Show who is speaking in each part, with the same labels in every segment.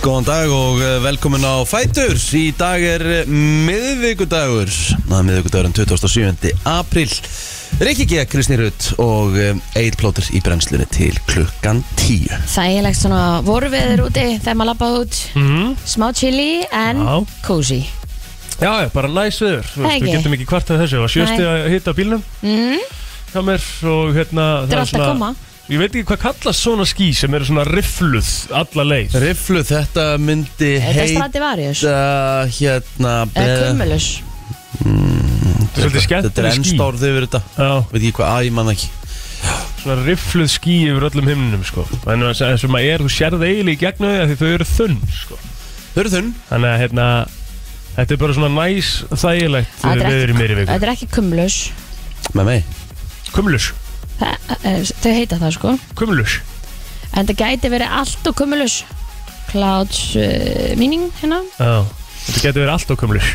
Speaker 1: Góðan dag og eh, velkomin á Fætur Í dag er eh, miðvikudagur Það er miðvikudagurinn 27. apríl Rikki G, Kristi Rutt og Egil Plóter í brennslunni til klukkan 10
Speaker 2: Þægilegt svona vorveður úti þegar maður lappa út
Speaker 3: Mhm.
Speaker 2: Smá chili en
Speaker 3: Já.
Speaker 2: cozy
Speaker 3: Já, já, bara næs viður Þú veist, Við
Speaker 2: Ekki.
Speaker 3: getum ekki kvart af þessu Það var sjösti að hitta bílnum
Speaker 2: mm,
Speaker 3: hjá mér og hérna
Speaker 2: Þetta er allt að koma
Speaker 3: Ég veit ekki hvað kallast svona ský sem eru svona riffluð alla leið
Speaker 1: Rifflu, þetta myndi
Speaker 2: Þetta er
Speaker 1: heita
Speaker 2: Stradivarius
Speaker 1: hérna
Speaker 2: Eða
Speaker 1: bre-
Speaker 2: Cumulus
Speaker 3: Þetta
Speaker 1: Þetta
Speaker 3: er svolítið
Speaker 1: er
Speaker 3: skemmtileg ský
Speaker 1: ennstárð yfir þetta
Speaker 3: Já,
Speaker 1: Veit ekki hvað, að ég manna ekki
Speaker 3: svona riffluð ský yfir öllum himninum sko En þess þess að maður er, þú sérð eiginlega í gegnu því að þau eru þunn sko
Speaker 1: Hörðun
Speaker 3: Þannig að hérna Þetta er bara svona næs þægilegt
Speaker 2: Þetta er ekki-
Speaker 3: viður í meiri viku
Speaker 2: Þetta er ekki Cumulus
Speaker 1: Með mig
Speaker 3: Kumlus,
Speaker 2: Þa- eh, Þau heita það sko
Speaker 3: kumlus
Speaker 2: En það gæti verið allt og Cumulus Clouds uh, meaning hérna
Speaker 3: Já, þetta getur verið allt á kumlus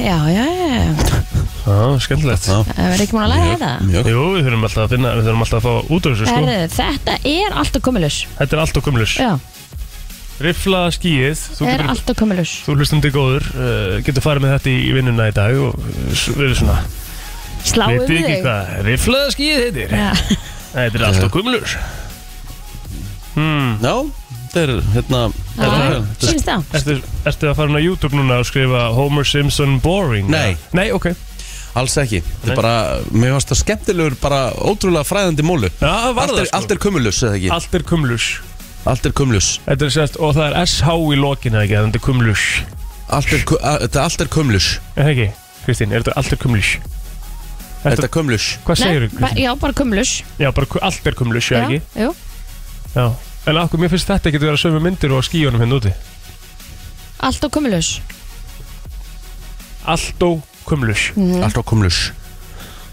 Speaker 2: Já, já, já já.
Speaker 3: Já, skemmtilegt
Speaker 1: Já.
Speaker 2: Það verið ekki múin að læra þetta
Speaker 1: Mjög
Speaker 3: Jú, við þurfum alltaf að finna, við þurfum alltaf að fá út af þessu sko
Speaker 2: Herðu, þetta er allt og Cumulus
Speaker 3: Þetta er allt og kumlus
Speaker 2: Já,
Speaker 3: Riffla skíið, þú,
Speaker 2: er
Speaker 3: getur,
Speaker 2: allt og Cumulus
Speaker 3: þú hlustandi góður uh, Getur farið með þetta í vinnuna í dag Og uh, s- verið svona
Speaker 2: Sláum
Speaker 3: Vitið
Speaker 2: við
Speaker 3: ekki
Speaker 2: þig
Speaker 3: hvað riffla skíið heitir
Speaker 2: Já.
Speaker 3: Þetta er allt og kumlus hmm.
Speaker 1: Já, þetta er hérna
Speaker 2: Já,
Speaker 1: þetta er- þetta er-
Speaker 2: Sýnst það
Speaker 3: ertu, ertu að fara inn á YouTube núna og skrifa Homer Simpson Boring?
Speaker 1: Nei.
Speaker 3: eða? Nei, ok
Speaker 1: Alls ekki, þetta
Speaker 3: Nei.
Speaker 1: er bara, mér varst það skemmtilegur, bara ótrúlega fræðandi mólu
Speaker 3: Já, það var
Speaker 1: allt
Speaker 3: það
Speaker 1: er, allt er kumulus, eða ekki?
Speaker 3: Allt er kumlus
Speaker 1: Allt er kumlus
Speaker 3: Þetta er sérst, og það er SH í lokinu eða ekki, þannig að þetta er kumlus
Speaker 1: Allt er, ku- a- þetta allt er kumlus
Speaker 3: Er það ekki, Kristín, er þetta allt er kumlus?
Speaker 1: Þetta er kumlus
Speaker 3: Hvað segir
Speaker 2: Nei, ba-
Speaker 3: Kristín?
Speaker 2: Já, bara Cumulus
Speaker 3: Já, bara ku- allt er kumlus, eða ekki?
Speaker 2: jú
Speaker 3: Já, en okkur mér finnst þetta getur verið að sömu myndir og á skíunum hérna úti
Speaker 2: Allt og kumulus
Speaker 3: Allt og kumlus
Speaker 1: Allt á kumlus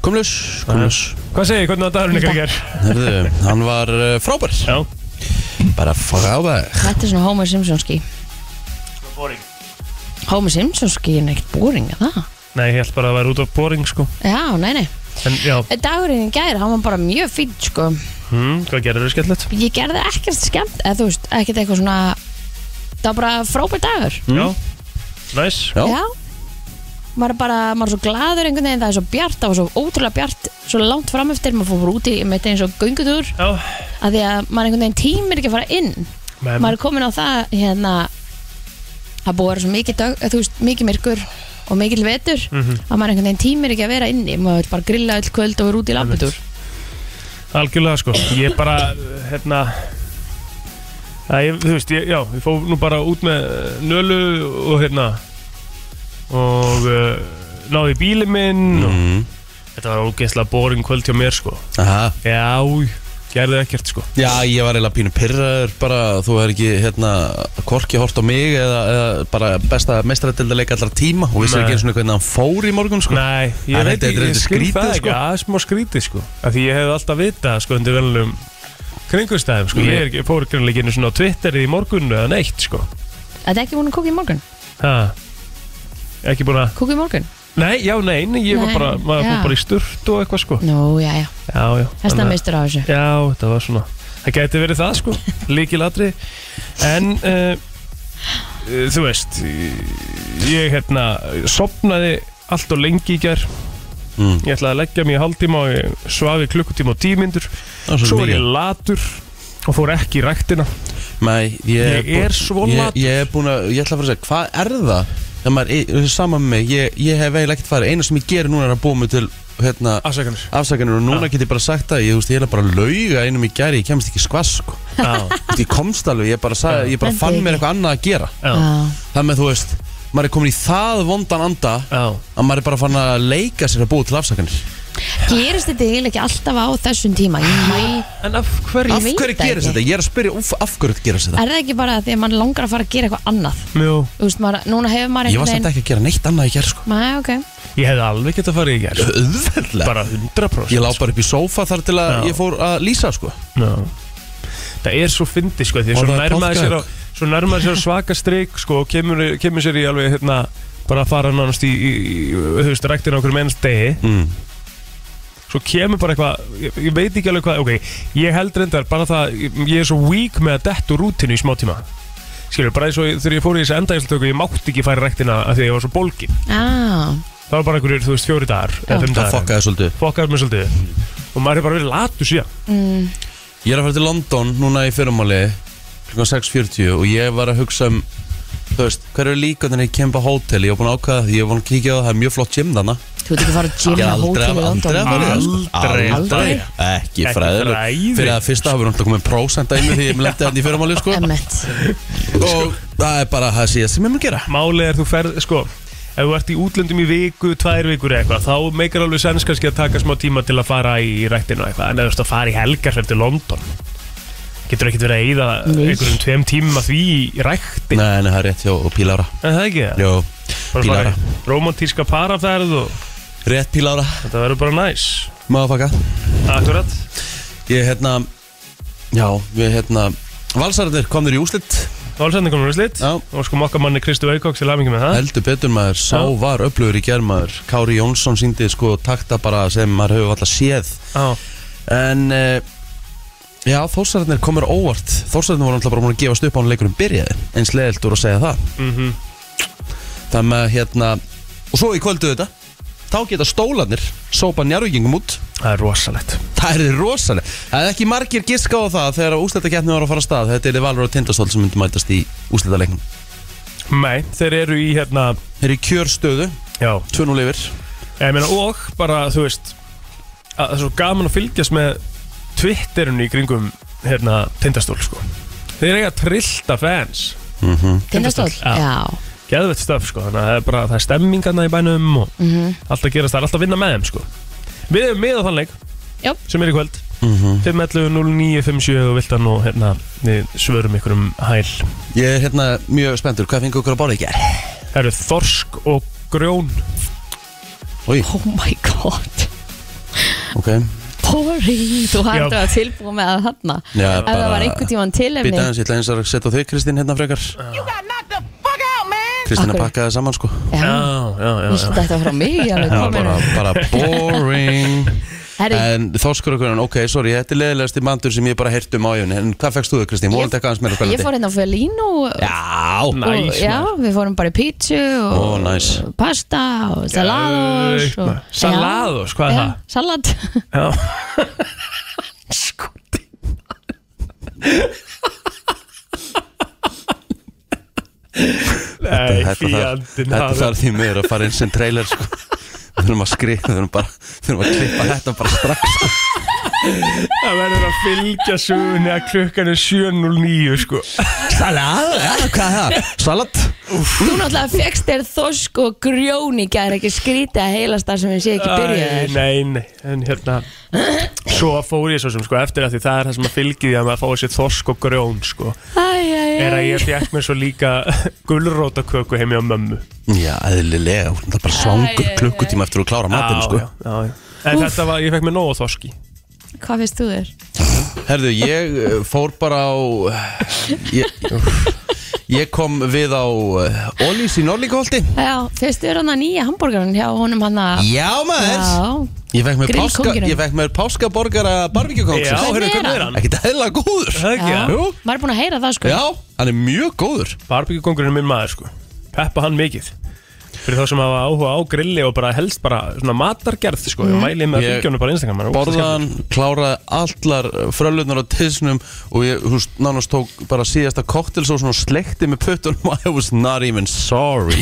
Speaker 1: Kumlus, kumlus
Speaker 3: Hvað segir, ég, hvernig var dagurinn ykkar í ger?
Speaker 1: Herðu, hann var uh, frábær
Speaker 3: Já
Speaker 1: Bara frábær
Speaker 2: Þetta er svona Homer Simpsonski
Speaker 3: Boring
Speaker 2: Homer Simpsonski er neitt búring að það
Speaker 3: Nei, ég held bara að það væri út af boring sko
Speaker 2: Já, nei, nei
Speaker 3: En já,
Speaker 2: Dagurinn í gær, hann var bara mjög fín sko
Speaker 3: hmm, hvað gerir þau skellilegt?
Speaker 2: Ég gerði ekkert skemmt Eða þú veist, ekkert eitthvað svona Það var bara frábær dagur
Speaker 3: Já, næs
Speaker 1: Já.
Speaker 2: Já Maður er bara, maður er svo gladur einhvern veginn Það er svo bjart, það var svo ótrúlega bjart Svo langt fram eftir, maður fór bara úti Með þetta eins og göngutúr
Speaker 3: Já,
Speaker 2: Af því að maður einhvern veginn tímir ekki að fara inn
Speaker 3: með
Speaker 2: maður er komin á það hérna að búa að vera svo mikið, dag, þú veist, mikið myrkur og mikið vetur
Speaker 1: Mhm.
Speaker 2: að maður einhvern veginn tímir ekki að vera inni maður vil bara grilla öll kvöld og vera út í lamputúr
Speaker 3: Algjörlega sko, ég bara, hérna að ég, Þú veist, ég, já, ég fór nú bara út með eh, nölu og hérna Og uh, náði í bílinn minn og,
Speaker 1: mm.
Speaker 3: Þetta var ógeðslega boring kvöld hjá mér sko
Speaker 1: Aha.
Speaker 3: Já, gerði ekkert sko
Speaker 1: Já, ég var eiginlega pínu pyrraður bara, þú er ekki, hérna, korki hort á mig eða, eða bara besta meistarættildarleik allra tíma og vissir
Speaker 3: Nei.
Speaker 1: ekki eins og hvernig hann fór í morgun, sko
Speaker 3: Nei, ég
Speaker 1: En
Speaker 3: veit
Speaker 1: þetta-
Speaker 3: ekki,
Speaker 1: þetta er
Speaker 3: ég skil
Speaker 1: skrítið,
Speaker 3: það ekki
Speaker 1: sko.
Speaker 3: Það er smá skrítið sko Af Því ég hefði alltaf vitað sko undir velnum kringustæðum sko Ég, er, ekki- ég fór grannleikinu svona á Twitterið í morgunu eða neitt sko
Speaker 2: Þetta er ekki búin að kúka í morgun
Speaker 3: ha. Ekki búin að
Speaker 2: Kúka í morgun?
Speaker 3: Nei, já, nei, nei ég var
Speaker 2: Nei,
Speaker 3: bara, maður
Speaker 2: já.
Speaker 3: fór bara í sturt og eitthvað sko
Speaker 2: Nú, já, já,
Speaker 3: Já, já
Speaker 2: þess að
Speaker 3: þannig að-
Speaker 2: mistur á þessu
Speaker 3: Já, þetta var svona Það gæti verið það sko, líkilatri En uh, uh, Þú veist Ég hérna, sopnaði Allt og lengi í gær
Speaker 1: Mm.
Speaker 3: Ég ætlaði að leggja mig í hálftíma og ég svafi klukkutíma og tímyndur
Speaker 1: Það var
Speaker 3: Svo er
Speaker 1: mikið.
Speaker 3: ég latur og fór ekki í ræktina
Speaker 1: Nei, ég,
Speaker 3: Ég er svo
Speaker 1: ég,
Speaker 3: latur.
Speaker 1: ég er búin að, ég ætla að fara að segja, hvað er það þegar maður er- er saman með mig ég, ég hef eiginlega ekkert farið, eina sem ég gerir núna er að búa mig til hérna,
Speaker 3: Afsækanir
Speaker 1: afsakanir og
Speaker 3: Ah.
Speaker 1: núna get ég bara sagt að ég, þú veist, ég er bara að lauga einum í gæri, ég kemst ekki skvass sko.
Speaker 3: Já,
Speaker 1: Þú veist, ég komst alveg, ég bara, sag,
Speaker 3: Já.
Speaker 1: ég bara
Speaker 2: Nefndi
Speaker 1: fann
Speaker 2: ekki.
Speaker 1: mér eitthvað annað að gera
Speaker 3: já,
Speaker 2: Já.
Speaker 1: þannig að þú veist, maður er komin í það vondan anda
Speaker 3: já
Speaker 1: að maður er bara fann að leika sér að búa til afsakanir
Speaker 2: Gerist þetta eiginlega ekki alltaf á þessum tíma? Ég mæ,
Speaker 3: En af hverju?
Speaker 1: af
Speaker 2: veit
Speaker 1: hverju
Speaker 2: það
Speaker 1: gerist
Speaker 2: ekki.
Speaker 1: þetta? Ég er að spyrja, úf, af hverju gerist þetta?
Speaker 2: er það ekki bara því að mann langar að fara að gera eitthvað annað?
Speaker 3: Mjó,
Speaker 2: Þú veist, maður, núna hefur maður
Speaker 1: Ég var
Speaker 2: einhvern
Speaker 1: samt
Speaker 2: veginn
Speaker 1: ekki að gera neitt annað í gær sko.
Speaker 2: Mæ, ok
Speaker 3: ég hefði alveg gett að fara í gær
Speaker 1: Auðveldlega.
Speaker 3: Bara 100%
Speaker 1: Ég lá bara upp í sófa þar til að
Speaker 3: Já.
Speaker 1: ég fór að lýsa sko
Speaker 3: Já. Það er svo fyndi sko
Speaker 1: Og
Speaker 3: því að svo
Speaker 1: það er
Speaker 3: nærmaði sér, á-
Speaker 1: páskaegg.
Speaker 3: svo nærmaði sér á svaka strik sko og kemur, kemur sér í alveg hérna bara að fara nánast í, í, í þú veist, ræktin á okkur með ennast degi
Speaker 1: mm.
Speaker 3: svo kemur bara eitthvað, ég, ég veit ekki alveg hvað ok, ég held reyndar bara það, ég, ég er svo weak með að dettu rútinu í smá tíma skilur, bara eins og ég- þegar ég fór í þessi endaðislutöku, ég mátti ekki færa rektina af því að ég var svo bólgin
Speaker 2: Já,
Speaker 3: það var bara einhverjur, þú veist, fjóri dagar eða
Speaker 2: Já.
Speaker 3: fimm
Speaker 1: Það
Speaker 3: dagar,
Speaker 1: fokkaði svolítið
Speaker 3: fokkaður mér svolítið og maður er bara verið latur síðan
Speaker 1: Ég er að fara til London núna í fyrrumáli klukkan 6.40 og ég var að hugsa um Þú veist, hver eru líka þannig að ég kem bara á hótel Ég var búin að ákvaða, því, ég var búin að kíkja á það, það er mjög flott gym þarna
Speaker 2: þú veit ekki að fara að
Speaker 1: Ég
Speaker 2: gymna
Speaker 1: aldrei,
Speaker 2: hótel í
Speaker 1: aldrei,
Speaker 2: London
Speaker 1: aldrei, sko.
Speaker 3: Aldrei.
Speaker 1: aldrei Ekki
Speaker 3: Ekki
Speaker 1: fræðileg
Speaker 3: fræðileg.
Speaker 1: Fyrir að fyrsta hafa við náttúrulega komið prósenda í mig Því ég lendi hann í fyrramáli sko
Speaker 2: Emmett
Speaker 1: Og það er bara það síðast sem ég mun gera
Speaker 3: málið er þú ferð, sko ef þú ert í útlöndum í viku, tvær vikur eða eitthvað þá meikar alveg sens kannski að taka smá tíma til að fara í rættinu eitthvað en ef þú ert að fara í helgarferð til London getur ekkert verið að eyða
Speaker 2: Nei.
Speaker 3: einhverjum tveim tíma því í rættin
Speaker 1: Nei, nei, það er rétt hjá og Pílára
Speaker 3: en það ekki það
Speaker 1: Jó,
Speaker 3: Bara
Speaker 1: Pílára
Speaker 3: svona romantíska paraferð og
Speaker 1: Rétt Pílára,
Speaker 3: þetta verður bara næs
Speaker 1: maðurfaka
Speaker 3: Akkurat
Speaker 1: Ég hérna Já, við hérna Valsararnir komnir í úslit
Speaker 3: Valsendin komur í slitt
Speaker 1: Já.
Speaker 3: og sko mokkamanni Kristu Aukóks til aðmingi með það
Speaker 1: Heldur betur maður, sá
Speaker 3: Já.
Speaker 1: var öflugur í gerð maður Kári Jónsson síndi sko takta bara sem maður hefur alltaf séð
Speaker 3: Já.
Speaker 1: En uh, Já, þórsararnir komur óvart Þórsararnir voru alltaf bara múin að gefast upp á hann leikurum byrjaði Eins leðilt voru að segja það
Speaker 3: Mhm.
Speaker 1: Það með hérna Og svo í kvöldu þetta Þá geta stólanir sópa njárvíkingum út
Speaker 3: Það er rosalegt
Speaker 1: Það er rosalega Það er ekki margir giska á það Þegar úsletakeppni var að fara af stað Þetta er Valur og Tindastól sem myndi mætast í úsletaleiknum
Speaker 3: Nei, þeir eru í hérna
Speaker 1: Þeir eru í kjörstöðu
Speaker 3: Já
Speaker 1: 2-0 yfir
Speaker 3: Ég meina og bara þú veist að Það er svo gaman að fylgjast með Twitterinu í kringum hérna tindastól sko Þeir eiga trillta fans Mhm.
Speaker 2: Tindastól,
Speaker 3: Já.
Speaker 2: já
Speaker 3: Geðvett stöf sko Þannig að það er bara það er stemmingarna í bænum og allt að gerast það er alltaf að vinna með þeim sko Við erum með á þann leik
Speaker 2: Já.
Speaker 3: sem er í kvöld
Speaker 1: Mhm.
Speaker 3: 511 0957 og viltan og hérna við svörum ykkur um hæl
Speaker 1: Ég er hérna mjög spenntur Hvað fengur okkur að borða í gerð?
Speaker 3: Það eru þorsk og grjón
Speaker 1: Új,
Speaker 2: Oh my god
Speaker 1: ok
Speaker 2: Boring, þú hættu að tilbúið með að þarna
Speaker 1: Já,
Speaker 2: Ef það var einhvern tíman tilefni
Speaker 1: Býta hans, ég ætla eins að setja á þig Kristín hérna frekar Kristín að
Speaker 2: Akkur.
Speaker 1: pakka það saman sko
Speaker 2: Já,
Speaker 3: já, já,
Speaker 2: viltu
Speaker 3: já.
Speaker 2: þetta frá mig alveg
Speaker 1: Já,
Speaker 2: komin
Speaker 1: bara, bara boring
Speaker 2: Herri,
Speaker 1: En þórskur okkur, ok, sorry Þetta er leðilegasti mandur sem ég bara heyrt um á jöfni En hvað fekkst þú þau Kristín? Mólan tekka hans meira
Speaker 2: ég
Speaker 1: kvöldi
Speaker 2: fór hérna á Felino og-
Speaker 1: Já,
Speaker 2: og,
Speaker 3: Næs,
Speaker 2: Já, við fórum bara í pítsu og
Speaker 1: Ó, næs.
Speaker 2: pasta og salados
Speaker 3: Geðveikt,
Speaker 2: og,
Speaker 3: maður. Salados,
Speaker 2: Já,
Speaker 3: hvað er
Speaker 2: já,
Speaker 3: það?
Speaker 2: Salat
Speaker 3: Já. Nei,
Speaker 1: Þetta þarf-
Speaker 3: fjandinn
Speaker 1: þetta
Speaker 3: hafi-
Speaker 1: þarf því meður að fara inn sem trailer sko. Við þurfum að skrifa, við þurfum bara Við þurfum að klippa þetta bara strax sko.
Speaker 3: Það verður að fylgja sögunni að klukkan er 7.09 sko
Speaker 1: Salat, ja, hvað er það? Salat
Speaker 2: Þú náttúrulega fegst þér þosk og grjón í gær ekki skrítið að heilast það sem ég sé ekki
Speaker 3: Æ,
Speaker 2: byrjaðir
Speaker 3: Nei, nei, en hérna Svo fór ég svo sem sko eftir að því það er það sem að fylgja því að maður fái sér þorsk og grjón sko
Speaker 2: Æ, æ, æ
Speaker 3: Er að ég fekk mér svo líka gulrótaköku heim hjá mömmu
Speaker 1: Já, eðlilega, hún er bara svangur klukkutíma eftir að klára matinn sko.
Speaker 3: já, já, já. En þetta var, ég fekk mér nóg á þorski
Speaker 2: Hvað finnst þú þér?
Speaker 1: Herðu, ég eh, fór bara á eh, Ég, ég kom við á eh, Ólís í Norlíkaholti
Speaker 2: Já, finnst þér hann að nýja hambúrgarinn hjá honum hann að
Speaker 1: Já maður
Speaker 2: Já,
Speaker 1: Ég fekk mér, páska,
Speaker 2: Grillkóngurinn.
Speaker 1: ég fekk mér páskaborgara barbíkjukong
Speaker 3: Já,
Speaker 2: Hvernig
Speaker 3: hérna,
Speaker 2: er
Speaker 3: hvernig er
Speaker 2: hann?
Speaker 3: hann?
Speaker 1: Ekkert eðlilega góður
Speaker 3: Það ekki,
Speaker 2: já.
Speaker 3: já
Speaker 1: Jú.
Speaker 2: Maður er búin að heyra það sko
Speaker 1: Já, hann er mjög góður
Speaker 3: Barbíkjukongurinn er minn maður sko Peppa hann mikið Fyrir þá sem hafa áhuga á grilli og bara helst bara svona matargerð sko
Speaker 2: Mhm.
Speaker 3: Ég mæli með að
Speaker 1: Ég
Speaker 3: fylgja hann bara á Instagram hann er ógeðslega
Speaker 1: Borðan kláraði allar frölunar á tisnum og ég húst nánast tók bara síðasta koktel svo svona slekti með puttunum I was not even sorry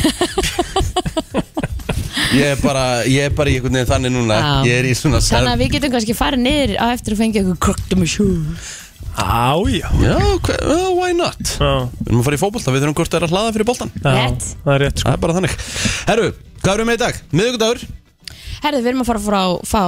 Speaker 1: Ég er bara ég er bara í einhvern veginn þannig núna
Speaker 2: Já.
Speaker 1: ég er í svona
Speaker 2: Þannig að við getum kannski farið niður á eftir að fengja eitthvað kroktum og sjú
Speaker 3: Á, já
Speaker 1: Já, hva, uh, why not?
Speaker 3: Já,
Speaker 1: Við erum að fara í fótbolta, við þurfum hvort það er að hlaða fyrir boltan
Speaker 3: já,
Speaker 2: Rétt.
Speaker 3: það er rétt sko
Speaker 1: Það er bara þannig Herru, hvað erum við í dag? Miðugudagur
Speaker 2: Herðu, við erum að fara frá fá,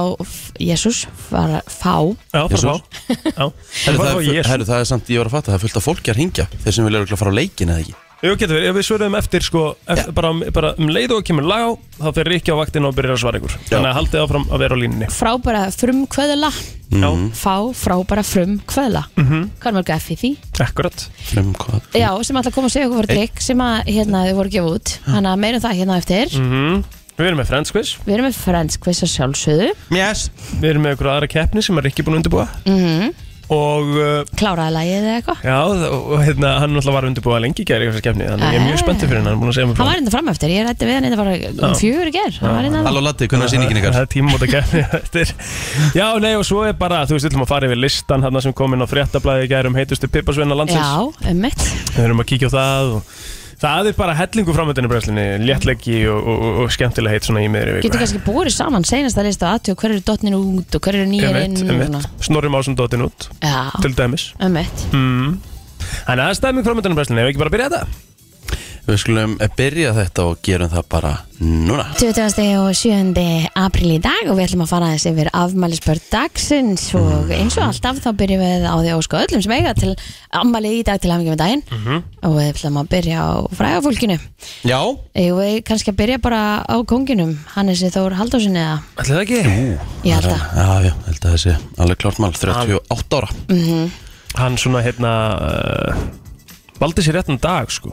Speaker 2: Jésús, fara, fá
Speaker 3: Já, fara
Speaker 1: Jesus.
Speaker 3: frá Já,
Speaker 1: herru,
Speaker 3: fara
Speaker 1: það,
Speaker 3: frá
Speaker 1: er fu-
Speaker 3: Jésu
Speaker 1: herru, það er samt, ég var að fatta, það er fullt af fólki að ringja Þeir sem vilja örugglega fara á leikin eða ekki
Speaker 3: Jú, getur við, ef við svöruðum eftir sko eftir, bara, bara um leið og kemur lag á þá fer Rikki á vaktina og byrjar að svara ykkur Þannig að haldið áfram að vera á línni
Speaker 2: frábæra frumkvöðla
Speaker 1: Mhm.
Speaker 3: Já,
Speaker 2: fá frábæra frumkvöðla mm -hmm. hvað er mörg F í því?
Speaker 3: akkurat
Speaker 1: Frum hvað?
Speaker 2: Já, sem ætla að koma að segja okkur fyrir drikk sem að hérna þau voru að gefa út hann að meirum það hérna á eftir
Speaker 1: Mhm.
Speaker 3: Mhm. Við erum með Friends Quiz
Speaker 2: við erum með fransk viss að sjálfsögðu
Speaker 1: Yes Mhm.
Speaker 3: Við erum með ykkur aðra keppni sem er Rikki búin að undirbúa og uh,
Speaker 2: kláraði lagið eða eitthvað
Speaker 3: já, og, hérna, hann náttúrulega var undirbúið lengi í gæri þessar kefni, þannig að ég er mjög spenntið fyrir hann hann er búin að segja mér
Speaker 2: Hann var hérna framöftir, ég rætti við hann hérna bara um
Speaker 3: Já.
Speaker 2: fjögur í ger Hann var hérna
Speaker 1: Halló Latti, hvernig er sýningin
Speaker 3: Það-
Speaker 1: ykkar?
Speaker 3: Það er tímamóta kefni eftir Já, nei, og svo er bara, þú veist, við ætlum að fara yfir listan hann sem kom inn á fréttablaði í gæri um heitustu piparsveina landsins
Speaker 2: Já, um mitt
Speaker 3: Við höfum að kíkja á það og það er bara hellingu framöndinu bremslinni, léttleggi og, og, og, og skemmtilega heitt svona í miðri viku.
Speaker 2: Getur kannski búið saman seinasta list á aðtjóð Hver eru dottnin út og hver eru nýjar inn
Speaker 3: Einmitt,
Speaker 2: og
Speaker 3: einmitt.
Speaker 2: svona.
Speaker 3: Snorri Másson dottin út,
Speaker 2: Já,
Speaker 3: til dæmis.
Speaker 2: um mitt
Speaker 3: Mm. Þannig að það er stæming framöndinu bremslinni, ef við ekki bara að byrja þetta?
Speaker 1: Við skulum eh, byrja þetta og gerum það bara núna
Speaker 2: 27. og 7. apríl í dag og við ætlum að fara aðeins yfir afmælisbörn dagsins og eins og alltaf þá byrjum við á því að óska öllum sem eiga til afmælið í dag til hafingjum í daginn
Speaker 3: Mhm.
Speaker 2: og við ætlum að byrja á frægafólkinu
Speaker 1: Já,
Speaker 2: Eigum við kannski að byrja bara á konginum Hannesi Þór Haldósin eða
Speaker 3: Ætli það ekki?
Speaker 2: Ég held að
Speaker 1: já, já, ég held að þessi alveg Mm. klart mál 38 ára
Speaker 3: Hann svona, hérna, uh, valdi sér réttan dag, sko.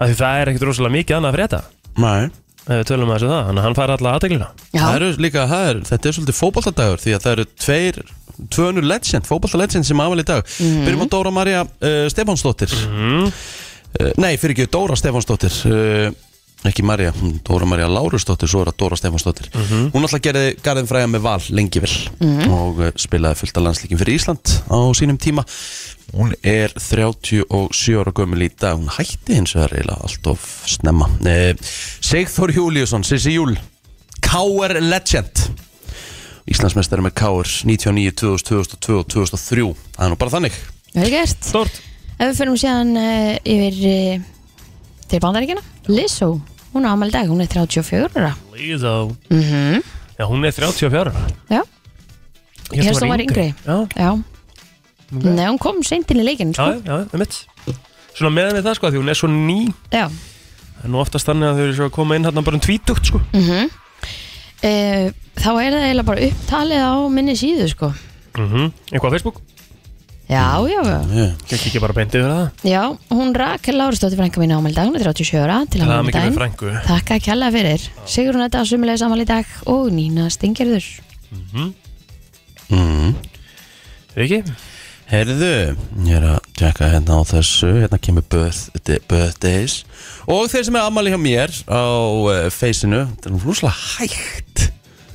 Speaker 3: Af því það er ekkert rosalega mikið annað að frétta,
Speaker 1: Nei
Speaker 3: ef við tölum að þessu það, þannig að hann fær alla aðteglina.
Speaker 1: Það
Speaker 2: Já,
Speaker 1: eru líka, það er, þetta er svolítið fótballtadagur því að það eru tveir, tvönu legend, fótballtalegend sem afal í dag. Byrjum á Dóra Marja uh, Stefánsdóttir. Uh, nei, fyrir ekki Dóra Stefánsdóttir, uh, ekki Marja, hún- Dóra Marja Lárusdóttir, svo er það Dóra Stefánsdóttir. Hún alltaf gerði garðin fræða með val lengi vel og uh, spilaði fullt af landsleikin fyrir Ísland á sínum tíma. Hún er 37 ára gömul í dag, hún hætti hins vegar eiginlega allt of snemma. Uh, Sigþór Júliusson, Sissi Júl. K.R. Legend Íslandsmeistari með K.R. 99, 2000, 2002 og 2003 Það er nú bara þannig
Speaker 2: það er gert
Speaker 3: Stort.
Speaker 2: Ef við fyrir síðan uh, yfir uh, til bandaríkina Lizzo, hún á afmæli í dag, hún er 34 ára
Speaker 3: Lizzo.
Speaker 2: mm
Speaker 3: Já, hún er 34.
Speaker 2: Já,
Speaker 3: Ég
Speaker 2: Ég hélt hún væri yngri.
Speaker 3: Já,
Speaker 2: já Nei, hún kom seint inn í leikinn
Speaker 3: Já,
Speaker 2: sko.
Speaker 3: já, já, um Svona meðan við það sko, af því hún er svo ný
Speaker 2: Já,
Speaker 3: Það er nú oftast þannig að þau eru svo að koma inn hérna bara um tvítugt sko
Speaker 2: mhm mm Eh, Þá er það eiginlega bara upptalið á minni síðu sko.
Speaker 3: mm Eitthvað á Facebook?
Speaker 2: Já, já, já
Speaker 1: yeah.
Speaker 3: Ég kikið bara beint yfir það
Speaker 2: Já, hún Rakel Lárusdóttir frænka mín á afmæli í dag, hún er 37 ára til
Speaker 3: Það
Speaker 2: afmæli
Speaker 3: er
Speaker 2: í
Speaker 3: mikið með
Speaker 2: dag
Speaker 3: frængu
Speaker 2: Takk að kjalla fyrir Sigrun þetta á sumulegis afmæli í dag og Nína Stingerður
Speaker 1: mm.
Speaker 3: Riki?
Speaker 1: Herðu, ég er að tjekka hérna á þessu Hérna kemur birth- birthdays Og þeir sem er ammali hjá mér á uh, feysinu Það er nú rúslega hægt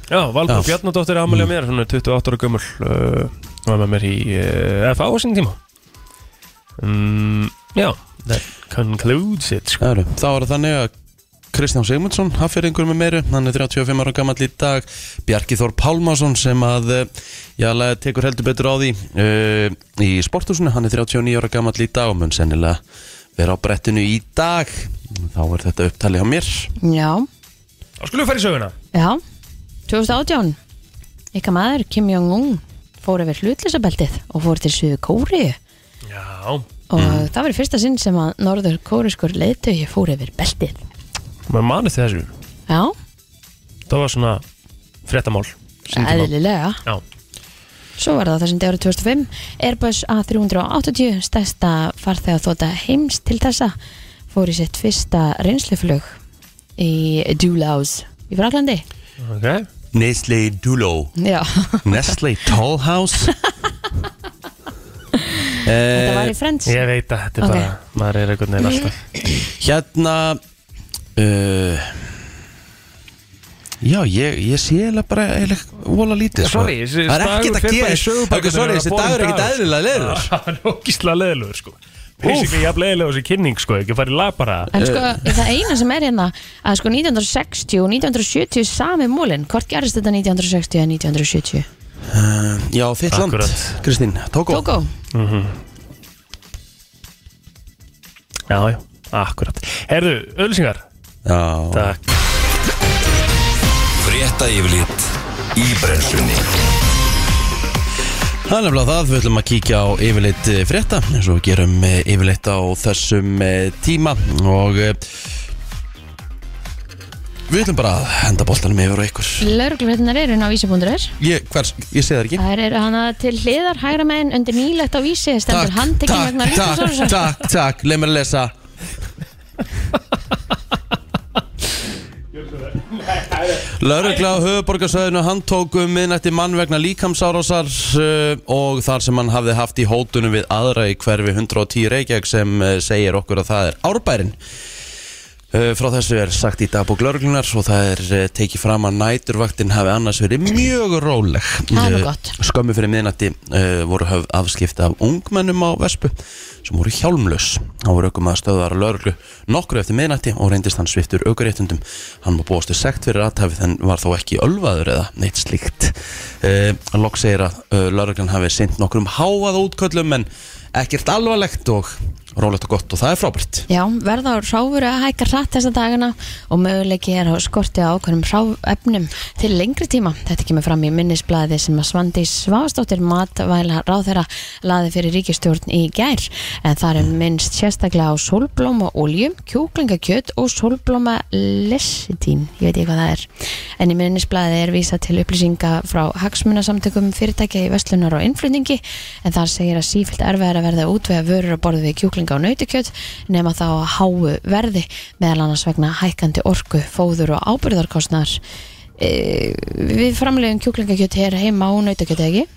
Speaker 3: Já, Mm. Valdur
Speaker 1: Já.
Speaker 3: Bjarnadóttir er amalja mér, hún er 28 ára gömul uh, Hún var með mér í uh, FA á sinni tíma um, Já, that concludes it sko
Speaker 1: Æru. Þá er það þannig að Kristján Sigmundsson, haffyrringur með meiru, hann er 35 ára gammal í dag, Bjarki Þór Pálmarsson sem að, eh, já, la- tekur heldur betur á því uh, í sporthúsinu, hann er 39 ára gammal í dag og mun sennilega vera á brettinu í dag, þá er þetta upptalið hjá mér.
Speaker 2: Já,
Speaker 3: Þá skulum við fara í söguna
Speaker 2: já 2018 Ykkar maður Kim Jong-un fór yfir hlutlýsabeltið og fór til Suðu Kóriðu
Speaker 3: Já
Speaker 2: og það var í fyrsta sinn sem að norður kóriskur leiðtögi fór yfir beltið
Speaker 3: Maður manið þessu
Speaker 2: Já,
Speaker 3: Það var svona fréttamál sínum tíma.
Speaker 2: eðlilega
Speaker 3: Já
Speaker 2: Svo var það þessum degi árið 2005 Airbus A380 stærsta farþega þóta heims til þessa fór í sitt fyrsta reynsluflug í Dulaus í Fraklandi
Speaker 3: Ok
Speaker 1: Nestle Dulo,
Speaker 2: Já,
Speaker 1: Nestle Tollhouse. Eh,
Speaker 2: þetta var í Friends
Speaker 3: Ég veit að þetta er
Speaker 2: Ok.
Speaker 3: bara, maður er einhvern veginn alltaf
Speaker 1: Hérna uh, Já, ég, ég sé eiginlega bara eiginlega vola lítið sko.
Speaker 3: Sorry, þessi
Speaker 1: Það er ekkert
Speaker 3: dagur fer
Speaker 1: að
Speaker 3: bara í
Speaker 1: gera
Speaker 3: sögubækurnar
Speaker 1: Ok, Sorry,
Speaker 3: þegar
Speaker 1: þessi
Speaker 3: það er
Speaker 1: dagur er ekkert
Speaker 3: borin dagur. Ah.
Speaker 1: eðlilega leiður
Speaker 3: Það er ógíslega leðilegur sko Basically jafn leðilegur sem kynning sko Ekki farið lag bara
Speaker 2: En
Speaker 1: Eh.
Speaker 2: sko, það eina sem er hérna að sko 1960 og 1970 sami múlin, hvort gerist þetta 1960 eða 1970?
Speaker 1: Eh, Já, þitt land,
Speaker 3: Akkurat.
Speaker 1: Kristín, Tókó
Speaker 2: Tókó,
Speaker 3: Já, já, akkurat Herðu, ölsingar
Speaker 1: Já,
Speaker 3: Takk
Speaker 4: Frétta yfirlit í brennslunni
Speaker 1: það er nefnilega það, við ætlum að kíkja á yfirleitt eh, frétta eins og við gerum eh, yfirleitt á þessum eh, tíma og eh, við ætlum bara að henda boltanum yfir og ykkur
Speaker 2: lauruglufréttinar eru inn á vísi.is
Speaker 1: Ég, hvers, ég sé það ekki
Speaker 2: Það eru hana til hliðar hægra meginn undir nýlegt á vísi stendur handtekinn
Speaker 1: takk,
Speaker 2: vegna Viktor
Speaker 1: takk,
Speaker 2: Sólusson
Speaker 1: takk, takk, leið mér að lesa Lörgla á höfuborgarsöðinu handtóku um miðnætti mann vegna líkamsárásar uh, og þar sem hann hafði haft í hótunum við aðra í hverfi 110 Reykjavík sem uh, segir okkur að það er árbærin. Uh, Frá þessu er sagt í dagbúk lauruglunar og það er uh, tekið fram að næturvaktin hafi annars verið mjög róleg.
Speaker 2: Það er nú
Speaker 1: Uh,
Speaker 2: gott.
Speaker 1: Skömmu fyrir miðnætti uh, voru höfð afskipta af ungmennum á Vespu sem voru hjálmlaus. Hann voru aukum að stöðvara lauruglu nokkru eftir miðnætti og reyndist hann sviftur aukuréttundum. Hann var búastu sekt fyrir aðtafið en var þó ekki ölvaður eða neitt slíkt. Uh, Lok segir að uh, lauruglan hafi sint nokkrum háað útköllum en ekkert alvarlegt og rólegt og gott og það er frábært.
Speaker 2: Já, verða á ráfuru að hækka hratt þessa dagana og möguleiki er á skorti á ákveðnum ráfefnum til lengri tíma. Þetta kemur fram í minnisblæði sem að Svandi Svavastóttir matvæla ráðherra laði fyrir ríkistjórn í gær. En það er minnst sérstaklega á sólblóma olju, kjúklingakjöt og sólblóma lesitín. Ég veit ekki hvað það er. En í minnisblæði er vísa til upplýsinga frá hagsmunasamtökum fyrirtækja í vestlunar og innflutningi en þar segir að sífilt erfiðar að verða að útvega vörur að borða við kjúklinga og nautikjöt nema þá að háu verði meðal annars vegna hækkandi orku, fóður og ábyrðarkostnar e, Við framlegum kjúklingakjöt hér heima og nautikjöt eða ekki?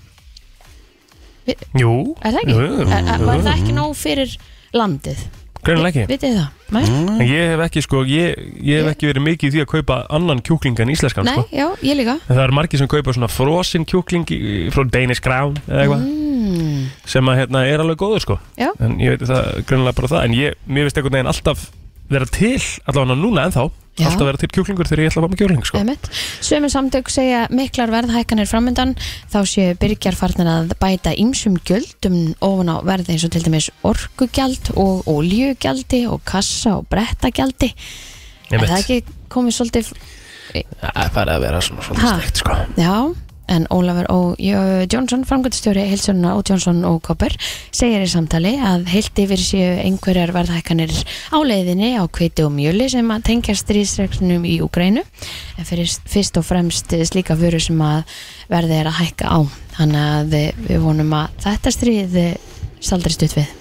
Speaker 3: Jú
Speaker 2: Er það ekki?
Speaker 3: Jú, jú,
Speaker 2: Er, er,
Speaker 3: jú.
Speaker 2: var það ekki nóg fyrir landið?
Speaker 3: Greinilega ekki Hm?
Speaker 2: Vitið þið það? Nei?
Speaker 3: En Ég hef ekki sko, ég, ég hef ekki verið mikið í því að kaupa annan kjúkling en íslenskan
Speaker 2: Nei,
Speaker 3: sko
Speaker 2: já, ég líka
Speaker 3: En Það er margir sem kaupa svona frosin kjúkling í- frá Danish Crown eða eitthvað
Speaker 2: mm,
Speaker 3: sem að hérna er alveg góður sko
Speaker 2: Já,
Speaker 3: en ég veit að það grunlega bara það en ég, mér veist einhvern veginn alltaf vera til allavega núna ennþá,
Speaker 2: Já.
Speaker 3: alltaf vera til kjúklingur þegar ég ætla að fá mig kjúkling sko.
Speaker 2: Einmitt. Sumir samtök segja miklar verðhækkanir framöndan þá séu byrgjar farnir að bæta ýmsum gjöldum ofan á verði eins og til dæmis orkugjald og oljugjaldi og kassa og brettagjaldi Er það ekki komið svolítið
Speaker 3: það er bara að vera svona,
Speaker 2: Ha? steikt,
Speaker 3: sko.
Speaker 2: Já, en Ólafur og Jónsson, framgöndstjóri Hilsunar og Jónsson og Koppur, segir í samtali að heilt yfir séu einhverjar verðhækkanir á leiðinni á kviti og mjöli sem að tengja stríðsregnum í Úgrænu, en fyrir fyrst og fremst slíka vöru sem að verði er að hækka á. Þannig að við vonum að þetta stríð saldri stutt við.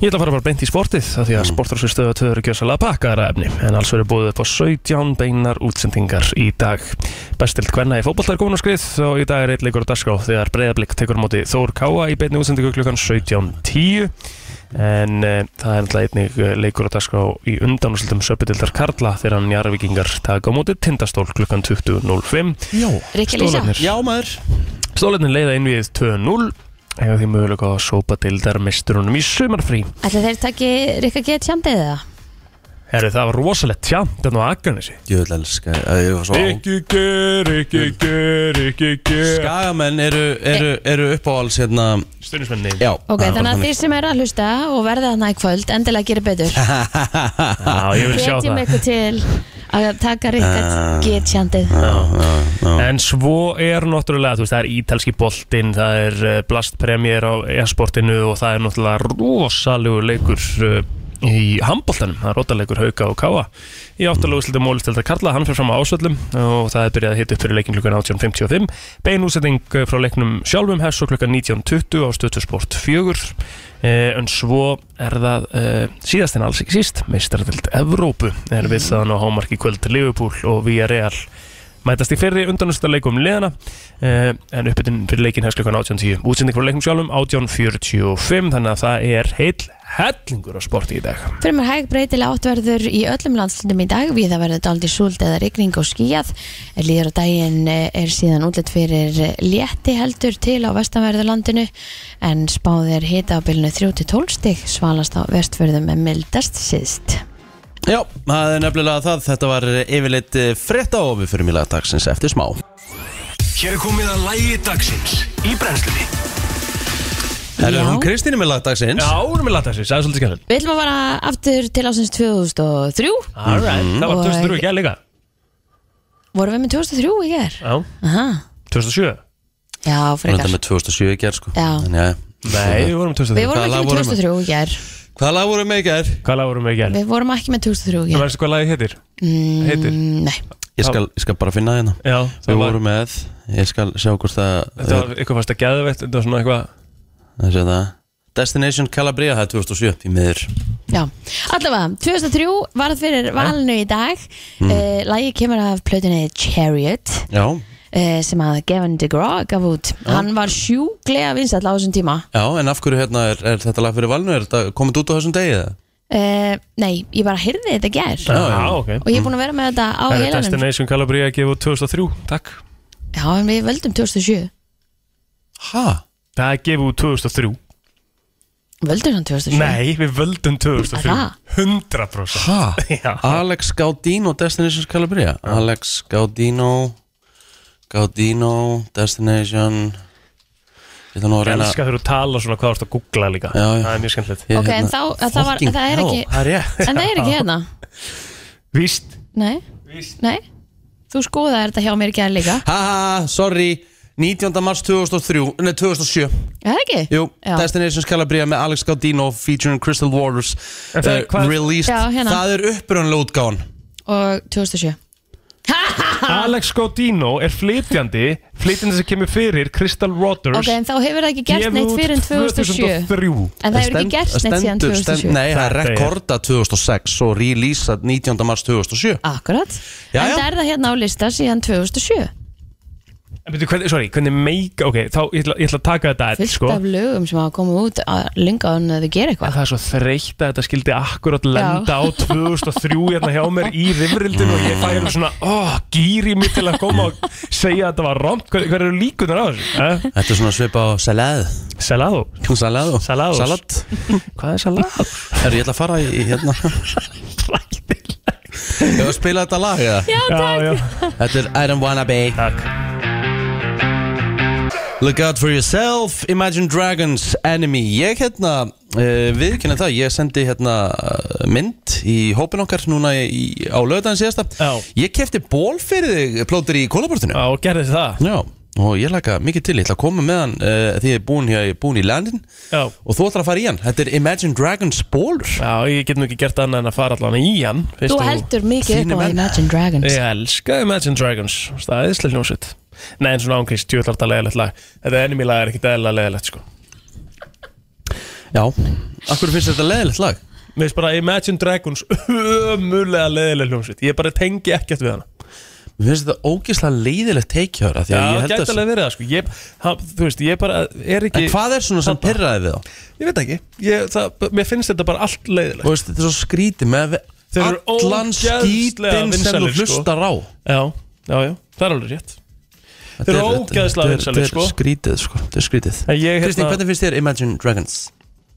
Speaker 3: Ég ætla að fara bara beint í sportið af því að mm. sportrásurstöðu tvöður er gjössalega pakkaðara efni en alls verður búið upp á 17 beinar útsendingar í dag. Bestild Kvenna í fótbollar komin á skrið og í dag er eitt leikur á dagskrá þegar breyðablík tekur á móti Þór Káa í beinni útsendingu klukkan 17.10 en e, það er alltaf einnig eh, leikur á dagskrá í undanúsildum söpudildar Karla þegar hann jarðvikingar taka á móti tindastól klukkan 20.05
Speaker 1: Já.
Speaker 2: Rikki Lísa,
Speaker 3: Stólarnir.
Speaker 1: Já maður.
Speaker 3: Stólarnir leiða inn við 2-0 eða því mögulega að sópa dildar mesturunum í sumarfrí
Speaker 2: ætla þeir takki Rikka G. Tjandið eða?
Speaker 3: Herri, það var rosalegt tjant en á Akarnesi
Speaker 1: Ég vil elska. að Ég var svo á.
Speaker 3: ger, ekki ger, ekki ger
Speaker 1: Skagamenn eru, eru, eru uppáhalds hérna.
Speaker 3: Stunnismenni
Speaker 1: Já.
Speaker 2: Ok,
Speaker 1: það er bara
Speaker 2: þannig að þeir sem eru að hlusta og verða þarna í kvöld, endilega gera betur.
Speaker 3: Já, ég vil sjá
Speaker 2: hvetjum
Speaker 3: það
Speaker 2: ykkur til að taka
Speaker 1: Ah.
Speaker 2: Rikard getjandið
Speaker 3: En svo er náttúrulega, þú veist, það er ítalski boltinn Það er eh, blastpremjér á e-sportinu Og það er náttúrulega rosalegur leikur eh, í handboltanum Það er rótalegur hauka og káa Í áttalegu slutum mólistildar Karla, hann fyrir fram á ásvöllum Og það er byrjað að hita upp fyrir leikin klukkan 18.55 Bein útsending eh, frá leiknum sjálfum hefst svo klukkan 19.20 á stöðtusport 4 Eh, en svo er það eh, síðast en alls ekki síst meistardöld Evrópu er við þaðan á hámarki í kvöld Liverpool og Villarreal mætast í fyrri undanústa leikum liðana eh, en uppbytun fyrir leikin hefst klukkan 18.10 útsending frá leikum sjálfum 18.45 þannig að það er heill hellingur á sporti í dag
Speaker 2: Fyrir mér hæg breytilega áttverður í öllum landslundum í dag við það verður daldi súld eða rigning og skíjað Er líður á daginn eh, er síðan útlitt fyrir eh, létti heldur til á vestanverðurlandinu en spáðir hita á bylnu 3-12 stig svalast á vestförðum með mildast síðst
Speaker 1: Já, það er nefnilega það. Þetta var yfirleitt frétta og við fyrir mjög dagsins eftir smá.
Speaker 4: Hér er komið að lægi dagsins í brennslunni
Speaker 1: Það
Speaker 2: Já.
Speaker 1: er hún Kristín er með lagdagsins.
Speaker 3: Já, hún er með lata þessi, það er svolítið skemmt
Speaker 2: Við ætlum að fara aftur til ásins 2003
Speaker 3: Alright, Mhm. það var
Speaker 2: Og-
Speaker 3: 2003 ekki að líka
Speaker 2: Vorum við með 2003 í ger?
Speaker 3: Já,
Speaker 2: Aha.
Speaker 3: 2007
Speaker 2: Já,
Speaker 1: Hún er þetta
Speaker 2: frekar
Speaker 1: með 2007 í gerð sko.
Speaker 2: Já.
Speaker 1: En, já.
Speaker 3: Nei, við vorum með
Speaker 2: Við
Speaker 3: 2003
Speaker 1: Hvaða
Speaker 2: vorum
Speaker 1: lag
Speaker 2: ekki með
Speaker 1: vorum við?
Speaker 2: 2003 í ger
Speaker 1: Hvaða lag voru með í gerð?
Speaker 3: Hvað lag vorum við ekki að?
Speaker 2: Við vorum ekki með 2003 í
Speaker 3: Það
Speaker 2: ger
Speaker 3: verðist hvað lagið heitir? heitir?
Speaker 2: Mm, Nei,
Speaker 1: Ég skal, ég skal bara finna það hérna.
Speaker 3: Já, það
Speaker 1: Við
Speaker 3: var,
Speaker 1: vorum með, ég skal sjá hvort það eh,
Speaker 3: þetta var eitthvað fast að geða veitt, þetta var svona eitthvað
Speaker 1: Það sé það Destination Calabria, það er 2007 í miður
Speaker 2: Já, allavega, 2003 varð fyrir valinu í dag mm. Lægi kemur af plötunni Chariot
Speaker 1: Já,
Speaker 2: uh, sem að Gavin DeGraw gaf út Hann var sjúklega vinsall á þessum tíma
Speaker 1: já, en af hverju hérna er, er þetta lag fyrir valinu? Er þetta komið út á þessum degi eða?
Speaker 2: uh, Nei, ég bara heyrði þetta gær
Speaker 3: Já,
Speaker 1: já.
Speaker 3: Ah, ok
Speaker 2: og ég er búin að vera með þetta á
Speaker 3: Það Mm. er
Speaker 2: heilanum
Speaker 3: Destination Calabria að gefa út 2003, takk
Speaker 2: Já, en við völdum 2007
Speaker 1: Ha?
Speaker 3: Það er gefa út 2003
Speaker 2: Völdum hann 2007?
Speaker 3: Nei, við völdum 2003
Speaker 2: Er
Speaker 3: 100%
Speaker 1: Ha?
Speaker 3: Já.
Speaker 1: Alex Gaudino, Destination Calabria Alex Gaudino Gaudino, Destination Ég ætla nú að
Speaker 3: Ég
Speaker 1: reyna
Speaker 3: elska þegar þú tala svona hvað þú ert að googla líka
Speaker 1: Já, já.
Speaker 3: Það er mjög skemmtilegt
Speaker 1: Ég, hérna,
Speaker 2: Ok, en þá, að það, var,
Speaker 1: fucking
Speaker 2: það er
Speaker 1: hell.
Speaker 2: ekki
Speaker 3: Það er rétt
Speaker 2: En það er ekki hérna
Speaker 3: Víst
Speaker 2: Nei,
Speaker 3: Víst.
Speaker 2: nei Þú skoðaði þetta hjá mér í gær líka
Speaker 1: Ha ha, sorry 19. mars 2003, nei 2007
Speaker 2: Er það ekki?
Speaker 1: Jú,
Speaker 2: Já.
Speaker 1: Destinations Calabria með Alex Gaudino featuring Crystal Waters
Speaker 3: En það er
Speaker 1: eh,
Speaker 3: hvað-
Speaker 1: Released,
Speaker 2: Já, hérna.
Speaker 1: það er upprunlega útgáðan
Speaker 2: Og 2007
Speaker 3: Alex Godino er flytjandi Flytjandi sem kemur fyrir Crystal Waters
Speaker 2: Ok, en þá hefur það ekki gert
Speaker 3: gefur
Speaker 2: neitt fyrir en
Speaker 3: út
Speaker 2: 2007
Speaker 3: 2003
Speaker 2: En það hefur ekki gert neitt síðan 2007
Speaker 1: Nei, það er
Speaker 3: Þetta er-
Speaker 1: rekorda 2006 og releasað 19. mars 2007
Speaker 2: Akkurat
Speaker 1: Já,
Speaker 2: En
Speaker 1: já.
Speaker 2: það er það hérna á lista síðan 2007
Speaker 3: En byrju, hvernig, sorry, hvernig make Ok, þá ég ætla, ég ætla að taka þetta
Speaker 2: Fullt
Speaker 3: edd, sko
Speaker 2: af lögum sem hafa komið út að lunga án að þau gera
Speaker 3: En
Speaker 2: eitthvað
Speaker 3: það er svo þreytt að þetta skildi akkurat lenda á 2003 hérna hjá mér í rifrildinu og ég færi svona, ó, gýri mig til að koma og segja að þetta var romt Hver, hver eru líkunar á þessu? Eh?
Speaker 1: Þetta er svona svipa á salad
Speaker 3: Salado
Speaker 1: Salado
Speaker 3: Salados.
Speaker 1: Salat
Speaker 3: Hvað er salado?
Speaker 1: Herru, ég ætla að fara í hérna Ég var að spila þetta lag eða
Speaker 3: Já, já,
Speaker 1: Þetta er I don't wanna be
Speaker 3: takk
Speaker 1: Look out for yourself, Imagine Dragons, Enemy Ég hérna, uh, viðkynna það, ég sendi hérna eh, mynd í hópin okkar núna í, á lögudaginn síðasta
Speaker 3: Já.
Speaker 1: Ég kefti ból fyrir þig, plótur í kólabortinu
Speaker 3: Já, og gerði það
Speaker 1: Já, og ég laka mikið til, ég ætla að koma með hann uh, því ég er búin, ég er búin í landin
Speaker 3: Já,
Speaker 1: Og þú ætlar að fara í hann, þetta er Imagine Dragons bólur
Speaker 3: já ég get nú ekki gert annað en að fara allan í hann fyrst
Speaker 2: Þú
Speaker 3: og-
Speaker 2: heldur mikið
Speaker 1: Þínir
Speaker 2: upp á
Speaker 1: menn.
Speaker 2: Imagine Dragons
Speaker 3: Ég elska Imagine Dragons Stæðislega hljómsveit Nei, en svona ánkvist, tjóðlar þetta leðilegt lag Þetta enemy lag er ekkit eðlilega leðilegt, sko
Speaker 1: Já, akkur finnst þetta leðilegt lag?
Speaker 3: Mér finnst bara Imagine Dragons ömulega leðileg hljómsveit Ég bara tengi ekkert við hana
Speaker 1: Mér finnst þetta ógeðslega leiðilegt teikjöra Því
Speaker 3: Já,
Speaker 1: að ég
Speaker 3: það
Speaker 1: held
Speaker 3: gæti
Speaker 1: að
Speaker 3: alveg verið það sko ég, það, Þú veist, ég bara er ekki
Speaker 1: En hvað er svona sem
Speaker 3: Þarna.
Speaker 1: pyrraði við þá?
Speaker 3: Ég veit ekki ég, það, Mér finnst þetta bara allt
Speaker 1: Og
Speaker 3: leiðilegt
Speaker 1: veist, þetta er svo skrítið með
Speaker 3: Þeir eru
Speaker 1: allan
Speaker 3: ógeðslega
Speaker 1: skítinn sem þú
Speaker 3: vinsælir, sko.
Speaker 1: hlustar á
Speaker 3: Já, já, já, það er alveg rétt Þeir eru
Speaker 1: Þetta er-
Speaker 3: ógeðslega
Speaker 1: þetta er-
Speaker 3: vinsælir, sko.
Speaker 1: Þetta er skrítið, sko, þetta er skrítið
Speaker 3: En ég,
Speaker 1: Kristín,
Speaker 3: hérna-
Speaker 1: hvernig finnst þér Imagine Dragons?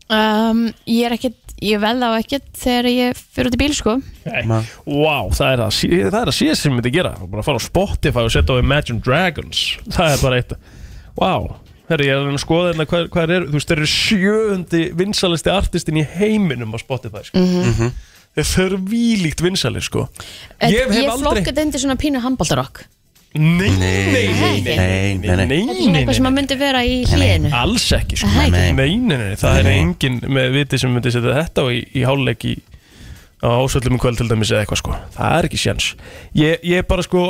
Speaker 2: um, Ég er ekkit, ég veð á ekkit þegar ég fyrir út í bíl sko
Speaker 3: Nei,
Speaker 1: Ma-
Speaker 3: wow, það er það, sí- það er að síðast sem ég myndi gera Bara að fara á Spotify og setja á Imagine Dragons Það er bara eitt Wow, herri, ég er að reyna að skoða hérna hvað, hvað er Þú veist, þeir eru sjöundi vinsalisti artistin í heiminum á Spotify sko. mm -hmm. Þeir eru vílíkt vinsali sko.
Speaker 2: En
Speaker 3: Ég hef
Speaker 2: Ég
Speaker 3: aldrei-
Speaker 2: flokka þetta undir svona pínu handbóltarokk
Speaker 3: Nei, nei, nei, nei,
Speaker 1: nei, nei, nei.
Speaker 2: Þetta er svona eitthvað sem að myndi vera í hléinu
Speaker 3: Alls ekki sko.
Speaker 2: Það er
Speaker 3: nei,
Speaker 1: ekki.
Speaker 3: nei, nei, nei, það er enginn með viti sem myndi setja þetta á í, í hálfleik í, á ásvöllum í kvöld til dæmis eða eitthvað sko Það er ekki sjans Ég, ég er bara sko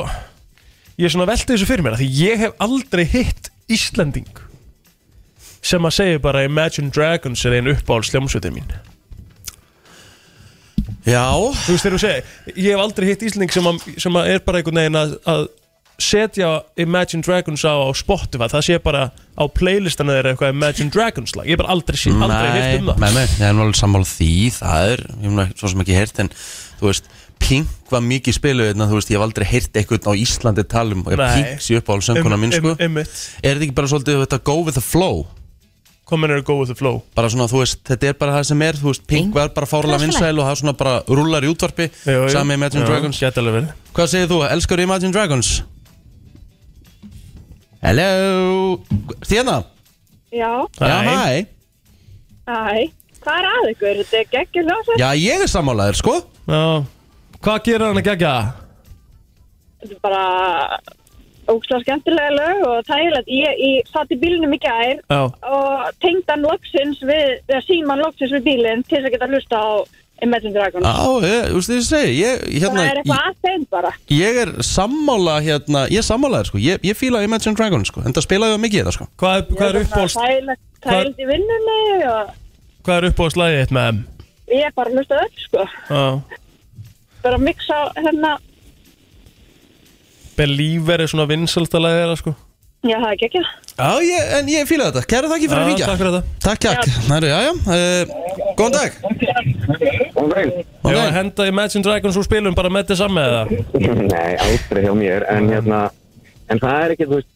Speaker 3: Ég er svona veltið þessu fyrir mér af Því ég hef aldrei hitt Íslending sem að segja bara Imagine Dragons er einn uppáhalds hljómsveitið mín
Speaker 1: Já,
Speaker 3: Þú veist þegar þú segir Ég hef aldrei hitt Íslending sem, að, sem að er bara einhvern veginn að, að setja Imagine Dragons á, á Spotify það sé bara á playlistana þeirra eitthvað Imagine Dragons lag ég hef bara aldrei, sé- aldrei hitt um það
Speaker 1: nei, nei, ég er nú alveg sammála því Það er, ég hef nú ekki- svo sem ekki heyrt En, þú veist, Pink var mikið spiluð En þú veist, ég hef aldrei heyrt eitthvað á Íslandi talum Og
Speaker 3: Nei.
Speaker 1: Pink sé upp á alveg sönguna minn, sko Er
Speaker 3: Emmitt,
Speaker 1: þetta ekki bara svolítið þetta go with the flow?
Speaker 3: komin er að go with the flow
Speaker 1: bara svona, þú veist, þetta er bara það sem er þú veist, Pink
Speaker 2: Pink.
Speaker 1: var bara fárlega
Speaker 2: Klassileg.
Speaker 1: vinsæl og það svona bara rúlar í útvarpi sami Imagine Dragons
Speaker 3: Gæti alveg verið
Speaker 1: Hvað segir þú, elskar Imagine Dragons? Hello Þérna?
Speaker 5: Já,
Speaker 1: Já, hæ
Speaker 5: hæ. Hvað er að ykkur? Þetta er geggjur hljóðsveit.
Speaker 1: Já, ég er sammálaður, sko
Speaker 3: Já. Hvað gerir hann að gegja?
Speaker 5: Þetta er bara ógslag skemmtilega lög og þægilegt. Ég, ég satt í bílinum í gær
Speaker 3: Já,
Speaker 5: og tengd hann loksins við, eða síman loksins við bílinn til þess að geta hlusta á Imagine Dragons.
Speaker 1: Já, ég, þú veist, ég segi ég, Ah, hérna,
Speaker 5: það er eitthvað að þeim bara.
Speaker 1: ég, ég er sammála hérna, ég er sammálaður, sko Ég, ég fíla Imagine Dragons, sko, en það spilaði það mikið þetta, sko
Speaker 3: hvað er, hvað er
Speaker 5: Þetta
Speaker 3: uppbólst
Speaker 5: bara Þægilegt, þægilegt í vinnunni og
Speaker 3: Hvað er uppbólst lagið eitt með þeim?
Speaker 5: ég er bara að hlusta á öll sko
Speaker 3: Já.
Speaker 5: bara að mixa hérna
Speaker 3: Believer er svona vinsaldalega þeirra sko
Speaker 5: já það er ekki ekki
Speaker 1: Já, ég, en ég fíla þetta, kæra þakki fyrir að
Speaker 3: Já,
Speaker 1: ringja
Speaker 3: Takk fyrir þetta
Speaker 1: Takk, takk, næru, já, já uh, Góðan dag
Speaker 3: Ég
Speaker 1: Góðan
Speaker 3: var að
Speaker 1: dag
Speaker 3: henda Imagine Dragons úr spilum bara með þetta saman eða
Speaker 6: Nei, aldrei hjá mér en, hérna, en það er ekki, þú veist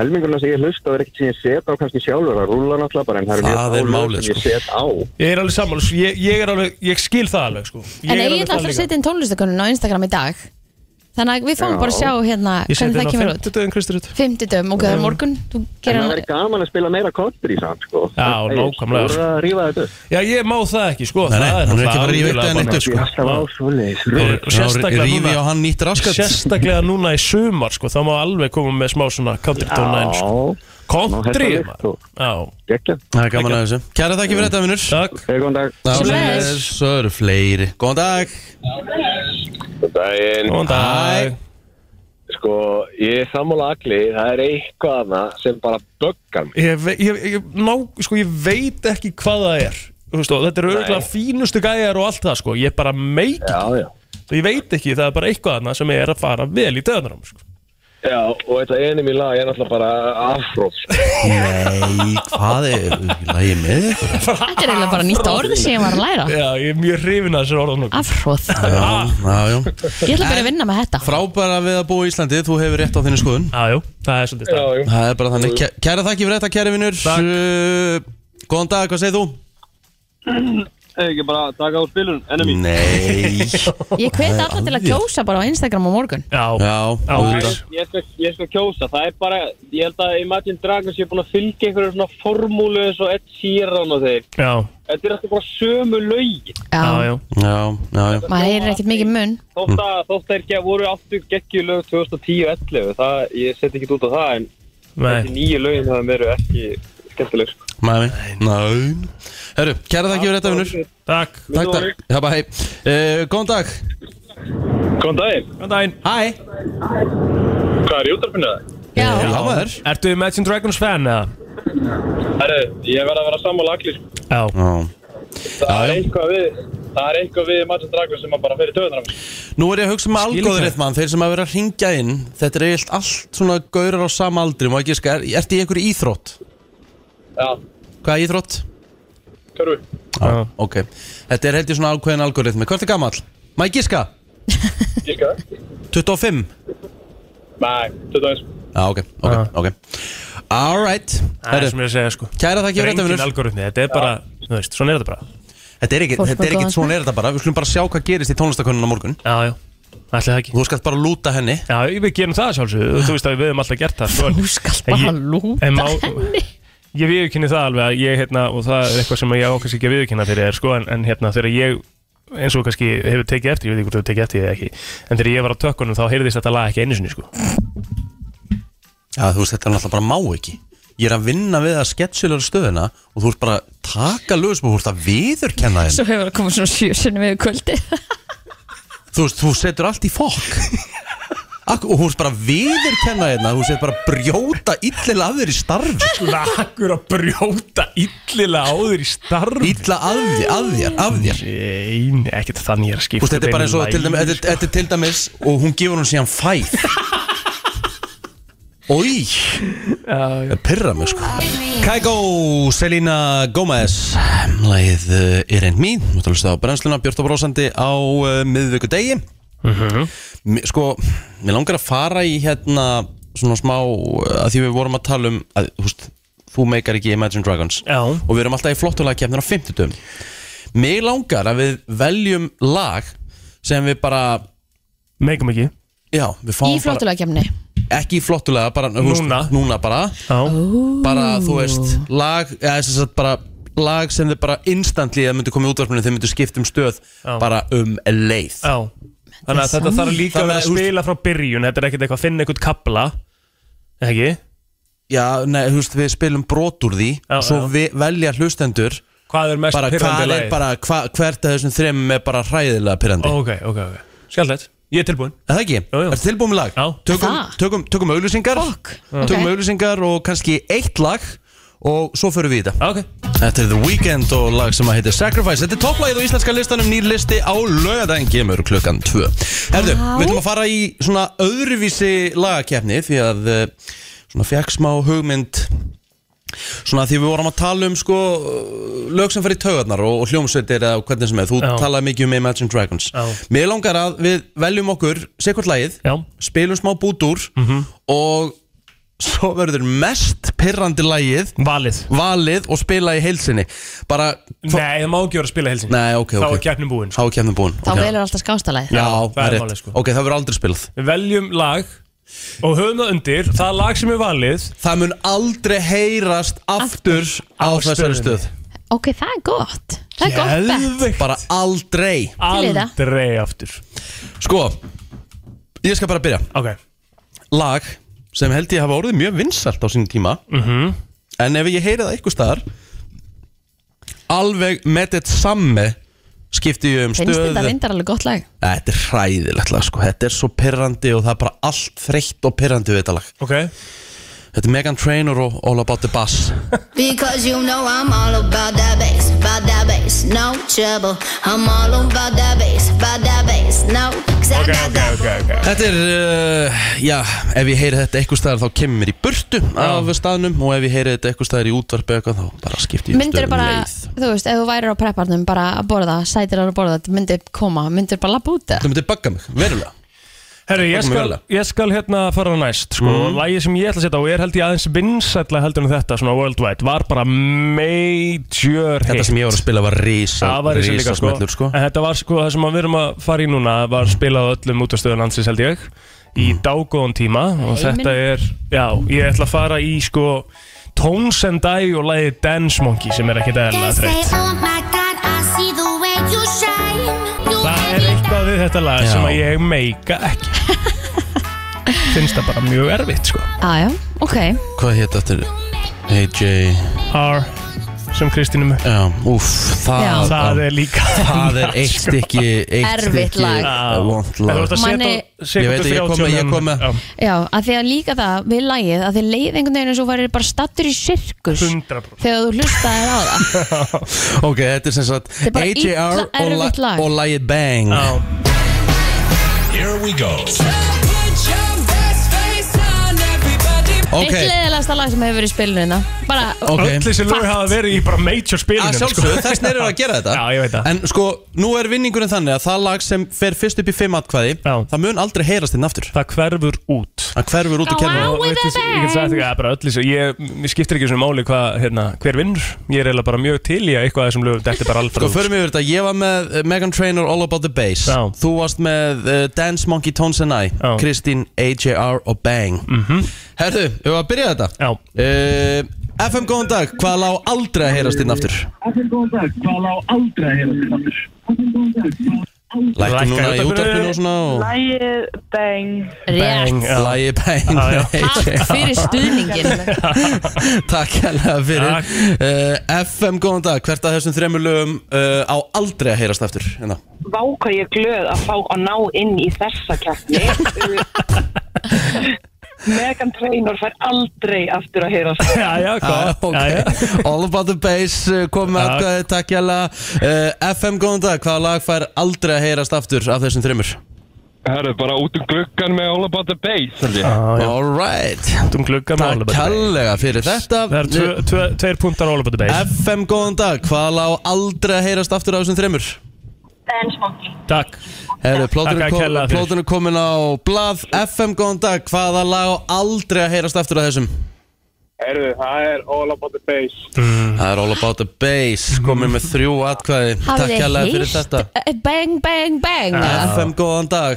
Speaker 6: helmingurna sem ég hlusta er ekkert sem ég set á kannski sjálfur að rúla náttúrulega bara en það eru
Speaker 1: Það
Speaker 6: mjög
Speaker 1: er
Speaker 6: fá lög
Speaker 1: málið, sko.
Speaker 6: sem ég set á
Speaker 3: Ég er alveg sammála, sko, ég, ég er alveg, ég skil það alveg sko Ég
Speaker 2: En
Speaker 3: er
Speaker 2: ég
Speaker 3: alveg
Speaker 2: ætla
Speaker 3: það
Speaker 2: alltaf að
Speaker 3: líka.
Speaker 2: setja inn tónlistakonun á Instagram í dag Þannig að við fáum
Speaker 6: Já.
Speaker 2: bara að sjá hérna
Speaker 3: Ég
Speaker 2: hvernig
Speaker 3: seti
Speaker 2: það
Speaker 3: inn á
Speaker 2: kemur út
Speaker 3: 50 dögum Kristur
Speaker 2: Fimmtudum, ok, það er morgun Þú
Speaker 6: en
Speaker 2: gerir
Speaker 6: það
Speaker 2: hann
Speaker 6: verður gaman að spila meira country samt sko
Speaker 3: Já,
Speaker 6: Egill,
Speaker 3: nákvæmlega.
Speaker 6: þú verður að rífa þetta upp.
Speaker 3: Já, ég má það ekki sko
Speaker 1: Nei, nei,
Speaker 3: það
Speaker 1: hann er
Speaker 3: náttúrulega
Speaker 1: ekki að fara að rífa eitt eða
Speaker 3: algjörlega
Speaker 1: neitt
Speaker 3: bara-
Speaker 1: upp, sko.
Speaker 6: alltaf á svoleiðis rugl.
Speaker 3: Og sérstaklega
Speaker 1: Rífi
Speaker 3: núna-
Speaker 1: á hann nýtt raskat
Speaker 3: Sérstaklega núna í sumar sko, þá má alveg koma með smá svona country tóna eins sko.
Speaker 6: Já,
Speaker 3: Country
Speaker 6: hesta
Speaker 3: maður.
Speaker 6: lykt og-
Speaker 3: Já,
Speaker 6: gekkja
Speaker 1: Það er gaman að þessu Kæra þakki fyrir þetta, minnur
Speaker 3: takk
Speaker 6: Þegar góðan dag
Speaker 2: Sömuleiðis.
Speaker 1: Svo eru fleiri Góðan dag
Speaker 7: Daginn,
Speaker 3: Góðan dag
Speaker 7: sko, ég er sammála agli, það er eitthvað hana sem bara böggar mig.
Speaker 3: ég, ve- ég, ég, ná, sko, ég veit ekki hvað það er Þú veist, og þetta eru örgulega fínustu gæjar og allt það sko. ég bara meik
Speaker 7: Já, já.
Speaker 3: ég veit ekki, það er bara eitthvað annað sem er að fara vel í döðunum sko.
Speaker 7: Já, og þetta enum í lag er náttúrulega bara afróf. sko.
Speaker 1: Nei, hvað er Lægi með ykkur
Speaker 2: Þetta er eiginlega bara nýtt orð sem ég var að læra
Speaker 3: já, ég er mjög hrifin að þessu orðunum
Speaker 2: Afhróð
Speaker 3: Ah.
Speaker 1: Já, já, já
Speaker 2: Ég ætla að byrja að vinna með þetta
Speaker 1: Frábæra við að búa í Íslandi, þú hefur rétt á þinni skoðun
Speaker 3: aðjú, það er svolítið
Speaker 7: Já,
Speaker 3: stað
Speaker 7: já.
Speaker 1: Það er bara þannig Kæ- Kæra þakki fyrir þetta, kæri vinnur
Speaker 3: Takk.
Speaker 1: Uh, Góðan dag, hvað segir þú?
Speaker 8: ekki bara taka á spilun enemy
Speaker 1: Nei
Speaker 2: Ég hvet alla til að kjósa bara á Instagram á morgun
Speaker 3: já,
Speaker 1: Já,
Speaker 3: Já,
Speaker 1: auðvitað.
Speaker 3: nice.
Speaker 8: ég skal, ég skal kjósa, það er bara ég held að Imagine Dragons ég er búin að fylgja einhverju svona formúlu eins og Ed Sheeran og þeir
Speaker 3: já,
Speaker 8: þetta er alltaf bara sömu lögin
Speaker 3: já,
Speaker 2: Já,
Speaker 3: já.
Speaker 1: já, já, já
Speaker 2: maður heyrir ekkert mikið mun
Speaker 8: þótt að þótt þeir ekki að voru aftur geggjur lög 2010-11 það, ég seti ekki út á það en
Speaker 3: Nei.
Speaker 8: þessi nýju lögin það eru ekki skemmtileg sko.
Speaker 1: Mæmi Næn Herru, kæra þakki fyrir þetta, vinnur
Speaker 3: takk,
Speaker 1: Takk, takk Já, bara hei uh, Góðan dag
Speaker 8: Góðan daginn,
Speaker 3: góðan daginn
Speaker 1: Hæ
Speaker 8: hvað er í útarpinu það?
Speaker 2: Já,
Speaker 1: Já, maður
Speaker 3: ertu Imagine Dragons fan eða?
Speaker 8: Herru, ég verð að vera sammála allir
Speaker 3: já,
Speaker 1: Já
Speaker 8: það
Speaker 1: Já, já.
Speaker 8: eitthvað við það er eitthvað við Imagine Dragons sem að bara fyrir töðunar
Speaker 1: Nú er ég að hugsa með
Speaker 3: Skil
Speaker 1: algóður
Speaker 3: ekki.
Speaker 1: eitt mann Þeir sem að vera að ringja inn Þetta er eilt allt svona gaurar á sama aldri Má ekki sko, er, ertu í einhverju íþrótt?
Speaker 8: já,
Speaker 1: Hvað er íþrótt?
Speaker 8: körfu
Speaker 3: já.
Speaker 1: Ok Þetta er held ég svona ákveðin algoritmi Hvort er gamall? Má ég gíska?
Speaker 8: ég skal það
Speaker 1: 25
Speaker 8: Nei, þetta er
Speaker 1: Já, ok, ok,
Speaker 3: Já.
Speaker 1: ok Alright
Speaker 3: það er
Speaker 1: Herru,
Speaker 3: sem ég að segja sko
Speaker 1: kæra þakki
Speaker 3: það er
Speaker 1: fyrir þetta,
Speaker 3: engin
Speaker 1: vinnur
Speaker 3: algoritmi, þetta er bara, þú veist, svona er þetta bara
Speaker 1: Þetta er ekki,
Speaker 2: Fólk
Speaker 1: þetta
Speaker 2: með
Speaker 1: er ekki
Speaker 2: góðan
Speaker 1: svona er þetta bara Við skulum bara sjá hvað gerist í tónlistakönnuna á morgun
Speaker 3: já, já, ætli það ekki
Speaker 1: Þú skalt bara lúta henni
Speaker 3: Já, við gerum það sjálfsögðu, þú veist að við hefum alltaf gert það sko.
Speaker 2: þú skalt bara
Speaker 3: Ég-
Speaker 2: lúta
Speaker 3: en má-
Speaker 2: henni
Speaker 3: Ég viðkynni það alveg að ég, hérna, og það er eitthvað sem ég á kannski ekki að viðkynna fyrir þér, sko, en, en hérna, þegar ég, eins og kannski hefur tekið eftir, ég veit ekki hvort þú hefur tekið eftir eða ekki, en þegar ég var á tökkunum þá heyrðist þetta lag ekki einu sinni, sko.
Speaker 1: Já, þú veist, þetta er náttúrulega bara má ekki Ég er að vinna við að sketsjulega stöðuna Og þú ert bara að taka lögum Þú ert að viðurkenna hérna. henni
Speaker 2: Svo hefur það komið svona sjö sinni við kvöldi
Speaker 1: Þú veist, þú setur allt í fokk Ak- Og þú ert bara að viðurkenna hérna Þú setur bara að brjóta illilega að þér í starfi
Speaker 3: Lagur að brjóta illilega á þér í starf.
Speaker 1: Illa að þér, að þér, af þér
Speaker 3: Nei, ekkert þannig ég er
Speaker 1: Þú
Speaker 3: að skipta.
Speaker 1: veist, þetta er bara eins og til dæmis, þetta,
Speaker 3: þetta...
Speaker 1: þetta er til dæmis og hún gefur hún síðan fæð Ói Það pyrra mig sko Kækó, Selina eh, Gómez Læð er einn mín Þú ert að hlusta á brennsluna, Björn og Brósandi á uh, miðvöku degi
Speaker 3: Mhm.
Speaker 1: Sko, mér langar að fara í hérna svona smá uh, að því við vorum að tala um að, þú veist, þú meikar ekki Imagine Dragons
Speaker 3: Já.
Speaker 1: og við erum alltaf í flottulega kemnir á 50 Mig langar að við veljum lag sem við bara
Speaker 3: Meikum ekki.
Speaker 1: Já, við
Speaker 2: Í
Speaker 1: fáum bara,
Speaker 2: flottulega kemni
Speaker 1: ekki í flottulega bara, þú
Speaker 3: Núna.
Speaker 1: núna bara,
Speaker 3: Já.
Speaker 1: bara þú veist, lag eða þess að bara lag sem þið bara instantly að myndi koma í útvarpinu þið myndu skipta um stöð
Speaker 3: Já.
Speaker 1: bara um leið
Speaker 3: Já. Þannig að þetta þarf líka að
Speaker 1: Þannig að,
Speaker 3: vera að
Speaker 1: þú veist-
Speaker 3: spila frá byrjun, þetta er ekkert eitthvað að finna eitthvað kapla, ekki?
Speaker 1: Já, nei, þú veist, við spilum brot úr því
Speaker 3: Já,
Speaker 1: svo
Speaker 3: já.
Speaker 1: Við velja hlustendur
Speaker 3: Hvað er mest
Speaker 1: bara
Speaker 3: pirrandi
Speaker 1: hvað er
Speaker 3: lagið?
Speaker 1: bara, hva, hvert af þessum þremum er bara hræðilega pyrrandi
Speaker 3: Ok, ok, ok Skjaldlegt, ég er tilbúinn
Speaker 1: Er það ekki?
Speaker 3: Jú, jú.
Speaker 1: Er tilbúið með lag?
Speaker 3: Já.
Speaker 1: Tökum,
Speaker 2: Það?
Speaker 1: tökum, tökum auðlýsingar
Speaker 2: Fokk.
Speaker 1: Tökum
Speaker 2: Ok.
Speaker 1: auðlýsingar og kannski eitt lag og svo förum við í þetta
Speaker 3: Ok
Speaker 1: Þetta er The Weeknd og lag sem að heitir Sacrifice Þetta er topplagið á íslenska listanum nýr listi á lögadaginn kemur klukkan 2 Herðu, við ætlum að fara í svona öðruvísi lagakeppni því að eh, svona fekk smá hugmynd svona því við vorum að tala um sko lög sem fer í taugarnar og, og hljómsveitir eða hvernig sem er, þú
Speaker 3: Já.
Speaker 1: talaði mikið um Imagine Dragons
Speaker 3: Já.
Speaker 1: Mér langar að við veljum okkur sekvart lagið,
Speaker 3: Já. Mhm.
Speaker 1: spilum smá bút úr og svo verður mest pirrandi lagið
Speaker 3: Valið
Speaker 1: valið og spila í heilsinni bara,
Speaker 3: Nei, það má ekki vera að spila helsingi
Speaker 1: nei ok, ok
Speaker 3: Þá er keppnum búin
Speaker 1: Þá
Speaker 3: sko.
Speaker 1: er keppnin búin
Speaker 2: Þá
Speaker 1: ok.
Speaker 2: velur alltaf skástalæð
Speaker 1: Já,
Speaker 3: Já,
Speaker 1: það er rétt
Speaker 3: málið, sko.
Speaker 1: Ok, það verður aldrei spilað
Speaker 3: Við veljum lag Og höfum það undir Það lag sem er valið
Speaker 1: Það mun aldrei heyrast aftur á
Speaker 3: Á
Speaker 1: þessari
Speaker 3: stöðinni.
Speaker 1: stöð
Speaker 2: Ok, það er gott Það er gott bett
Speaker 3: Geðveikt.
Speaker 1: Bara aldrei
Speaker 2: Til í það.
Speaker 3: Aldrei aftur
Speaker 1: Sko, ég skal bara byrja
Speaker 3: Ok
Speaker 1: Lag sem held ég hafa orðið mjög vinsalt á sínum tíma -hmm.
Speaker 3: Mhm.
Speaker 1: En ef ég heyri það einhver staðar Alveg með þetta samme skipti ég um stöð
Speaker 2: Finnst þetta reyndar alveg gott lag
Speaker 1: Þetta er hræðilegt lag sko Þetta er svo pirrandi og það er bara allt þreytt og pirrandi við þetta lag
Speaker 3: Ok
Speaker 1: Þetta er Megan Trainor og All About The Bass
Speaker 9: Because you know I'm all about that bass, about that bass, no trouble. I'm all about that bass, about that bass, no. 'cause I
Speaker 3: Ok,
Speaker 9: got
Speaker 3: ok,
Speaker 9: that
Speaker 3: ok, ok
Speaker 1: Þetta er, uh, já, ef ég heyri þetta eitthvað staðar þá kemur mér í burtu af staðnum og ef ég heyri þetta eitthvað staðar í útvarpi eða eitthvað þá bara skipti ég um
Speaker 2: Myndur
Speaker 1: stöð um
Speaker 2: bara,
Speaker 1: leið
Speaker 2: þú veist, ef þú værir á prepparnum bara að borða, sætir að borða myndur koma, myndur bara lappa út það
Speaker 1: Þú myndir bagga mig, verulega
Speaker 3: Herru, ég
Speaker 1: kom
Speaker 3: skal,
Speaker 1: vel að.
Speaker 3: ég skal hérna fara á næst sko.
Speaker 1: Mhm.
Speaker 3: mm. Lægi sem ég ætla að setja á er held ég aðeins vinsætla heldur en þetta svona worldwide var bara major hit
Speaker 1: Þetta sem ég var að spila var risa,
Speaker 3: Það var þessi líka sko.
Speaker 1: smellur sko
Speaker 3: En þetta var sko það sem við erum að fara í núna var spilað á öllum útastöðun landsins held ég í
Speaker 1: Mhm.
Speaker 3: dágóðan tíma og þetta er, já, ég ætla að fara í sko Tones and Die og lægi Dance Monkey sem er ekkit eðlilega
Speaker 9: bass, say,
Speaker 3: þreytt
Speaker 9: oh my god, I see the way you shine. You
Speaker 3: Það er eitthvað við þetta lag
Speaker 1: Já.
Speaker 3: sem að ég meika ekki Finnst það bara mjög erfitt sko
Speaker 2: Aja, ok,
Speaker 1: Hvað hétt aftur? AJ,
Speaker 3: R sem Kristínum
Speaker 1: já, úff, það,
Speaker 2: Já.
Speaker 3: Það er líka
Speaker 1: Ah,
Speaker 3: Ah.
Speaker 1: það er eitt stykki, eitt
Speaker 2: Erfitt
Speaker 1: stykki
Speaker 2: lag.
Speaker 1: vont
Speaker 3: Það
Speaker 1: lag
Speaker 3: voru að
Speaker 2: Manni-
Speaker 3: setja
Speaker 1: Ég veit að ég kom með- ég kom með-
Speaker 2: já, að því að líka það við lagið, að því leið einhvern veginn eins og værir bara stattur í sirkus
Speaker 3: 100%
Speaker 2: þegar þú hlustaðir á það
Speaker 1: Ok, þetta er sem sagt
Speaker 2: er bara
Speaker 1: AJR
Speaker 2: illa
Speaker 1: og,
Speaker 2: erfitt
Speaker 1: la
Speaker 2: lag.
Speaker 1: og lagið Bang
Speaker 3: Já
Speaker 4: Here we go
Speaker 1: Ok,
Speaker 2: Eitt leiðilegasta lag sem hefur verið í spilunina bara,
Speaker 1: Ok.
Speaker 3: Öll þessi lög hafa verið í bara major spilinu sko.
Speaker 1: að sjálfsögðu, þess neyrir að gera þetta
Speaker 3: Já, ég veit það.
Speaker 1: En sko, nú er vinningurinn þannig að það lag sem fer fyrst upp í fimm atkvæði
Speaker 3: Já.
Speaker 1: Það mun aldrei heyrast inn aftur
Speaker 3: Það hverfur út
Speaker 1: Það hverfur út í
Speaker 2: Á, á.
Speaker 1: kerfinu
Speaker 3: Og
Speaker 2: with
Speaker 3: öll
Speaker 2: a
Speaker 3: þessi- Ég get sagt ekki að bara öll þessi Ég mér skiptir ekki svona máli hvað hérna, hver vinnur Ég er eiginlega bara mjög til í að eitthvað af þessum lögum Þetta er bara alfra
Speaker 1: Sko, förum yfir þetta, ég var með eh, Megan Trainor All About The Bass
Speaker 3: Já.
Speaker 1: Þú varst með uh, Dance Monkey Tones and I
Speaker 3: Já. Mhm.
Speaker 1: Kristín, AJR og Bang mm -hmm. Herðu, við varum að byrja þetta
Speaker 3: Já
Speaker 1: uh, FM góðan dag, hvað lá aldrei að heyrast inn aftur? FM góðan dag, hvað lá aldrei að heyrast inn aftur? Lækkum núna
Speaker 3: Lækkaðu
Speaker 1: í
Speaker 3: þetta fyrir-
Speaker 1: útvarpinu og svona og...
Speaker 5: Lægið bang
Speaker 3: Bang,
Speaker 2: rétt
Speaker 3: já.
Speaker 1: Lægi Bang
Speaker 3: Já,
Speaker 1: AJ.
Speaker 3: já.
Speaker 2: Takk fyrir stuðningin
Speaker 1: Takk hella fyrir
Speaker 3: Takk.
Speaker 1: uh, FM, góðan dag, hvert að þessum þremur lögum uh, á aldrei að heyrast aftur hérna.
Speaker 5: Vá hvað ég er glöð að fá að ná inn í þessa kjarni Megan Trainor fær aldrei aftur að heyra það
Speaker 3: Já, já,
Speaker 1: Ah,
Speaker 3: gott
Speaker 1: ok.
Speaker 3: Já, já.
Speaker 1: All about the bass, uh, kom með
Speaker 3: Takk.
Speaker 1: aðkvæði, takk hella uh, FM, góðan dag, hvaða lag fær aldrei að heyrast aftur af þessum þremur?
Speaker 7: Herru, bara út um gluggan með All About The Bass, held ég.
Speaker 3: Ah, Já, já.
Speaker 1: Alright,
Speaker 3: Þú glugga með All About
Speaker 1: takk
Speaker 3: The Bass.
Speaker 1: hellega fyrir þetta
Speaker 3: Það er tvö- tvö- tveir punktar All About The Bass
Speaker 1: FM, góðan dag, hvaða lag á aldrei að heyrast aftur af þessum þremur?
Speaker 3: Takk
Speaker 1: Herru,
Speaker 3: Takk að kella fyrir.
Speaker 1: plótunum komin á blað FM, góðan dag, hvaða lag á aldrei að heyrast aftur af þessum?
Speaker 7: Herru, það er All About The Bass.
Speaker 1: Mm. Það er All About The Bass komið með þrjú atkvæði Takk
Speaker 2: Hafið
Speaker 1: hérlega fyrir
Speaker 2: heyrt,
Speaker 1: þetta
Speaker 2: eh, Bang, bang, bang
Speaker 1: FM góðan dag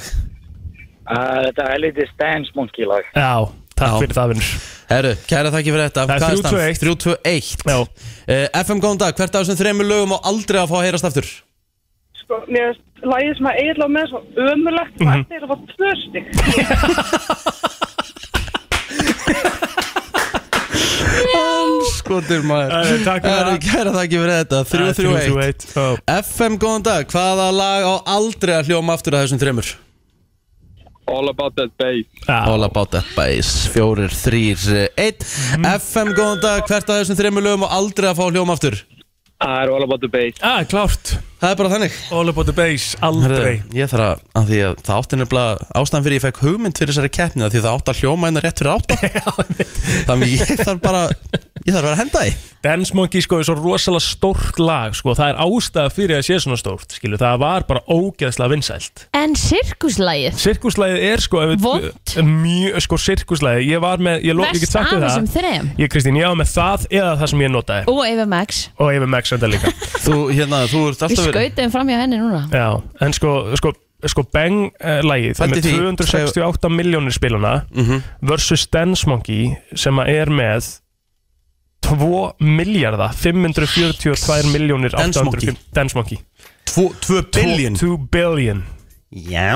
Speaker 8: Ah, Þetta er litið Stans Monkey lag
Speaker 3: Já, takk
Speaker 1: Já.
Speaker 3: fyrir það vinnur
Speaker 1: Herru, kæra þakki fyrir þetta
Speaker 3: Það er 3-2-1.
Speaker 1: 321
Speaker 3: Já,
Speaker 1: FM Eh, góðan dag, hvert af þessum þremur lögum á aldrei að fá að heyrast aftur?
Speaker 5: Sko, mér finnst lægið sem að eiginlega með svo ömulegt Það er eiginlega bara tvö stygg
Speaker 1: Skotir maður
Speaker 3: Herru, takk fyrir
Speaker 1: Herru,
Speaker 3: það.
Speaker 1: kæra þakki fyrir þetta
Speaker 3: Það er
Speaker 1: 321
Speaker 3: 3-2-1. Já.
Speaker 1: FM góðan dag, hvaða lag á aldrei að hljóma aftur af þessum þremur?
Speaker 7: All about that bass
Speaker 3: Já,
Speaker 1: All About That Bass, fjórir, þrýr, einn
Speaker 3: Mm.
Speaker 1: FM, góðan dag, hvert að þessum þreymur lögum og aldrei að fá hljóm aftur
Speaker 7: Það er all about the bass
Speaker 3: ah, klárt
Speaker 1: Það er bara þannig
Speaker 3: All about the bass, aldrei
Speaker 1: Herðu, Ég þarf að, að því að það átti nefnilega ástæðan fyrir ég fekk hugmynd fyrir þessari keppni af því að það átti að hljóma hennar rétt fyrir átta þannig ég þarf bara ég þarf bara að henda því
Speaker 3: Dance Monkey sko er svo rosalega stórt lag sko, það er ástæða fyrir að sé svona stórt skilju, það var bara ógeðslega vinsælt
Speaker 2: En sirkuslægið
Speaker 3: Sirkuslæðið er sko ef við-
Speaker 2: Vont.
Speaker 3: Mjög sko sirkuslæðið, ég var með ég, lo- ég get
Speaker 2: Verst af
Speaker 3: sagt þér
Speaker 2: þessum
Speaker 3: það
Speaker 2: þrem
Speaker 3: Ég Kristín, ég var með það eða það sem ég notaði
Speaker 2: Og Eva Max
Speaker 3: og ég var með Xander líka
Speaker 1: Þú, hérna, þú ert
Speaker 2: Við
Speaker 1: alltaf verið
Speaker 2: skautum fram hjá henni núna
Speaker 3: Já, en sko, sko, sko Bang uh, lagið, það er
Speaker 1: Pældi
Speaker 3: með
Speaker 1: því, Mhm.
Speaker 3: 268 miljónir spilana versus Dance Monkey sem að er með 2 miljardar 542 miljónir
Speaker 1: Dance Monkey.
Speaker 3: Dance Monkey
Speaker 1: 2 billion
Speaker 3: 2 billion
Speaker 1: Já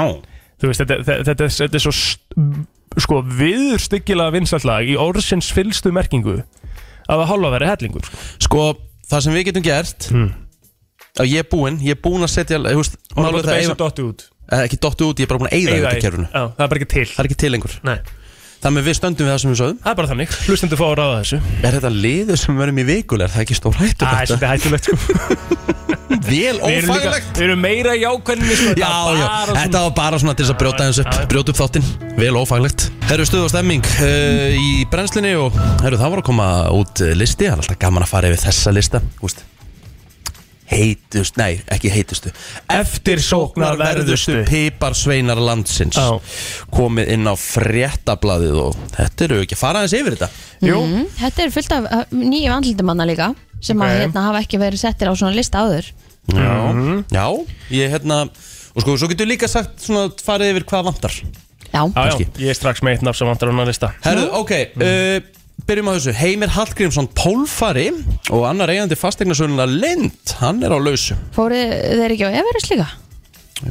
Speaker 3: Þú veist, þetta, þetta, þetta, þetta er svo st- sko viðurstyggilega vinstallag í orðsins fylstu merkingu að það hálfa verið hellingur sko.
Speaker 1: Sko, það sem við getum gert að ég er búinn, ég er búinn að setja þú veist,
Speaker 3: og
Speaker 1: málið
Speaker 3: það
Speaker 1: það
Speaker 3: Hmm. er
Speaker 1: eiga,
Speaker 3: dottu út
Speaker 1: eh, ekki dottu út, ég er bara búinn að eigða
Speaker 3: Eiga
Speaker 1: þetta
Speaker 3: í-
Speaker 1: kerfinu
Speaker 3: Já, það er bara ekki til
Speaker 1: Það er ekki til lengur
Speaker 3: Nei.
Speaker 1: Þannig við stöndum við það sem við sögum
Speaker 3: það er bara þannig, hlustendur fá að ráða þessu
Speaker 1: Er þetta liður sem við verðum í vikulegar, það er ekki stór hættu
Speaker 3: Það er svolítið hættulegt sko.
Speaker 1: Vel
Speaker 3: Við erum, líka,
Speaker 1: ófægilegt
Speaker 3: við erum meira í ákveðinni sko.
Speaker 1: Já,
Speaker 3: Þetta var
Speaker 1: já,
Speaker 3: bara
Speaker 1: þetta var bara svona til þess að brjóta aðeins upp Brjóta upp þáttinn, vel ófaglegt Herru, stuð og stemming uh, í brennslinni og herru, það var að koma út eh, listi Það er alltaf gaman að fara yfir þessa lista Úst. Heitust, nei, ekki heitustu
Speaker 3: Eftirsóknarverðustu.
Speaker 1: Piparsveinar landsins
Speaker 3: Já.
Speaker 1: Komið inn á fréttablaðið og þetta eru ekki að fara aðeins yfir þetta
Speaker 3: Jú,
Speaker 2: Mm, Þetta er fullt af uh, nýjum andlitumanna líka sem að
Speaker 3: Ok.
Speaker 2: hérna, hafa ekki verið settir á svona lista áður
Speaker 1: Já, já ég hérna Og sko, svo getur líka sagt svona farið yfir hvað vantar
Speaker 2: Já,
Speaker 3: já, já,
Speaker 1: Kannski.
Speaker 3: ég er strax með eitt nafn sem vantar á annan lista
Speaker 1: Herðu, ok, uh, byrjum á þessu Heimir Hallgrímsson pólfari og annar eigandi fastegnarsöluna Lind hann er á lausu,
Speaker 2: fóru þeir ekki á Everest líka?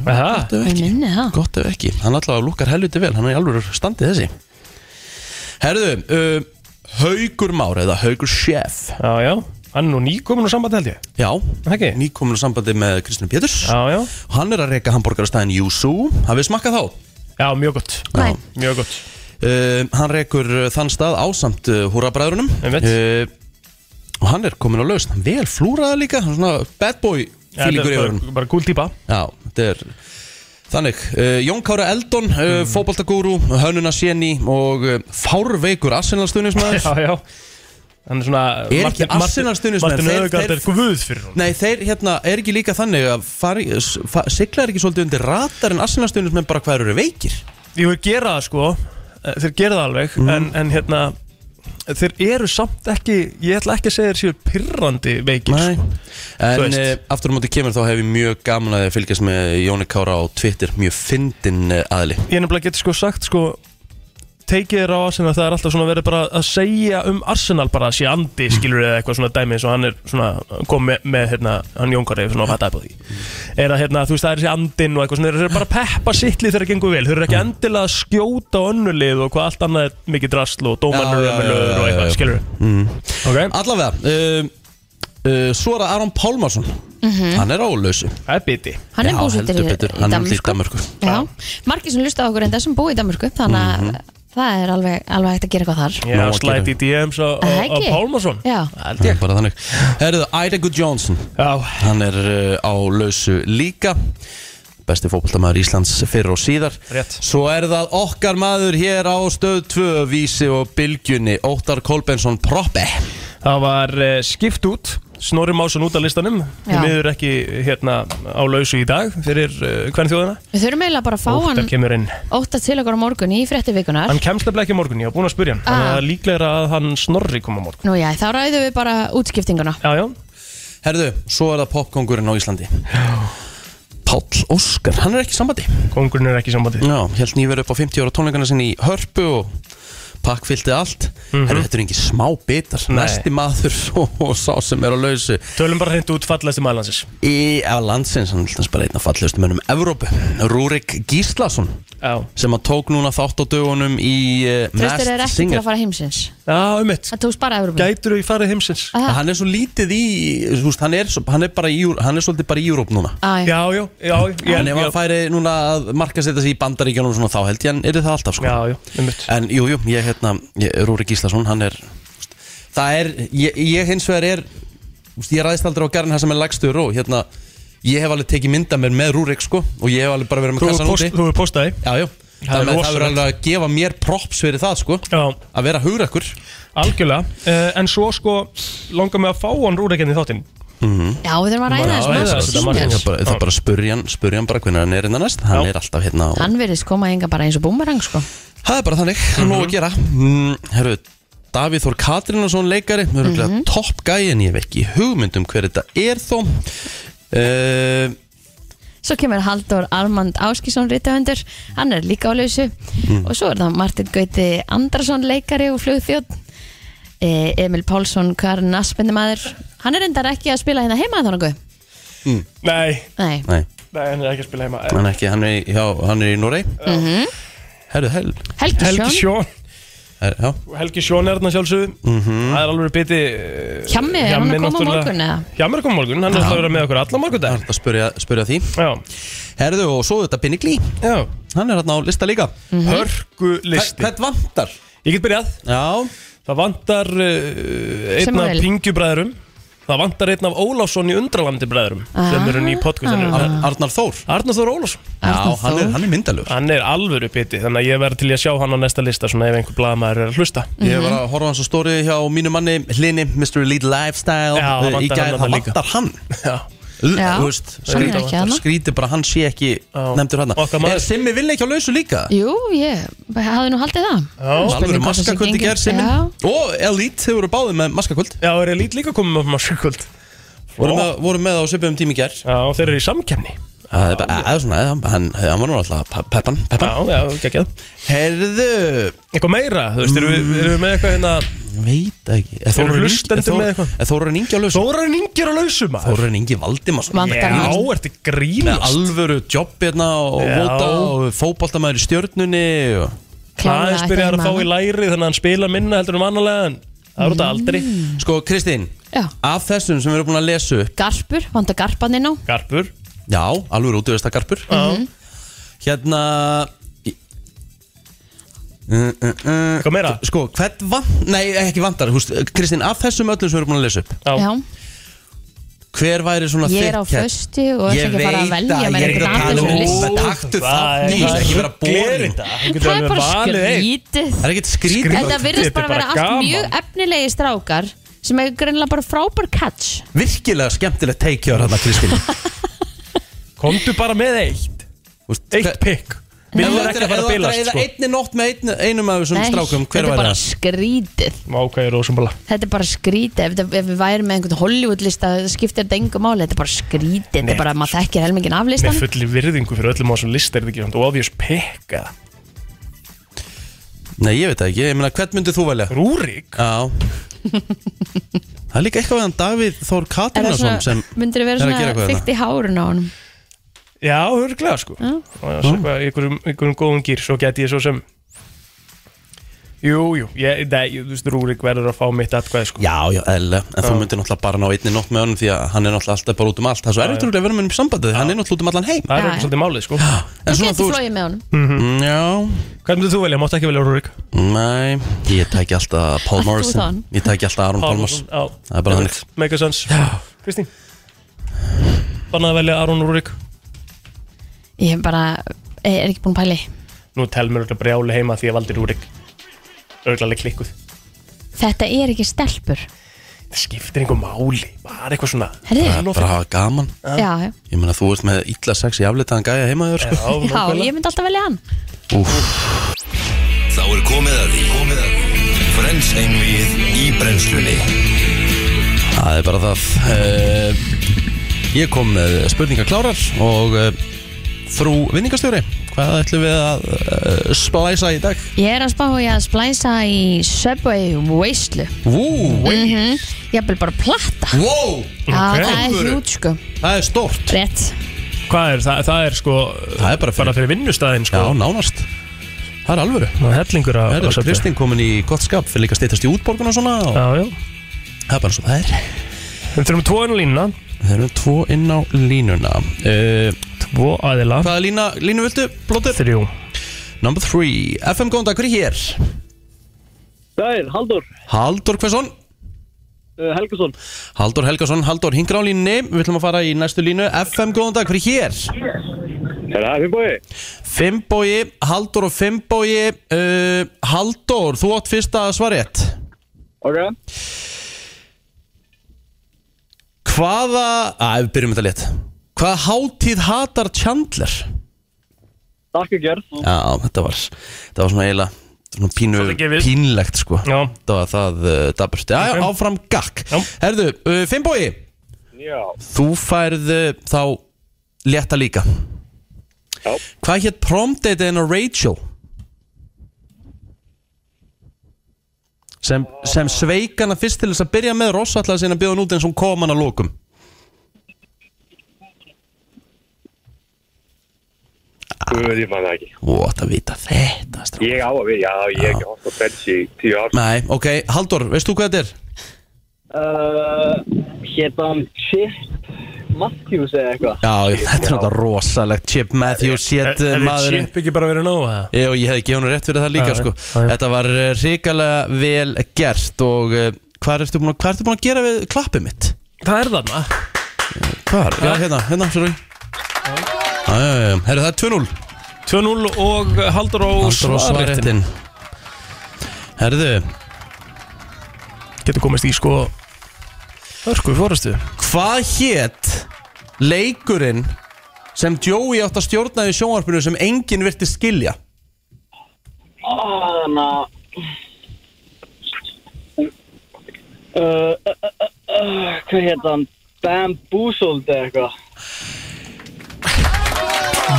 Speaker 3: Aha,
Speaker 1: þetta er
Speaker 2: Ég
Speaker 1: ekki
Speaker 2: minni það
Speaker 1: gott ef ekki, hann allavega lukkar helviti vel hann er í alveg standið þessi Herðu, uh, Haugur Már eða Haugur Sjef
Speaker 3: já, já, hann er nú nýkomin og sambandi held ég
Speaker 1: Já,
Speaker 3: Ekki?
Speaker 1: nýkominu sambandi með Kristján Péturs
Speaker 3: Já, já,
Speaker 1: og hann er að reyka hamburgarastæðin Júsú hafið smakkað þá?
Speaker 3: já, mjög gott
Speaker 2: Nei.
Speaker 3: Mjög gott
Speaker 1: Uh, hann rekur uh, þann stað ásamt uh, húrabræðurunum
Speaker 3: Einmitt.
Speaker 1: og hann er komin á lausn hann vel flúraða líka, hann er svona bad boy
Speaker 3: Já, þetta
Speaker 1: fílingur
Speaker 3: er
Speaker 1: yfir
Speaker 3: bara,
Speaker 1: hann
Speaker 3: bara cool típa
Speaker 1: Já, þetta er þannig uh, Jón Kára Eldon, uh, fótboltagúru Hönnuna Sjeni og uh, fárveikur Arsenal-stuðnismæður
Speaker 3: Já, já Hann er svona
Speaker 1: Er ekki Arsenal stuðningsmenn?
Speaker 3: Martin
Speaker 1: Þeir-
Speaker 3: Öðgard
Speaker 1: þeir-
Speaker 3: er guð fyrir hún
Speaker 1: Nei, þeir hérna er ekki líka þannig að fari, s- fa, siglar ekki svolítið undir ratar en Arsenal-stuðnismæn bara hver eru veikir
Speaker 3: Ég vil gera það sko eh, Þeir gera það alveg
Speaker 1: Mm.
Speaker 3: en, en hérna Þeir eru samt ekki Ég ætla ekki að segja þeir séu pirrandi veikir
Speaker 1: Nei,
Speaker 3: sko. Þú
Speaker 1: en
Speaker 3: veist.
Speaker 1: uh, aftur á móti kemur þá hef ég mjög gaman að fylgjast með Jóni Kára á Twitter, mjög fyndin uh, aðli
Speaker 3: Ég nefnilega geti sko sagt sko Tekið þér á Arsenal það er alltaf svona verið bara að segja um Arsenal bara að sé andi skilur eða eitthvað svona dæmi eins og hann er svona kom með, með hérna, hann Jónkari svona að fatta upp á því er að hérna, þú veist það er þessi andin og eitthvað svona þeir eru bara að peppa sittlið þegar það gengur vel þeir
Speaker 1: Mm.
Speaker 3: eru ekki endilega að skjóta á önnulið og hvað allt annað er mikið drasl og
Speaker 1: Já,
Speaker 3: dómanur
Speaker 1: já, já, já,
Speaker 3: og
Speaker 1: já, Mm.
Speaker 3: eitthvað
Speaker 1: já.
Speaker 3: skilur ok,
Speaker 1: Allavega uh, uh, Svo er það Aron Pálmarsson Hann er álausu
Speaker 3: það er biti
Speaker 2: Mhm. Hann er
Speaker 1: Já,
Speaker 2: búsettur
Speaker 1: heldur
Speaker 2: í,
Speaker 1: betur,
Speaker 2: í
Speaker 1: hann er í
Speaker 2: Danmörku
Speaker 1: Danmörku.
Speaker 2: Já, margir sem lusta á okkur enda sem búi í Danmörku þannig að það er alveg, alveg hægt að gera eitthvað þar
Speaker 3: ég
Speaker 1: Nóg
Speaker 3: er
Speaker 1: að
Speaker 3: að slæti í DMs á, á,
Speaker 2: Það
Speaker 3: á
Speaker 2: ekki?
Speaker 3: Pálmarsson
Speaker 2: Já,
Speaker 1: Það er bara þannig Herðu, Idagu Johnson
Speaker 3: já,
Speaker 1: Hann er uh, á lausu líka Besti fótboltamaður Íslands fyrr og síðar
Speaker 3: Rétt.
Speaker 1: Svo er það okkar maður hér á stöð 2 Vísi og Bylgjunni Óttar Kolbensson Proppe
Speaker 3: Það var uh, skipt út Snorri Másson út af listanum Við
Speaker 2: Já.
Speaker 3: miður ekki hérna á lausu í dag fyrir uh, hvern þjóðina
Speaker 2: við þurfum eiginlega bara að fá
Speaker 3: Óttar
Speaker 2: hann
Speaker 3: kemur inn
Speaker 2: ótt til okkur á morgun í fréttivikunar
Speaker 3: Hann kemst nefnilega ekki á morgun, ég var búin að spyrja hann Þannig
Speaker 2: Ah.
Speaker 3: að það er líklegra að hann Snorri kom á morgun
Speaker 2: Nú já, þá ræðum við bara útskiptinguna
Speaker 3: Já, já,
Speaker 1: Herðu, svo er það popkongurinn á Íslandi Páll Óskar, hann er ekki í sambandi
Speaker 3: kongurinn er ekki í sambandi
Speaker 1: Já, held nýver upp á 50 ára tónleikana sinni í Hörpu og pakkfyllti allt Herru, þetta er engin smá bitar
Speaker 3: Nei.
Speaker 1: Næsti maður og sá sem er á lausu
Speaker 3: Tölum bara hreint út fallasti maðlandsins
Speaker 1: Í af landsins, hann er alltaf bara einn af fallegustu mönnum Evrópu, Rúrik Gíslason
Speaker 3: Já,
Speaker 1: sem að tók núna þátt á dögunum í uh,
Speaker 2: Tristur er
Speaker 1: Masked
Speaker 2: ekki til
Speaker 1: Singer
Speaker 2: að fara heimsins
Speaker 3: já, um mitt
Speaker 2: Það tókst bara Európa
Speaker 3: Gætur þú í farið heimsins?
Speaker 2: Aha.
Speaker 1: Hann er svo lítið í, þú veist, hann er, svo- hann er bara í, hann er svolítið bara í Júróp núna
Speaker 2: Já,
Speaker 3: Já, já, já, já,
Speaker 1: En ef hann
Speaker 3: já,
Speaker 1: færi núna að marka setja sig í bandaríkjunum og svona þá held ég hann er það alltaf sko
Speaker 3: já, já, um mitt
Speaker 1: En jú, jú, ég hérna, ég, Rúrik Gíslason, hann er Það er, ég, ég hins vegar er þú veist, Ég ræðist aldrei á gerðin hann sem er lagstur og hérna Ég hef alveg tekið mynda mér með Rúrik sko Og ég hef alveg bara verið með
Speaker 3: Þú
Speaker 1: kassan
Speaker 3: hefur
Speaker 1: úti
Speaker 3: post, þú hefur postað því
Speaker 1: Já, já,
Speaker 3: Það er
Speaker 1: þannig að það verður
Speaker 3: rosalegt.
Speaker 1: alveg að gefa mér props fyrir það sko
Speaker 3: Já,
Speaker 1: Að vera hugrakkur
Speaker 3: algjörlega uh, En svo sko langar mig að fá hann rúreikinn í þáttinn
Speaker 2: við þurfum að ræða
Speaker 3: Bara ræða
Speaker 2: þess
Speaker 3: þetta,
Speaker 1: Það
Speaker 2: Masked
Speaker 3: Magnús.
Speaker 1: er
Speaker 2: Singer
Speaker 1: bara, það er bara að spurja hann, spurja hann bara hvernig hann er innan næst Hann
Speaker 3: Já.
Speaker 1: er alltaf hérna og
Speaker 2: Hann virðist koma enga bara eins og búmerang sko
Speaker 1: Það er bara þannig, mm
Speaker 3: Mhm.
Speaker 1: nóg að gera mm, Herru, Davíð Þór Katrínarsson leikari Mér er mm
Speaker 3: Mhm.
Speaker 1: -hmm. topp gæi en ég hef ekki hugmynd um hver þetta er þó uh,
Speaker 2: Svo kemur Halldór Armand Áskísson rítahöndur, hann er líka á lausu og svo er það Martin Gauti Andrason leikari og flugþjótt e, Emil Pálsson Karin Aspindumæður, hann er endar ekki að spila hérna heima þannig
Speaker 3: Nei,
Speaker 2: Nei,
Speaker 1: Nei,
Speaker 3: nei, hann er ekki að spila heima
Speaker 1: hann er ekki, hann er, í- já, hann er í Norei mm
Speaker 2: Mhm.
Speaker 1: Herru, hel
Speaker 2: Helgi,
Speaker 3: Helgi
Speaker 2: Sjón
Speaker 3: Sjón Mhm.
Speaker 1: her, Já,
Speaker 3: Helgi Sjón er þarna sjálfsögðu Það er alveg biti eh,
Speaker 2: Hjammi, er hann að
Speaker 3: Hjammi
Speaker 2: koma á
Speaker 3: náttúrulega-
Speaker 2: morgun, eða?
Speaker 3: Hjammi er að koma á morgun, hann er alltaf að vera með okkur alla
Speaker 1: það er
Speaker 3: morgundag
Speaker 1: hægt að spurja, spurja því
Speaker 3: Já,
Speaker 1: Herru, og svo þetta Binni Glí
Speaker 3: já,
Speaker 1: Hann er hérna á lista líka
Speaker 2: Mhm.
Speaker 3: hörgu listi
Speaker 1: Hvern vantar?
Speaker 3: Ég get byrjað
Speaker 1: Já,
Speaker 3: Það vantar uh, einn af
Speaker 2: Samuel.
Speaker 3: Pingjubræðurum Það vantar einn af Ólafsson í Undralandi bræðurum
Speaker 2: Ah.
Speaker 3: sem eru ný
Speaker 1: Ar
Speaker 3: podcastinu
Speaker 1: Arnar Þór
Speaker 3: Ah. Arnar Ah. Þór Ólafsson
Speaker 1: Já, hann er, hann er myndalur
Speaker 3: Hann er alvöru biti þannig að ég verð til í að sjá hann á næsta lista svona ef einhver blaðmaður er að hlusta
Speaker 1: Ég
Speaker 3: Mhm.
Speaker 1: var að horfa á hans á stóri hjá mínu manni Hlini, Mr. Elite Lifestyle
Speaker 3: Já, það
Speaker 1: eh, í
Speaker 3: vantar
Speaker 1: gær,
Speaker 3: hann
Speaker 1: það
Speaker 3: þarna líka.
Speaker 1: vantar hann
Speaker 3: Já,
Speaker 2: Já,
Speaker 1: Þú veist,
Speaker 2: hann er ekki
Speaker 1: skrítið
Speaker 2: þarna.
Speaker 1: skrítið bara að hann sé ekki nefndur hann
Speaker 3: Okkar maður.
Speaker 1: er Simmi vil ekki á lausu líka
Speaker 2: Jú, ég hafði nú haldið það
Speaker 3: já.
Speaker 1: alveg
Speaker 2: Spurning hvort það sé
Speaker 1: maskakvöld í
Speaker 2: gengið.
Speaker 1: gerð Simmi
Speaker 2: Já.
Speaker 1: og Elite, þau voru báðið með maskakvöld
Speaker 3: já er Elite líka komið með maskakvöld
Speaker 1: voru, með- voru með á svipum tími í gerð
Speaker 3: Já, þeir eru í samkemni
Speaker 1: það er bara, eða svona, hann, hann, hann var nú alltaf pe- peppan, peppan
Speaker 3: Já, já, geggjað
Speaker 1: Herðu,
Speaker 3: Eitthvað meira, þú veist, eru við, eru við með eitthvað hérna
Speaker 1: veit ekki Er
Speaker 3: Eru
Speaker 1: Þórarinn Ingi-
Speaker 3: hlustendur
Speaker 1: er Þór-
Speaker 3: með eitthvað?
Speaker 1: er Þórarinn Ingi á lausu?
Speaker 3: Þórarinn Inger á lausu maður
Speaker 1: Þórarinn Ingi Valdimarsson
Speaker 2: Vand-
Speaker 3: Já,
Speaker 2: Þórarinn-
Speaker 3: ertu grínast
Speaker 1: alvöru jobb hérna og
Speaker 3: Já.
Speaker 1: vota og fótboltamæður í stjórnunni og...
Speaker 2: Klárlega
Speaker 3: Aðeins byrjar
Speaker 2: ætti
Speaker 3: að fá í
Speaker 2: heima.
Speaker 3: læri þannig að hann spila minna heldur um annarlega en það
Speaker 2: Mm.
Speaker 3: er út af aldri
Speaker 1: Sko, Kristín,
Speaker 2: Já.
Speaker 1: af þessum sem við erum búin að lesa upp
Speaker 2: Garpur, vantar Garpan inn á
Speaker 3: Garpur
Speaker 1: Já, alveg útveðstakarpur
Speaker 3: Já.
Speaker 1: Hérna í- Uh, uh, uh.
Speaker 3: Eitthvað meira?
Speaker 1: Sko, hvern vantar, nei ekki vantar húst, Kristín, af þessum öllum sem við erum búin að lesa upp
Speaker 2: Já,
Speaker 1: Hver væri svona
Speaker 2: ég er
Speaker 1: þitt
Speaker 2: á
Speaker 1: kjarn?
Speaker 2: föstu og ætla
Speaker 1: Ég
Speaker 2: ekki að fara að
Speaker 1: veit
Speaker 2: velja
Speaker 1: ég
Speaker 2: mér
Speaker 1: er ekki
Speaker 2: eitthvað
Speaker 1: að
Speaker 2: af
Speaker 1: tala
Speaker 2: þessum
Speaker 1: um
Speaker 2: lista
Speaker 1: lista Taktu þátt,
Speaker 3: er-
Speaker 1: nei, það er ekki vera
Speaker 3: Glerir
Speaker 1: boring
Speaker 3: þetta. Þú getur
Speaker 2: Það er
Speaker 3: alveg
Speaker 2: bara
Speaker 3: valið einn.
Speaker 2: skrítið
Speaker 1: Það er ekkert skrítið
Speaker 2: Þetta virðist
Speaker 3: Þetta er
Speaker 2: bara vera
Speaker 3: bara
Speaker 2: allt
Speaker 3: gaman.
Speaker 2: mjög efnilegi strákar sem hefur greinilega bara frábær catch
Speaker 1: Virkilega skemmtilegt teikjör hérna, Kristín
Speaker 3: Komdu bara með eitt
Speaker 1: Húst,
Speaker 3: Eitt pikk Við erum ekki að fara að bilast sko
Speaker 1: einni nótt með einn, einum af þessum
Speaker 2: Nei,
Speaker 1: strákum Hver
Speaker 2: Þetta er
Speaker 1: væri
Speaker 2: bara
Speaker 1: það?
Speaker 2: skrítið
Speaker 3: Vá, hvað ég er ósumbola
Speaker 2: Þetta er bara skrítið Ef, þetta- ef við værum með einhvern Hollywood lista það skiptir þetta engu máli Þetta er bara skrítið Þetta
Speaker 3: Nei.
Speaker 2: er bara að maður þekkir helmingin af
Speaker 3: Með
Speaker 2: listan
Speaker 3: fulli virðingu fyrir öllum á þessum list er þetta ekki svona obvious pikk eða
Speaker 1: Nei, ég veit það ekki, ég meina, hvern myndið þú velja?
Speaker 3: Rúrik
Speaker 1: Já Það er líka eitthvað við hann Davíð Þór
Speaker 2: Er það
Speaker 1: Katrinarsson
Speaker 2: svona,
Speaker 1: sem
Speaker 2: myndir það
Speaker 1: er að
Speaker 2: vera
Speaker 1: gera
Speaker 2: svona
Speaker 1: eitthvað
Speaker 2: þykkt í hárun á honum
Speaker 3: Já, hörglega sko
Speaker 2: Já.
Speaker 3: Og svo eitthvað, í einhverjum, einhverjum góðum gýr Svo geti ég svo sem Jú, jú, ég, nei, þú veist, Rúrik verður að fá mitt atkvæði sko
Speaker 1: Já, já, eðlilega, en þú myndir náttúrulega bara ná einni nótt með honum því að hann er náttúrulega alltaf bara út um allt Það er svo erfitt örugglega að vera með honum í sambandi því hann er náttúrulega út um allan heim
Speaker 3: Það er
Speaker 2: Já,
Speaker 3: ekki
Speaker 2: já.
Speaker 3: svolítið málið sko
Speaker 1: En
Speaker 2: Þú
Speaker 1: svona
Speaker 2: getur
Speaker 1: þú,
Speaker 2: flóið með honum
Speaker 1: Mm, já,
Speaker 3: Hvað myndir þú velja? Máttu ekki velja Rúrik?
Speaker 1: nei, ég tæki alltaf Paul
Speaker 2: Þú
Speaker 1: Morrison
Speaker 2: þann.
Speaker 1: Ég tæki alltaf Aron Palmas
Speaker 3: Já
Speaker 1: Það er bara þannig.
Speaker 3: Mega sens Kristín Bannað að velja Aron og Rúrik
Speaker 2: Ég hef bara, ég er ekki búin að pæli
Speaker 3: Nú tel mér auðvitað brjáli heima því ég valdi Rúrik Auðvitað alveg klikkuð
Speaker 2: Þetta er ekki stelpur
Speaker 3: Það skiptir einhver máli Bara eitthvað svona
Speaker 2: Herðu,
Speaker 1: Það er bara að hafa gaman
Speaker 2: já, já.
Speaker 1: Ég meina, þú veist með illa sex í aflitaðan gæja heima þér, sko
Speaker 2: já, ég myndi alltaf velja hann
Speaker 4: Þá er komið að því komið að því. Frens einvið í brennslunni
Speaker 1: Það er bara það Eh, Ég kom með spurningar klárar og eh, frú vinningastjóri Hvað ætlum við að uh, splæsa í dag?
Speaker 2: Ég er að spá í að splæsa í Subway veislu
Speaker 1: Vú,
Speaker 2: mm Ég er bara platta
Speaker 1: wow,
Speaker 2: Já,
Speaker 3: Ok.
Speaker 2: það er hjút sko
Speaker 1: það er stort
Speaker 2: Rétt
Speaker 3: Hvað er það? Það er sko
Speaker 1: Það er bara fyrir-
Speaker 3: bara fyrir vinnustæðin sko
Speaker 1: Já, nánast Það er alvöru
Speaker 3: Ná, hellingur að
Speaker 1: Það er Kristinn komin í gott skap fyrir líka að steytast í útborgun og svona og
Speaker 3: Já, já
Speaker 1: það er bara svo það er
Speaker 3: Við þurfum tvo inn á línuna
Speaker 1: Það eru tvo inn á línuna uh,
Speaker 3: Tvo aðila
Speaker 1: Hvaða lína, línu viltu, Blóttur?
Speaker 3: Þrjú
Speaker 1: Number 3 FM góðan dag, hver er hér?
Speaker 8: Dæin, Haldur,
Speaker 1: Haldur Hversson
Speaker 8: uh, Helgason
Speaker 1: Haldur Helgason, Haldur hingra á línni Við ætlum að fara í næstu línu FM góðan dag, hver er hér?
Speaker 7: Er það Fimboi?
Speaker 1: Fimbogi, Haldur og Fimbogi uh, Haldur, þú átt fyrsta svarétt
Speaker 8: Ok
Speaker 1: Hvaða, að við byrjum þetta létt Hvaða hátíð hatar Chandler?
Speaker 8: Takk að gerð
Speaker 1: Já, þetta var, þetta var svona eiginlega svona pínu,
Speaker 3: Svolítið gefið.
Speaker 1: pínlegt sko
Speaker 3: Já.
Speaker 1: Það var það uh, daburt Já, já, áfram gakk
Speaker 3: Já.
Speaker 1: Herðu, uh, Finnbói
Speaker 7: Já
Speaker 1: Þú færð uh, þá létta líka
Speaker 7: Já.
Speaker 1: Hvað hétt promdate en Rachel? Sem, sem sveik hana fyrst til þess að byrja með Ross ætlaði sinna að bjóða hann út eins og hún kom hann að lókum
Speaker 7: Guð, ég man það ekki
Speaker 1: Ó, það vita þetta strákur.
Speaker 7: Ég á að við, já, ég hef ekki hótt á Friends í tíu ár
Speaker 1: Nei, ok, Haldur, veist þú hvað þetta er?
Speaker 8: uh, Hérna hann Shit Matthews eða eitthvað
Speaker 1: Já, ég- þetta er náttúrulega rosalegt Chip Matthews
Speaker 3: Er
Speaker 1: hét uh,
Speaker 3: þetta
Speaker 1: maðurinn
Speaker 3: chip ekki bara verið nóg eða?
Speaker 1: Jó, ég hefði gefið hún rétt fyrir það líka
Speaker 3: Já,
Speaker 1: sko.
Speaker 3: já, já.
Speaker 1: Þetta var ríkalega vel gert og uh, hvað ertu búin, að- hvað ertu búin að gera við klappið mitt?
Speaker 3: Það er þarna
Speaker 1: Hvar? Já, hérna, hérna, sorry Já, já, já, já, herru það er 2-0
Speaker 3: 2-0 og Haldur og
Speaker 1: Halldór á
Speaker 3: svarréttin
Speaker 1: svarréttin. Herðu,
Speaker 3: Getur komist í sko Örku fórustu
Speaker 1: hvað hét leikurinn sem Joey átt að stjórna í sjónvarpinu sem enginn virti skilja?
Speaker 8: Þannig að Uh, uh, uh, uh, hvað hérna hann? Bamboozled eða eitthvað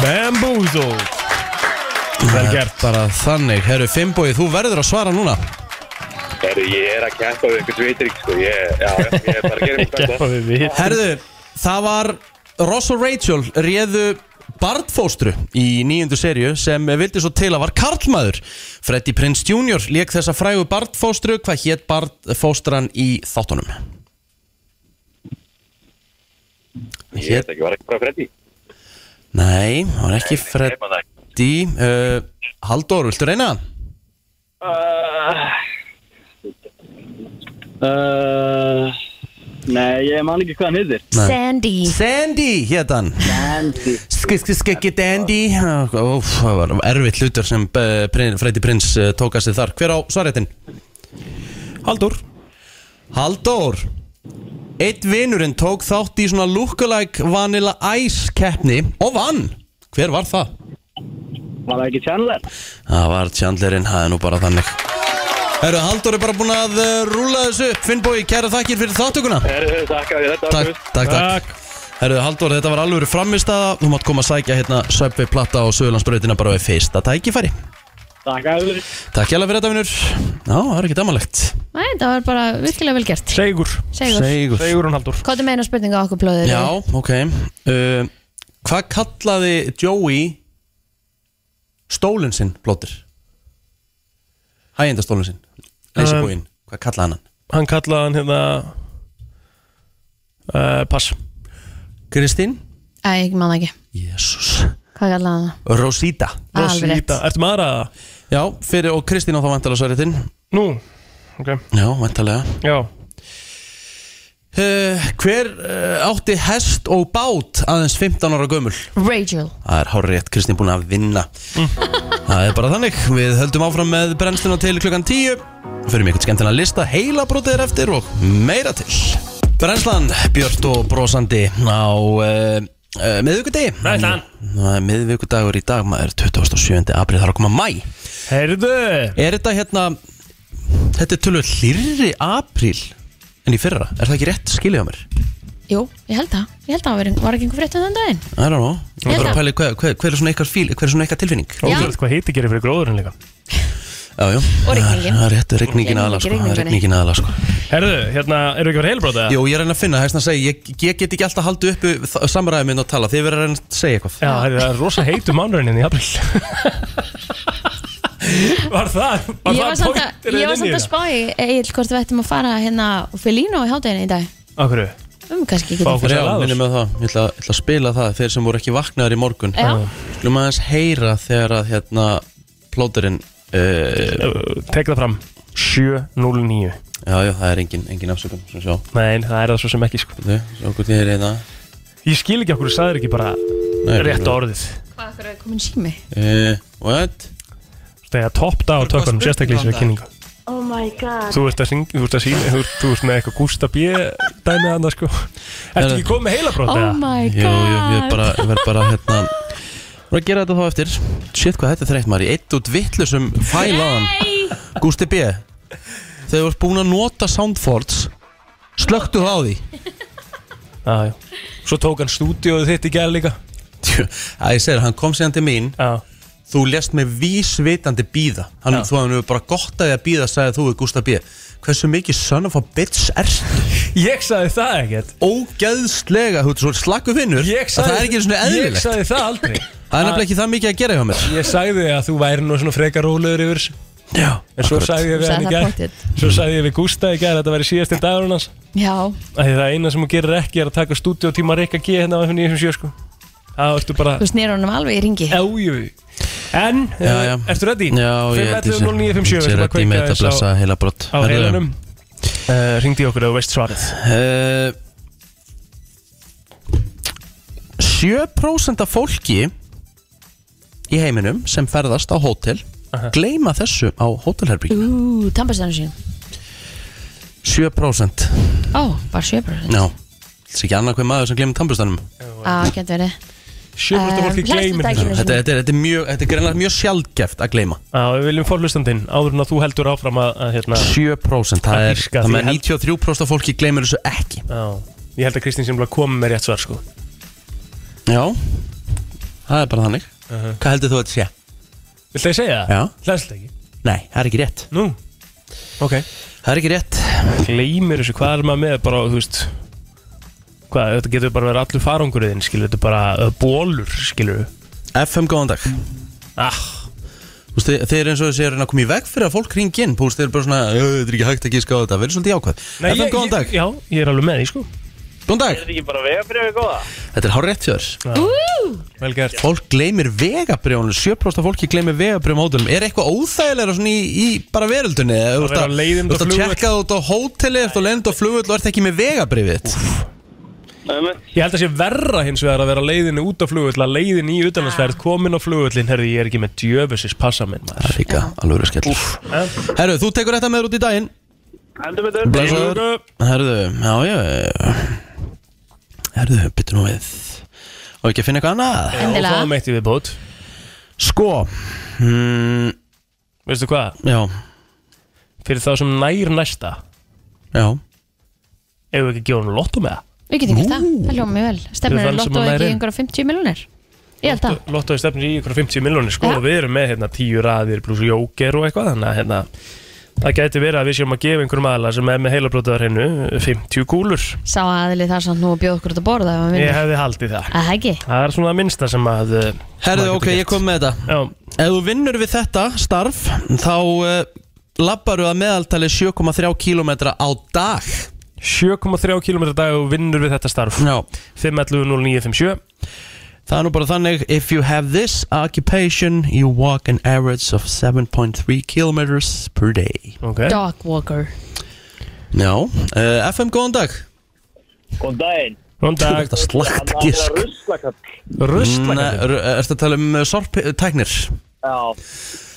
Speaker 3: Bamboozled Vel gert
Speaker 1: Bara þannig, herru Fimboi, þú verður að svara núna
Speaker 7: Herru, ég er að keppa við einhvern sveitrygg, sko Ég, já, já, ég er bara að gera mér
Speaker 3: Geppa við við
Speaker 1: Herðu, það var Ross og Rachel réðu barnfóstru í nýjundu serju sem vildi svo til að var karlmaður Freddy Prince Jr. lék þessa frægu barnfóstru hvað hétt barnfóstran í þáttunum
Speaker 7: Ég veit ekki, var ekki bara Freddy
Speaker 1: Nei, það var ekki
Speaker 7: Ég man það ekki.
Speaker 1: Freddy uh, Halldór, viltu reyna?
Speaker 8: uh, Nei, ég man ekki hvað hann heitir
Speaker 2: Sandy
Speaker 1: Sandy hétt hann
Speaker 8: Andy
Speaker 1: Skiskiskeski Dandy Óf, það var erfitt hlutur sem eh, Prin- Freddy Prince eh, tók að sig þar Hver á svaréttin?
Speaker 3: Haldur
Speaker 1: Halldór Eitt vinurinn tók þátt í svona lookalike Vanilla Ice keppni og vann Hver var það?
Speaker 8: Var það ekki Chandler?
Speaker 1: Það var Chandlerinn, það er nú bara þannig Herru, Halldór er bara búinn að eh, rúlla þessu upp Finnbói, kæra þakkir fyrir þáttökuna
Speaker 7: Herru, takk að þetta
Speaker 1: Takk, takk, takk Herru, Halldór, þetta var alvöru frammistaða Þú mátt koma að sækja hérna Söpvi platta á Söðurlandsbrautina bara við fyrsta tækifæri
Speaker 8: Takk að við
Speaker 1: Takk hjá fyrir þetta, vinnur Já, það er ekki damalegt
Speaker 2: Nei, það var bara virkilega vel gert
Speaker 3: Segur
Speaker 2: Segur
Speaker 3: Segur hún Haldur
Speaker 2: Hvað er meina spurninga okkur blóðir?
Speaker 1: Já, ok uh, Hvað kallaði Joey stólinn sinn, Blóttir? Hæginda stólinn sinn Leysibúinn, hvað kallaði hann hann?
Speaker 3: Hann kallaði hann hérna uh, Pass
Speaker 1: Kristín?
Speaker 2: Æ, ég man það ekki
Speaker 1: Jésús
Speaker 2: Hvað er allavega það?
Speaker 1: Rosita
Speaker 2: Alveg rétt.
Speaker 3: Rosita. Ertu maður að það?
Speaker 1: Já, fyrir og Kristín á þá vantalega svaritinn
Speaker 3: Nú Ok
Speaker 1: Já, vantalega
Speaker 3: Já
Speaker 1: uh, Hver uh, átti hest og bát aðeins 15 ára gömul?
Speaker 2: Rachel
Speaker 1: Það er hárið rétt, Kristín búin að vinna Það er bara þannig, við höldum áfram með brennsluna til klukkan 10 Fyrir mig eitthvað skemmtilega lista, heila er eftir og meira til Brennslan, Björn og brosandi á uh, uh, miðvikudegi
Speaker 3: Brennslan.
Speaker 1: Það er Miðvikudagur í dag, maður er 27. april, það er að koma mæ
Speaker 3: Heyrðu
Speaker 1: Er þetta hérna, þetta er tölvöld hlýrri april en í fyrra Er það ekki rétt skiljaða mér?
Speaker 2: Jú, ég held það Ég held það var, var ekki einhver frétt um þann daginn
Speaker 1: I don't know
Speaker 2: Ég
Speaker 1: Bara
Speaker 2: held
Speaker 1: að
Speaker 2: að
Speaker 1: pæli, hver, hver, hver er svona ykkar fíl, hver er svona ykkar tilfinning?
Speaker 3: Ótrúlega hvað hiti gerir fyrir gróðurinn líka
Speaker 1: Já, já
Speaker 2: Og rigningin.
Speaker 1: Það er rétt, regningin
Speaker 2: Gleymum
Speaker 1: aðla
Speaker 2: ekki
Speaker 1: sko Það er
Speaker 2: rigningunni.
Speaker 1: Regningin aðla sko
Speaker 3: Herðu, hérna, eru ekki að vera heilbróta eða?
Speaker 1: Jú, ég er að reyna að finna, þess að segja Ég, ég get ekki alltaf haldið uppu samræði minn og tala Þið verður að reyna að segja eitthvað
Speaker 3: Já, herðu, það er rosa heitu mánurinn í april Var það? Var
Speaker 2: Ég var
Speaker 3: það
Speaker 2: samt að,
Speaker 3: pointerinn
Speaker 2: ég var samt að
Speaker 3: inn í hérna? þetta?
Speaker 2: spá í Egil hvort við ættum að fara hérna Felino í hátæðinu í dag
Speaker 3: Af hverju?
Speaker 2: um kannski
Speaker 3: Fá
Speaker 2: getum
Speaker 3: okkur
Speaker 1: Já,
Speaker 3: sér aður
Speaker 1: minnum með það Ég ætla, ég ætla að spila það Þeir sem voru ekki vaknaðar í morgun
Speaker 2: Já.
Speaker 1: Skulum aðeins heyra þegar að hérna Plóterinn uh,
Speaker 3: Tek það fram 709
Speaker 1: Já, já, það er engin, engin afsökun Svo sjá,
Speaker 3: Nei, það er það svo sem ekki sko
Speaker 1: Bíddu, sjá hvort ég hérna. er reyna
Speaker 3: Ég skil ekki okkur, sagðir ekki bara
Speaker 1: Nei,
Speaker 3: rétt orðið
Speaker 2: Hvað okkur er komin sími?
Speaker 1: uh, What?
Speaker 3: Þegar toppta á tökunum, sérstaklega í sér kynningu
Speaker 5: Oh my god
Speaker 3: Þú ert að syng, þú ert að sína, þú, þú ert með eitthvað Gústa B. dæmið annað sko Ertu ekki komið með heilabrót
Speaker 2: Oh
Speaker 3: eða?
Speaker 2: my
Speaker 1: Jú, jú, ég
Speaker 2: god
Speaker 1: bara, ég verð bara hérna Bara að gera þetta þá eftir Shit, hvað þetta er þreytt maður Ég eitt út vitlu sem fælaðan Gústi B Þegar þú ert búin að nota Soundfords Slöktu það á því
Speaker 3: Já, já. Svo tók hann stúdíóið þitt í gæð líka
Speaker 1: Tjú, að ég segir, hann kom síðan til mín
Speaker 3: Já,
Speaker 1: Þú lest mig vísvitandi býða hann,
Speaker 3: Já.
Speaker 1: Þú hann hefur bara gott að því að býða Sæði þú við Gústa B Hversu mikið son of a bitch er
Speaker 3: Ég sagði það ekkert
Speaker 1: Ógeðslega, þú ert svo slaku vinnur
Speaker 3: Ég
Speaker 1: að
Speaker 3: sagði,
Speaker 1: Það er ekki svona
Speaker 3: Ég
Speaker 1: eðlilegt
Speaker 3: sagði það aldrei
Speaker 1: Það er nefnilega ekki það mikið að gera hjá mér
Speaker 3: Ég sagði að þú væri nú svona frekar rólegur yfir þessu.
Speaker 1: Já,
Speaker 3: En svo
Speaker 1: akkurat.
Speaker 3: sagði ég
Speaker 2: Þú
Speaker 3: við hann
Speaker 2: sagði
Speaker 3: í
Speaker 2: það
Speaker 3: gæð
Speaker 2: pottþétt.
Speaker 3: Svo sagði ég við Gústa í gæð Þetta væri síðasti dagur hans
Speaker 2: Já,
Speaker 3: Því það eina sem hún gerir ekki er að taka stúdíótíma Rikka G hérna á F957 sko Það ertu bara
Speaker 2: þú snýr honum alveg í ringi
Speaker 3: Jájú En,
Speaker 1: Já, já.
Speaker 3: eh, ertu ready?
Speaker 1: Já, ég held ég sé-
Speaker 3: 511-0957
Speaker 1: ég sé
Speaker 3: sem að
Speaker 1: reddi
Speaker 3: kveika
Speaker 1: með þetta
Speaker 3: þess á-
Speaker 1: blessa heila brott
Speaker 3: Á heilanum uh, Ringdi okkur að þú veist svarið
Speaker 1: eh, 7% af fólki í heiminum sem ferðast á hótel gleyma þessu á hótelherbyggjum
Speaker 2: Ú, tampastæðan sín
Speaker 1: 7%
Speaker 2: Ó, bara 7%
Speaker 1: Já, það er ekki annað hver maður sem gleymir tannbustanum
Speaker 2: Á, gett Ah, verið
Speaker 3: Sjöfnast að
Speaker 2: Eh,
Speaker 3: fólki
Speaker 2: lestu
Speaker 3: gleymir
Speaker 2: daginn.
Speaker 3: þessu
Speaker 1: Þetta, þetta, er, þetta er mjög, þetta er greinlega mjög sjálfgeft að gleyma
Speaker 3: Já, við viljum forlustandinn áður en að þú heldur áfram að, að hérna
Speaker 1: 7% það
Speaker 3: Það
Speaker 1: er,
Speaker 3: dýrka,
Speaker 1: það
Speaker 3: því
Speaker 1: með
Speaker 3: held-
Speaker 1: 93% af fólki gleymir þessu ekki
Speaker 3: Já, ég held að Kristín sem vilja koma með rétt svar sko
Speaker 1: Já, það er bara þannig Hvað heldur þú að þetta sé?
Speaker 3: Viltu að ég segja það?
Speaker 1: Já.
Speaker 3: Hlæðslega ekki
Speaker 1: Nei, það er ekki rétt
Speaker 3: Nú Ok
Speaker 1: Það er ekki rétt
Speaker 3: Gleymir þessu, hvað er maður með bara, þú veist Hvað, þetta getur bara verið allur farangurðinn, skilur Þetta er bara uh, bólur, skilur
Speaker 1: FM, góðan dag
Speaker 3: Ah,
Speaker 1: Þú veist, þeir eru eins og þessi er að koma í veg fyrir að fólk ringi inn Þú veist, þeir eru bara svona, "Ö, þetta er ekki hægt að gíska á þetta Verður svolítið jákvæð FM,
Speaker 3: ég-
Speaker 1: góðan dag
Speaker 3: ég- Já, ég er alveg með því sko
Speaker 1: Góðan dag
Speaker 8: ekki bara vegabrjöfi góða?
Speaker 1: Þetta er hár rétt fjör
Speaker 3: Vel gert
Speaker 1: Fólk gleymir vegabrjónum 7% af fólki gleymir vegabrjónum á hótelum Er eitthvað óþægilega svona í, í bara veröldunni? Eða Þú
Speaker 3: vera á leiðinni á
Speaker 1: ert að
Speaker 3: flugvöll.
Speaker 1: tjekka þú út á hóteli Þú ert að lenda á flugvöld og ert ekki með vegabrjónið
Speaker 3: Ég held að sé verra hins vegar að vera leiðinni út á flugull að leiðinni í utanlandsferð komin á flugullin herðu ég er ekki með djöfusis passa minn maður
Speaker 1: Það er líka alveg verið skell Herru, þú tekur þetta með þér út í daginn
Speaker 8: Heldur betur
Speaker 1: Blessaður Herðu, já, já Herðu, byttu nú við Og ekki að finna eitthvað annað
Speaker 3: Og
Speaker 2: Endilega.
Speaker 3: fáum eitt í viðbót
Speaker 1: Sko mm,
Speaker 3: Veistu hvað?
Speaker 1: Já,
Speaker 3: Fyrir þá sem nær næsta
Speaker 1: já
Speaker 3: Ef við ekki að gefa hann lotto með það
Speaker 2: Við getum gert það, það hljóma mjög vel
Speaker 3: Fyrir
Speaker 2: Stefnir er
Speaker 3: þann sem
Speaker 2: lott og
Speaker 3: að
Speaker 2: ekki
Speaker 3: læra inn.
Speaker 2: einhverja 50 miljonir Ég held það
Speaker 3: Lottoði stefnir í ykkur 50 miljonir sko
Speaker 2: Já.
Speaker 3: og við erum með hérna 10 raðir pluss jóker og eitthvað þannig að hérna það gæti verið að við séum að gefa einhverjum aðla sem er með heilabrótaðar hennu 50 kúlur
Speaker 2: Sá aðli þar samt nú að bjóða okkur út að borða ef hann vinnur.
Speaker 3: Ég hefði haldið það
Speaker 2: Að Það ekki
Speaker 3: Það er svona að minnsta sem að uh,
Speaker 1: Herðu,
Speaker 3: maður
Speaker 1: ok,
Speaker 3: getur
Speaker 1: ég
Speaker 3: gert.
Speaker 1: kom með þetta
Speaker 3: Já,
Speaker 1: Ef þú vinnur við þetta starf Þá uh, labbaru að meðaltali 7,3 km á dag
Speaker 3: 7,3 km dag og vinnur við þetta starf
Speaker 1: Já
Speaker 3: 511-0957
Speaker 1: Það er nú bara þannig If you have this occupation You walk an average of 7.3 km per day
Speaker 3: Ok,
Speaker 2: Dog walker
Speaker 1: Já uh, FM, góðan dag
Speaker 8: Góðan daginn
Speaker 3: góðan dag
Speaker 1: Þetta slagt gísk
Speaker 8: Ruslakall
Speaker 1: Mm,
Speaker 3: Ruslakallinn
Speaker 1: Erstu að tala um sorptæknir?
Speaker 8: Já,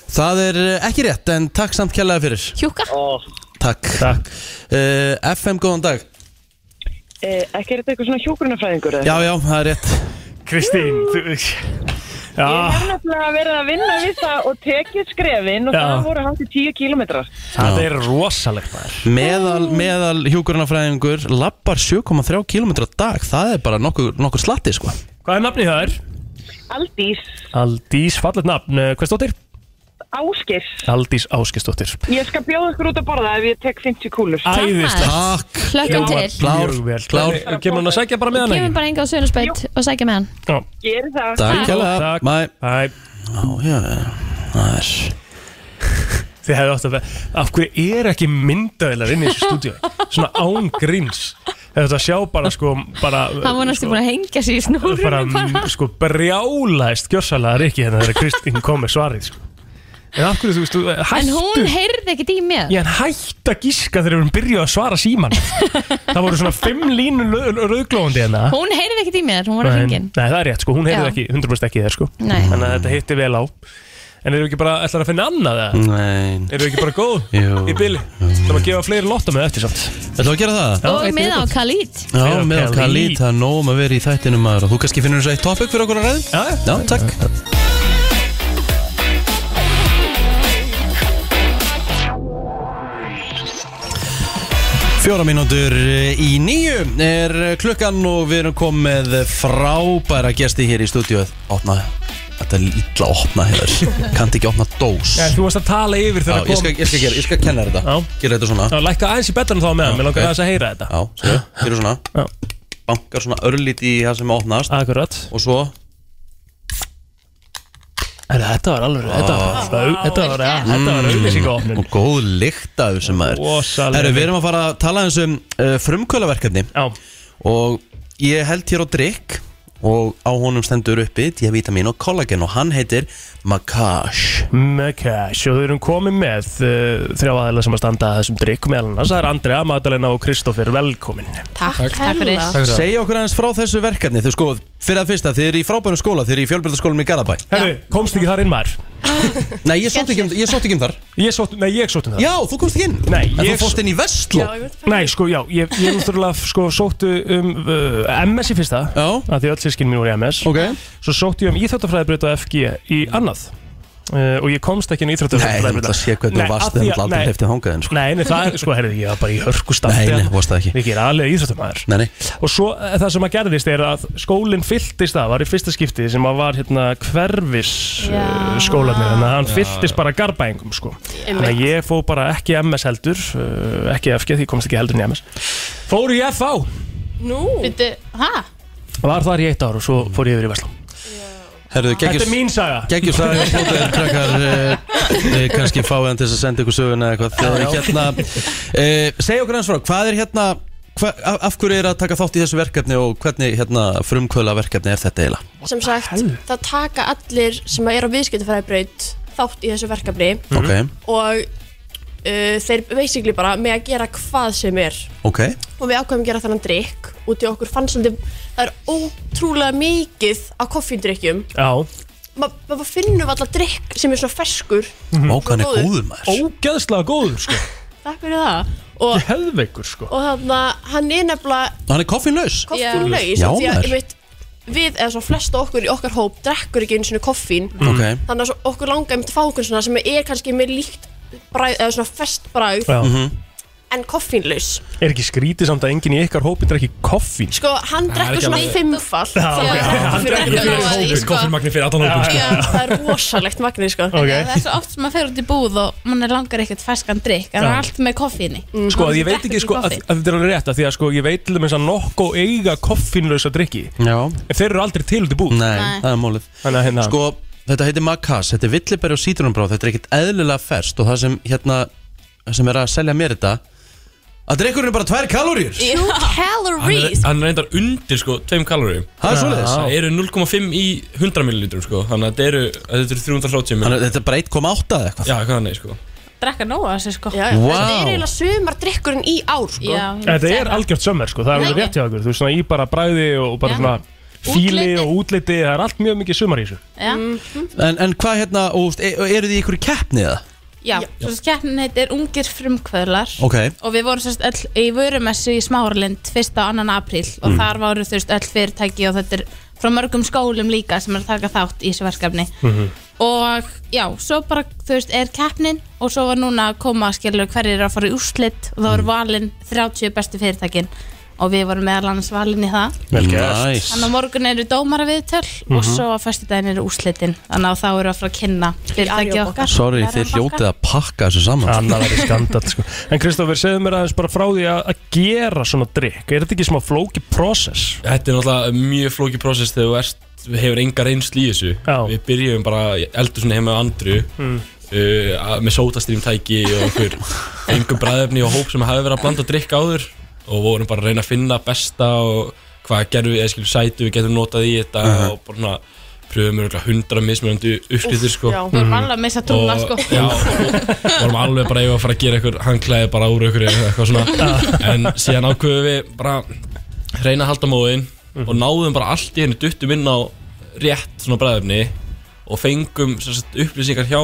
Speaker 1: Það er eh, ekki rétt En takk samt kjærlega fyrir
Speaker 2: Hjúka
Speaker 8: ó
Speaker 1: Takk
Speaker 3: Takk
Speaker 1: uh, FM, góðan dag
Speaker 5: eh, Ekki er þetta eitthvað svona hjókurunafræðingur eða?
Speaker 1: Já, já, það er rétt
Speaker 3: Kristín, þú
Speaker 5: Ég
Speaker 10: hérna.
Speaker 3: Já,
Speaker 5: hef nefnilega verið að vinna við það og tekið skrefin og
Speaker 3: Já.
Speaker 5: það voru hægt í tíu kílometrar.
Speaker 3: það er rosalegt maður
Speaker 1: Meðal, meðal hjúkurnafræðingur lappar 7,3 km dag Það er bara nokkur, nokkur slatti sko
Speaker 3: Hvað er nafnið það er?
Speaker 10: Aldís,
Speaker 3: Aldís, fallet nafn, Eh, hvers dóttir?
Speaker 10: Áskir
Speaker 3: Aldís Áskistóttir
Speaker 10: Ég skal bjóða ykkur út að borða ef ég tek 50 kúlur
Speaker 3: Ah, Æðislega
Speaker 1: Takk
Speaker 11: Hlökkum til
Speaker 1: Klár,
Speaker 3: Mjög vel.
Speaker 1: klár.
Speaker 3: Hvernig- Kemur hún að sækja bara með hann
Speaker 11: Kemum bara enga á Sönusbeit og sækja með hann
Speaker 3: Já.
Speaker 10: Gerið það
Speaker 1: Takk hérlega
Speaker 3: Takk.
Speaker 1: Mæ
Speaker 3: Æ,
Speaker 1: Já, já, já Það er
Speaker 3: Þið hefðu átt að vera Af hverju er ekki myndavilar inn í þessu stúdíu Svona án gríns Þið hefðu átt að sjá bara sko bara,
Speaker 11: Hann var næstu búin að hengja sér í snúrunum
Speaker 3: bara,
Speaker 11: bara.
Speaker 3: sko brjálaðist gjörsalega Rikki hérna þegar Kristín kom með svarið sko. En af hverju þú veist þú,
Speaker 11: En
Speaker 3: Hættu
Speaker 11: hún heyrði ekkert í mér
Speaker 3: Ég hann hætt að gíska þegar við erum byrjuð að svara síman Það voru svona fimm línu rauðglóðandi hérna
Speaker 11: Hún heyrði ekkert í mér, hún var að
Speaker 3: En-
Speaker 11: hringin
Speaker 3: Nei, það er rétt sko, hún heyrði
Speaker 11: Já.
Speaker 3: ekki, 100% ekki þér sko
Speaker 11: Nei.
Speaker 3: Þannig að þetta hitti vel á En eru ekki bara, ætlar að finna annað eða?
Speaker 1: Nein
Speaker 3: Eru ekki bara góð
Speaker 1: Jú.
Speaker 3: í byli? Það var að gefa fleiri lotta með eftir samt
Speaker 1: Ætlum við að gera það?
Speaker 3: Já,
Speaker 11: Og
Speaker 3: eitt
Speaker 11: með á
Speaker 3: viðbót.
Speaker 11: Khalid
Speaker 1: Já,
Speaker 3: Fyrir
Speaker 1: með
Speaker 3: Khalid.
Speaker 1: okkar lít, það er nóg um að vera í þættinum maður og þú kannski finnur þessu eitt topic fyrir okkur að ræðum
Speaker 3: Já, já.
Speaker 1: Já, takk Fjóra mínútur eh, í nýju er eh, klukkan og við erum komið frábæra gesti hér í stúdíu að opna, þetta er illa að opna hér, kannti ekki opna dós
Speaker 3: Já, þú varst að tala yfir
Speaker 1: Já,
Speaker 3: þegar
Speaker 1: ég
Speaker 3: það
Speaker 1: skal,
Speaker 3: kom
Speaker 1: ég skal, gera, ég skal kenna þér þetta
Speaker 3: Já.
Speaker 1: Gera þetta
Speaker 3: Já,
Speaker 1: svona
Speaker 3: lækka aðeins í betanum þá meðan, mér langar
Speaker 1: ok.
Speaker 3: aðeins að heyra þetta
Speaker 1: Já, séu, gera svona
Speaker 3: Já.
Speaker 1: Bankar svona örlíti í það sem opnast
Speaker 3: Akkurat
Speaker 1: Og svo
Speaker 3: Herra, Þetta var alveg, þetta var, þetta var, þetta var auðlýsingofnun
Speaker 1: mm, Og góð lykt af þessum maður
Speaker 3: Mm. Rosalega.
Speaker 1: Herru, við erum að fara að tala eins um uh, frumkvölaverkefni
Speaker 3: Já,
Speaker 1: Og ég held hér á drikk Og á honum stendur uppi D-vitamin og kollagen Og hann heitir Makash
Speaker 3: Mekash og þau erum komið með uh, þrjá aðeila sem að standa að þessum drikk meðal annars, það er Andrea, Magdalena og Kristoffer velkomin
Speaker 11: Takk, takk fyrir
Speaker 1: Segja okkur aðeins frá þessu verkefni Þau sko, fyrir að fyrsta, þið eru í frábærum skóla Þið eru í fjölbjöldaskólanum í Garabæ
Speaker 3: Herru, komst ekki þar inn maður?
Speaker 1: Nei, ég sótt ekki, um- ég sótt ekki um þar
Speaker 3: Ég sótt, nei, ég sótt um það
Speaker 1: Já, þú komst ekki inn
Speaker 3: Nei,
Speaker 1: En þú
Speaker 3: ég-
Speaker 1: fórst inn í Vestló
Speaker 3: Nei, sko, já, ég, ég náttúrulega sko, sóttu um uh, MS í fyrsta
Speaker 1: Já.
Speaker 3: að því öll sískin mín voru í MS
Speaker 1: Ok
Speaker 3: Svo sótti ég um íþjóttafræðibraut á FG í annað uh, og ég komst ekki inn í
Speaker 1: Nei, þú ætla að
Speaker 3: íþjóttafræðibraut
Speaker 1: sé hvernig þú varst Það er aldrei heftið hangað en sko
Speaker 3: Nei, nei, það er, sko, herrið, ég var bara í hörku
Speaker 1: Nei,
Speaker 3: standi hérna.
Speaker 1: nei, varst það ekki.
Speaker 3: Ég er alveg íþjóttamæður
Speaker 1: Nei, nei
Speaker 3: Og svo eh, það sem að gerðist er að skólinn fylltist það var í fyrsta skipti sem að var hérna hverfis uh, skólanir þannig að hann fylltist bara garbaengum sko. þannig að ég fó bara ekki í MS heldur uh, ekki í FG því ég komst ekki heldur inn í MS fór í FH
Speaker 12: Byrju, hæ?
Speaker 3: var þar í eitt ár og svo fór ég yfir í Vestlum
Speaker 1: Herðu, geggjus
Speaker 3: Þetta er mín saga
Speaker 1: Geggjum saga hljótaðir krakkar eh, eh, kannski fáið hann til þess að senda ykkur söguna eða eitthvað
Speaker 3: Já,
Speaker 1: þegar
Speaker 3: já.
Speaker 1: hérna eh, segja okkur hans frá, hvað er hérna hva, af, af hverju er að taka þátt í þessu verkefni og hvernig hérna frumkvöla verkefni er þetta eiginlega?
Speaker 12: Sem sagt, það taka allir sem er á viðskiptafræðibraut þátt í þessu verkefni
Speaker 1: Mhm.
Speaker 12: og uh, þeir basically bara með að gera hvað sem er
Speaker 1: Ok,
Speaker 12: og við ákveðum að gera þannan drikk út í okkur fannst svolítið, það er ótrúlega mikið af koffíndrykkjum
Speaker 3: Já,
Speaker 12: Ma- maður finnur alltaf drikk sem er svona ferskur
Speaker 1: ok, ókan er
Speaker 12: Góður.
Speaker 1: Mhm. góður maður
Speaker 3: ógeðslega góður sko
Speaker 12: takk fyrir það og,
Speaker 3: Helveikur sko
Speaker 12: og þarna, hann er nefnilega
Speaker 1: Hann er koffinlaus
Speaker 12: koffínlaus
Speaker 1: Já,
Speaker 12: af því að,
Speaker 1: maður.
Speaker 12: einmitt, við eða svona flesta okkur í okkar hóp drekkur ekki einu svona koffín
Speaker 3: Mm.
Speaker 1: Ok,
Speaker 12: þannig að svo okkur langar einmitt að fá okkur svona sem er kannski með líkt bræð, eða svona fest bræð
Speaker 3: Já.
Speaker 12: en koffínlaus
Speaker 3: Er ekki skrítið samt að enginn í ykkar hópi drekki koffín?
Speaker 12: sko hann drekkur svona fimmfall þannig að þetta
Speaker 3: hann
Speaker 12: fyrir
Speaker 3: drekkur fyrir
Speaker 12: öllum. Já,
Speaker 3: hópinn.
Speaker 2: Koffinmagni fyrir allan hópin
Speaker 12: já, það er rosalegt magnið sko
Speaker 3: Ok.
Speaker 2: Það er svo oft sem maður fer út í búð og mann langar ekkert ferskan drikk en
Speaker 3: Já.
Speaker 2: það er allt með koffinni
Speaker 3: Sko að ég veit ekki sko að, að þetta er alveg rétt að því að sko ég veit til dæmis að nokko eiga koffínlausa drikki
Speaker 1: já,
Speaker 3: en þeir eru aldrei til út í búð
Speaker 1: nei, það er mólið
Speaker 3: Þannig að hérna
Speaker 1: Sko, þetta heitir Makas, þetta er villibæri og sítrunumbráð Þetta er ekkert eðlilega ferst og það sem hérna, það sem er að selja mér þetta að drikkurinn er bara tvær kalóriur
Speaker 12: two calories
Speaker 2: Hann reyndar undir sko, tveim kaloríum
Speaker 1: Það er svoleiðis
Speaker 2: Það eru 0,5 í 100 millilitrum sko Þannig að þetta eru, að þetta eru 330 millilitrum
Speaker 1: Þannig að þetta er bara 1,8 eða eitthvað
Speaker 2: Já, hvað hann er sko
Speaker 12: drekka nóa þessi sko já, já.
Speaker 1: Wow.
Speaker 12: þetta er eiginlega sumar drikkurinn í ár sko
Speaker 3: Þetta er algjört sömmer sko, það er alveg rétt hjá okkur Þú veist svona í bara bræði og bara svona fíli
Speaker 2: Útliti.
Speaker 3: og útliti, það er allt mjög mikið sömmer í þessu
Speaker 1: En, en hvað hérna, og, e, eru þið í ykkur keppni eða?
Speaker 2: Já,
Speaker 12: Mm.
Speaker 2: svo keppnin heitir Ungir frumkvöðlar
Speaker 1: Ok,
Speaker 2: og við vorum sérst öll í vörumessu í Smáralind 1. og 2. apríl og þar voru þú veist öll fyrirtæki og þetta er frá mörgum skólum líka sem er að taka þátt í þessu verkefni og já, svo bara þú veist er keppnin og svo var núna að koma að skilja hverjir eru að fara í úrslit og þá voru valin 30 bestu fyrirtækin
Speaker 13: og við vorum meðal annars valin í það
Speaker 1: Vel gert. Nice.
Speaker 13: Þannig að morgun eru dómara viðtöl og
Speaker 1: Mhm.
Speaker 13: svo að föstudaginn eru úslitin þannig að þá eru að fara að kynna fyrirtæki okkar
Speaker 1: Sorry, þið hljótið að pakka þessu saman
Speaker 3: Annað væri skandal sko. En Kristófur, segðu mér aðeins bara frá því að, að gera svona drikk Er þetta ekki smá flóki process?
Speaker 12: Þetta er náttúrulega mjög flókið prósess þegar þú ert, hefur enga reynslu í þessu Já. Við byrjum bara eldur svona heima á andru mm.
Speaker 3: Mm.
Speaker 12: uh, að- með sótastrým tæki og okkur engum bræðefni og hóp sem hafi verið að blanda og drikka áður og vorum bara að reyna að finna besta og hvað gerðum við, eða skilur sætu við getum notað í þetta
Speaker 1: Mhm.
Speaker 12: og bara svona pröfum við hundra mismunandi uppskriftir sko
Speaker 13: Já, við vorum alveg að missa trúna
Speaker 12: Og-
Speaker 13: sko
Speaker 12: já, vorum alveg bara eigum að fara að gera ykkur hangklæði bara úr ykkur eða eitthvað svona en síðan ákveðum við bara reyna að halda móðin og náðum bara allt í henni duttum inn á rétt svona bræðefni og fengum sem sagt, upplýsingar hjá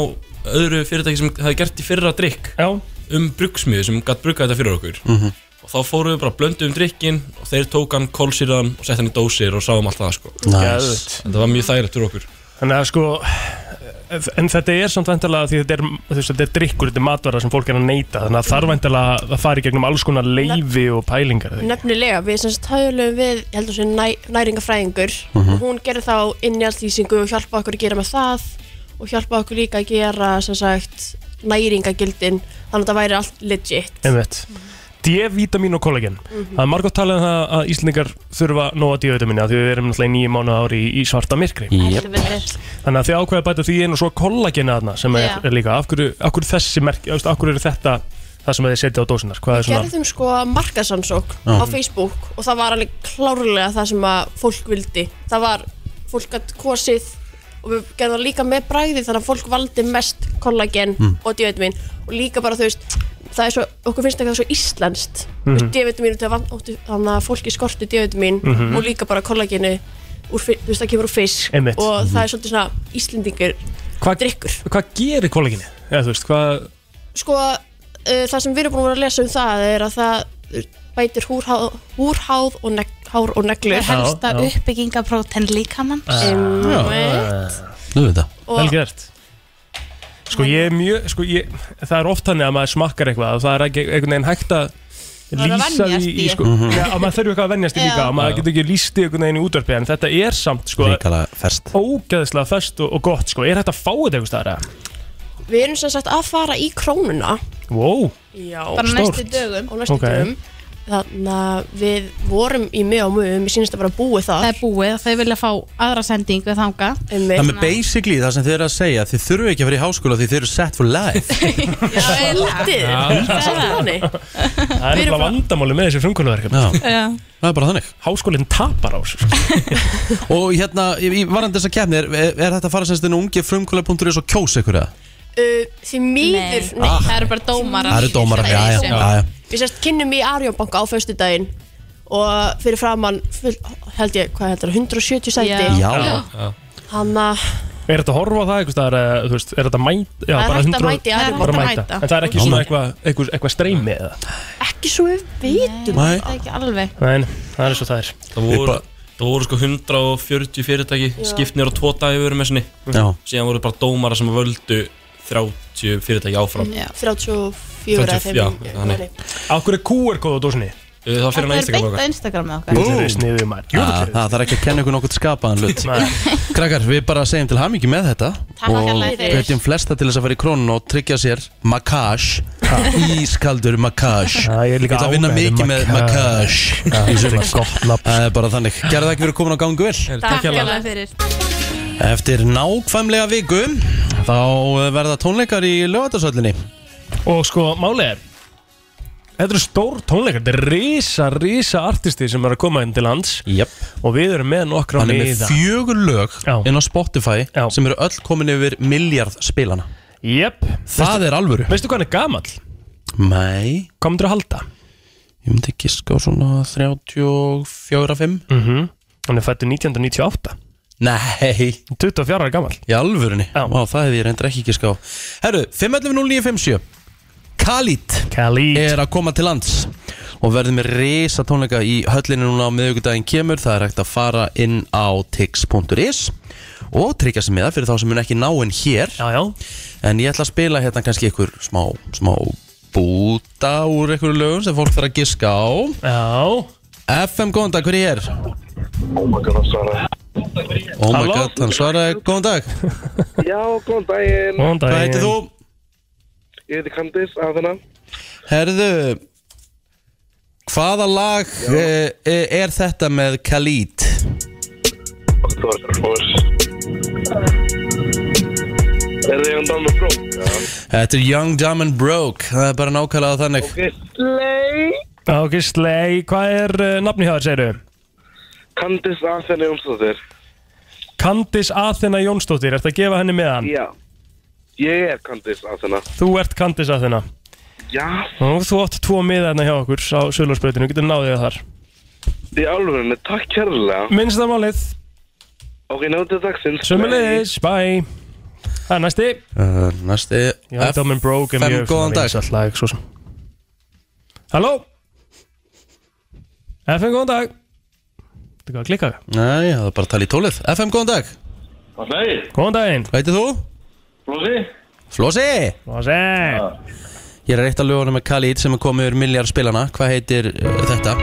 Speaker 12: öðru fyrirtæki sem hafði gert í fyrra drikk
Speaker 3: já.
Speaker 12: um brugsmiðu sem gætt brugga þetta fyrir okkur
Speaker 1: Mhm.
Speaker 12: og þá fórum við bara blöndu um drikkin og þeir tók hann, kólsýrði hann og sett hann í dósir og sáum allt það sko
Speaker 3: Mhm.
Speaker 1: Nice.
Speaker 3: Geðveikt.
Speaker 12: en það var mjög þægilegt fyrir okkur
Speaker 3: Þannig að sko En þetta er samt væntalega því þetta er, þú veist, þetta er drikkur, þetta er matvara sem fólk er að neyta Þannig að
Speaker 10: Mhm.
Speaker 3: þarf væntalega að fara í gegnum alls konar leifi og pælingar eða ekki?
Speaker 10: Nefnilega, við sem stöðlum við, ég heldur sem næ, næringafræðingur
Speaker 3: Mhm.
Speaker 10: og hún gerir þá innjaldlýsingu og hjálpa okkur að gera með það og hjálpa okkur líka að gera sem sagt næringagildin þannig að það væri allt legit
Speaker 3: Einmitt. D-vitamin og kollagen
Speaker 10: Mhm.
Speaker 3: Það er margótt talað um það að Íslendingar þurfa nóga D-vitamin að því við erum náttúrulega í nýju mánuð ári í, í svarta myrkri
Speaker 13: Yep.
Speaker 3: Þannig að þið ákveða að bæta því inn og svo kollagena þarna sem er,
Speaker 10: Já.
Speaker 3: er líka af hverju, af hverju þessi merk, af hverju er þetta það sem þið setja á dósinar Hvað er svona
Speaker 10: gerðum sko markasansók
Speaker 3: Já.
Speaker 10: á Facebook og það var alveg klárlega það sem að fólk vildi það var fólk að kosið og við gerðum það líka með bræði þannig að fólk valdi mest kollagen
Speaker 3: Hmm.
Speaker 13: Mm.
Speaker 10: og D-vitamin og líka bara þú veist það er svo, okkur finnst eitthvað svo íslenskt mm
Speaker 13: Mhm.
Speaker 10: -hmm. D-vitamin, það vant- óttu- þannig að fólki skorti D-vitamin
Speaker 3: Mhm.
Speaker 10: og líka bara kollagenu úr, fi- þú veist það kemur úr fisk
Speaker 3: Einmitt.
Speaker 10: og það er
Speaker 3: Mhm.
Speaker 10: svolítið svona íslendingur
Speaker 3: Hvað drikkur? Hvað gerir kollageni? Já, þú veist, hvað
Speaker 10: sko, uh, það sem við erum búin að vera að lesa um það er að það bætir húrháð, húrháð og neg, hár og neglur
Speaker 13: Það helst að uppbygginga prótein líkamann
Speaker 1: Nú veit það
Speaker 10: Og-
Speaker 3: Vel gert Sko ég er mjög sko, ég, Það er oft þannig að maður smakkar eitthvað og það er ekki einhvern veginn hægt að
Speaker 13: er að
Speaker 3: lýsa
Speaker 13: venjast
Speaker 3: því í
Speaker 13: í.
Speaker 3: sko,
Speaker 1: Mhm.
Speaker 3: Já, að maður þarf eitthvað að venjast í
Speaker 13: Já.
Speaker 3: líka og maður
Speaker 1: Já.
Speaker 3: getur ekki lýst í einhvern veginn í útvarpi en þetta er samt sko
Speaker 1: Ríkala fest
Speaker 3: Ógeðslega fest og, og gott sko Er þetta að fá þetta einhvers staðar? eða?
Speaker 10: Við erum sem sagt að fara í krónuna
Speaker 3: Wow
Speaker 10: Já,
Speaker 3: Bara næstu Stórt.
Speaker 10: dögum Og næstu
Speaker 3: Ok.
Speaker 10: dögum Þannig að við vorum í mig á mögum, ég sínist að bara búið það
Speaker 13: Það er búið, þau vilja fá aðra sendingu þanga
Speaker 1: Það með basically það sem þið eru að segja Þið þurfu ekki að fara í háskóla því þið eru set for life
Speaker 10: Eldið, það er svolítið þannig
Speaker 3: Það er
Speaker 10: Við erum
Speaker 3: eitthvað vandamáli með þessi frumkvöluverkefni
Speaker 10: Já.
Speaker 1: Það er bara þannig
Speaker 3: Háskólinn tapar á þessu sko.
Speaker 1: Og hérna, í- í varandi þessa kefni Er, er er þetta að fara semst inn á unge frumkvöla.is og kjósa ykkur það?
Speaker 10: uh, Því miður, nei,
Speaker 1: Ah.
Speaker 10: það eru bara dómarar
Speaker 1: Það eru dómarar, já, já, já, já.
Speaker 10: Við sérst kynnum í Arjónbanka á föstudaginn og fyrir framann full, held ég, hvað heldur, 170 sæti
Speaker 3: Já.
Speaker 10: Þannig að
Speaker 3: Er þetta að horfa á það einhvers staðar, eða, þú veist, er þetta mæta Já,
Speaker 10: Það er
Speaker 3: bara
Speaker 10: hægt að
Speaker 3: 100
Speaker 10: mæta í Arion
Speaker 3: bara
Speaker 10: Banka.
Speaker 3: mæta.
Speaker 10: Mæta.
Speaker 3: En það er ekki
Speaker 10: Já.
Speaker 3: svona eitthvað eitthvað, eitthvað streymi eða
Speaker 10: ekki svo við vitum
Speaker 3: Nei.
Speaker 10: það
Speaker 13: ekki alveg
Speaker 3: Nei, það er svo það er
Speaker 12: það voru, það voru sko 140 fyrirtæki skipt nýra tvo dagi við vorum með sinni
Speaker 1: Já.
Speaker 12: síðan voru bara dómara sem völdu 30 fyrirtæki áfram
Speaker 10: 34 eða
Speaker 12: 30, já,
Speaker 10: 5
Speaker 12: þannig.
Speaker 3: Akkur er QR-kóð á dósinni?
Speaker 12: Það
Speaker 13: Það er beint á Instagram með okkar
Speaker 3: Þeir eru sniðum að
Speaker 1: Já, það þarf ekki að kenna ykkur nokkuð skapaðan hlut Krakkar, við bara segjum til hamingi með þetta
Speaker 13: Takk
Speaker 1: og
Speaker 13: hérlega fyrir.
Speaker 1: hvetjum flesta til þess að fara í krónun og tryggja sér makash ískaldur makash
Speaker 3: Ég
Speaker 1: ætla um að vinna mikið með makash í sumar. Það er bara þannig Gerðu það ekki fyrir komin á gangu vel
Speaker 13: Takk alveg fyrir
Speaker 1: Eftir nákvæmlega viku þá eh, verða tónleikar í lögatarsöllinni
Speaker 3: Og sko, málið er Þetta eru stór tónleikar, þetta er risa, risa artisti sem er að koma inn til lands
Speaker 1: yep.
Speaker 3: Og við erum með nokkra
Speaker 1: Hann er með
Speaker 3: miða.
Speaker 1: fjögur lög inn á Spotify sem eru öll komin yfir miljard spilana
Speaker 3: Jep
Speaker 1: Það er alvöru
Speaker 3: Veistu hvað hann er gamall?
Speaker 1: Nei
Speaker 3: Hvað myndir að halda?
Speaker 1: Ég myndi giska á svona 34-5
Speaker 3: mm -hmm. Hann er fættur 1998
Speaker 1: Nei
Speaker 3: 24 ára gamall
Speaker 1: Í alvörunni Já Vá, það hefði ég reyndar ekki giska á Herru, 511-0957 Khalid
Speaker 3: Khalid
Speaker 1: Er að koma til lands Og verður með risa tónleika í höllinu núna á miðvikudaginn kemur Það er hægt að fara inn á tix.is Og tryggja sem með það fyrir þá sem mun ekki náinn hér
Speaker 3: Já, já
Speaker 1: En ég ætla að spila hérna kannski ykkur smá, smá búta úr ykkur lögum sem fólk þarf að giska á
Speaker 3: Já
Speaker 1: FM, góðan dag, hver er ég er?
Speaker 14: Oh my god, hann svaraði
Speaker 1: Oh my
Speaker 14: Halló?
Speaker 1: god, hann svaraði, góðan dag
Speaker 14: Já, góðan daginn
Speaker 1: Hvað heitir þú?
Speaker 14: Ég heiti Candice, að þennan
Speaker 1: Herðu Hvaða lag eh, eh, er þetta með Khalid?
Speaker 14: October Force Er þið hann Donald Bro?
Speaker 1: Þetta er Young, Dumb and Broke Það er bara nákvæmlega þannig
Speaker 14: Slay
Speaker 3: Ok, slei, hvað er uh, nafni hjá þér, segirðu?
Speaker 14: Candice Athena Jónsdóttir
Speaker 3: Candice Athena Jónsdóttir, ertu að gefa henni meðan?
Speaker 14: Já Ég er Candice Athena
Speaker 3: Þú ert Candice Athena
Speaker 14: Já,
Speaker 3: og þú átt tvo miða hérna hjá okkur á Sölursbreytinu, getur náðið það þar
Speaker 14: í alvörinu, takk kærlega
Speaker 3: Minnst það málið,
Speaker 14: Ok, náttu dagsins
Speaker 3: sömulegis, bye Það er næsti
Speaker 1: uh, Næsti
Speaker 3: Já, Dumb and Broke er
Speaker 1: FM,
Speaker 3: mjög
Speaker 1: góðan dag
Speaker 3: vinsælt lag, svo sem Halló FM, góðan dag Þetta er hvað að klikka
Speaker 1: Nei, það er bara að tala í tólið FM, góðan dag
Speaker 14: Hvað segir?
Speaker 3: Góðan daginn
Speaker 1: Hvað heitir þú?
Speaker 14: Flósi?
Speaker 1: Flósi
Speaker 3: Flósi
Speaker 1: Ég er að reyta lögunum með Khalid sem er komið yfir milljar spilana Hvað heitir uh, þetta?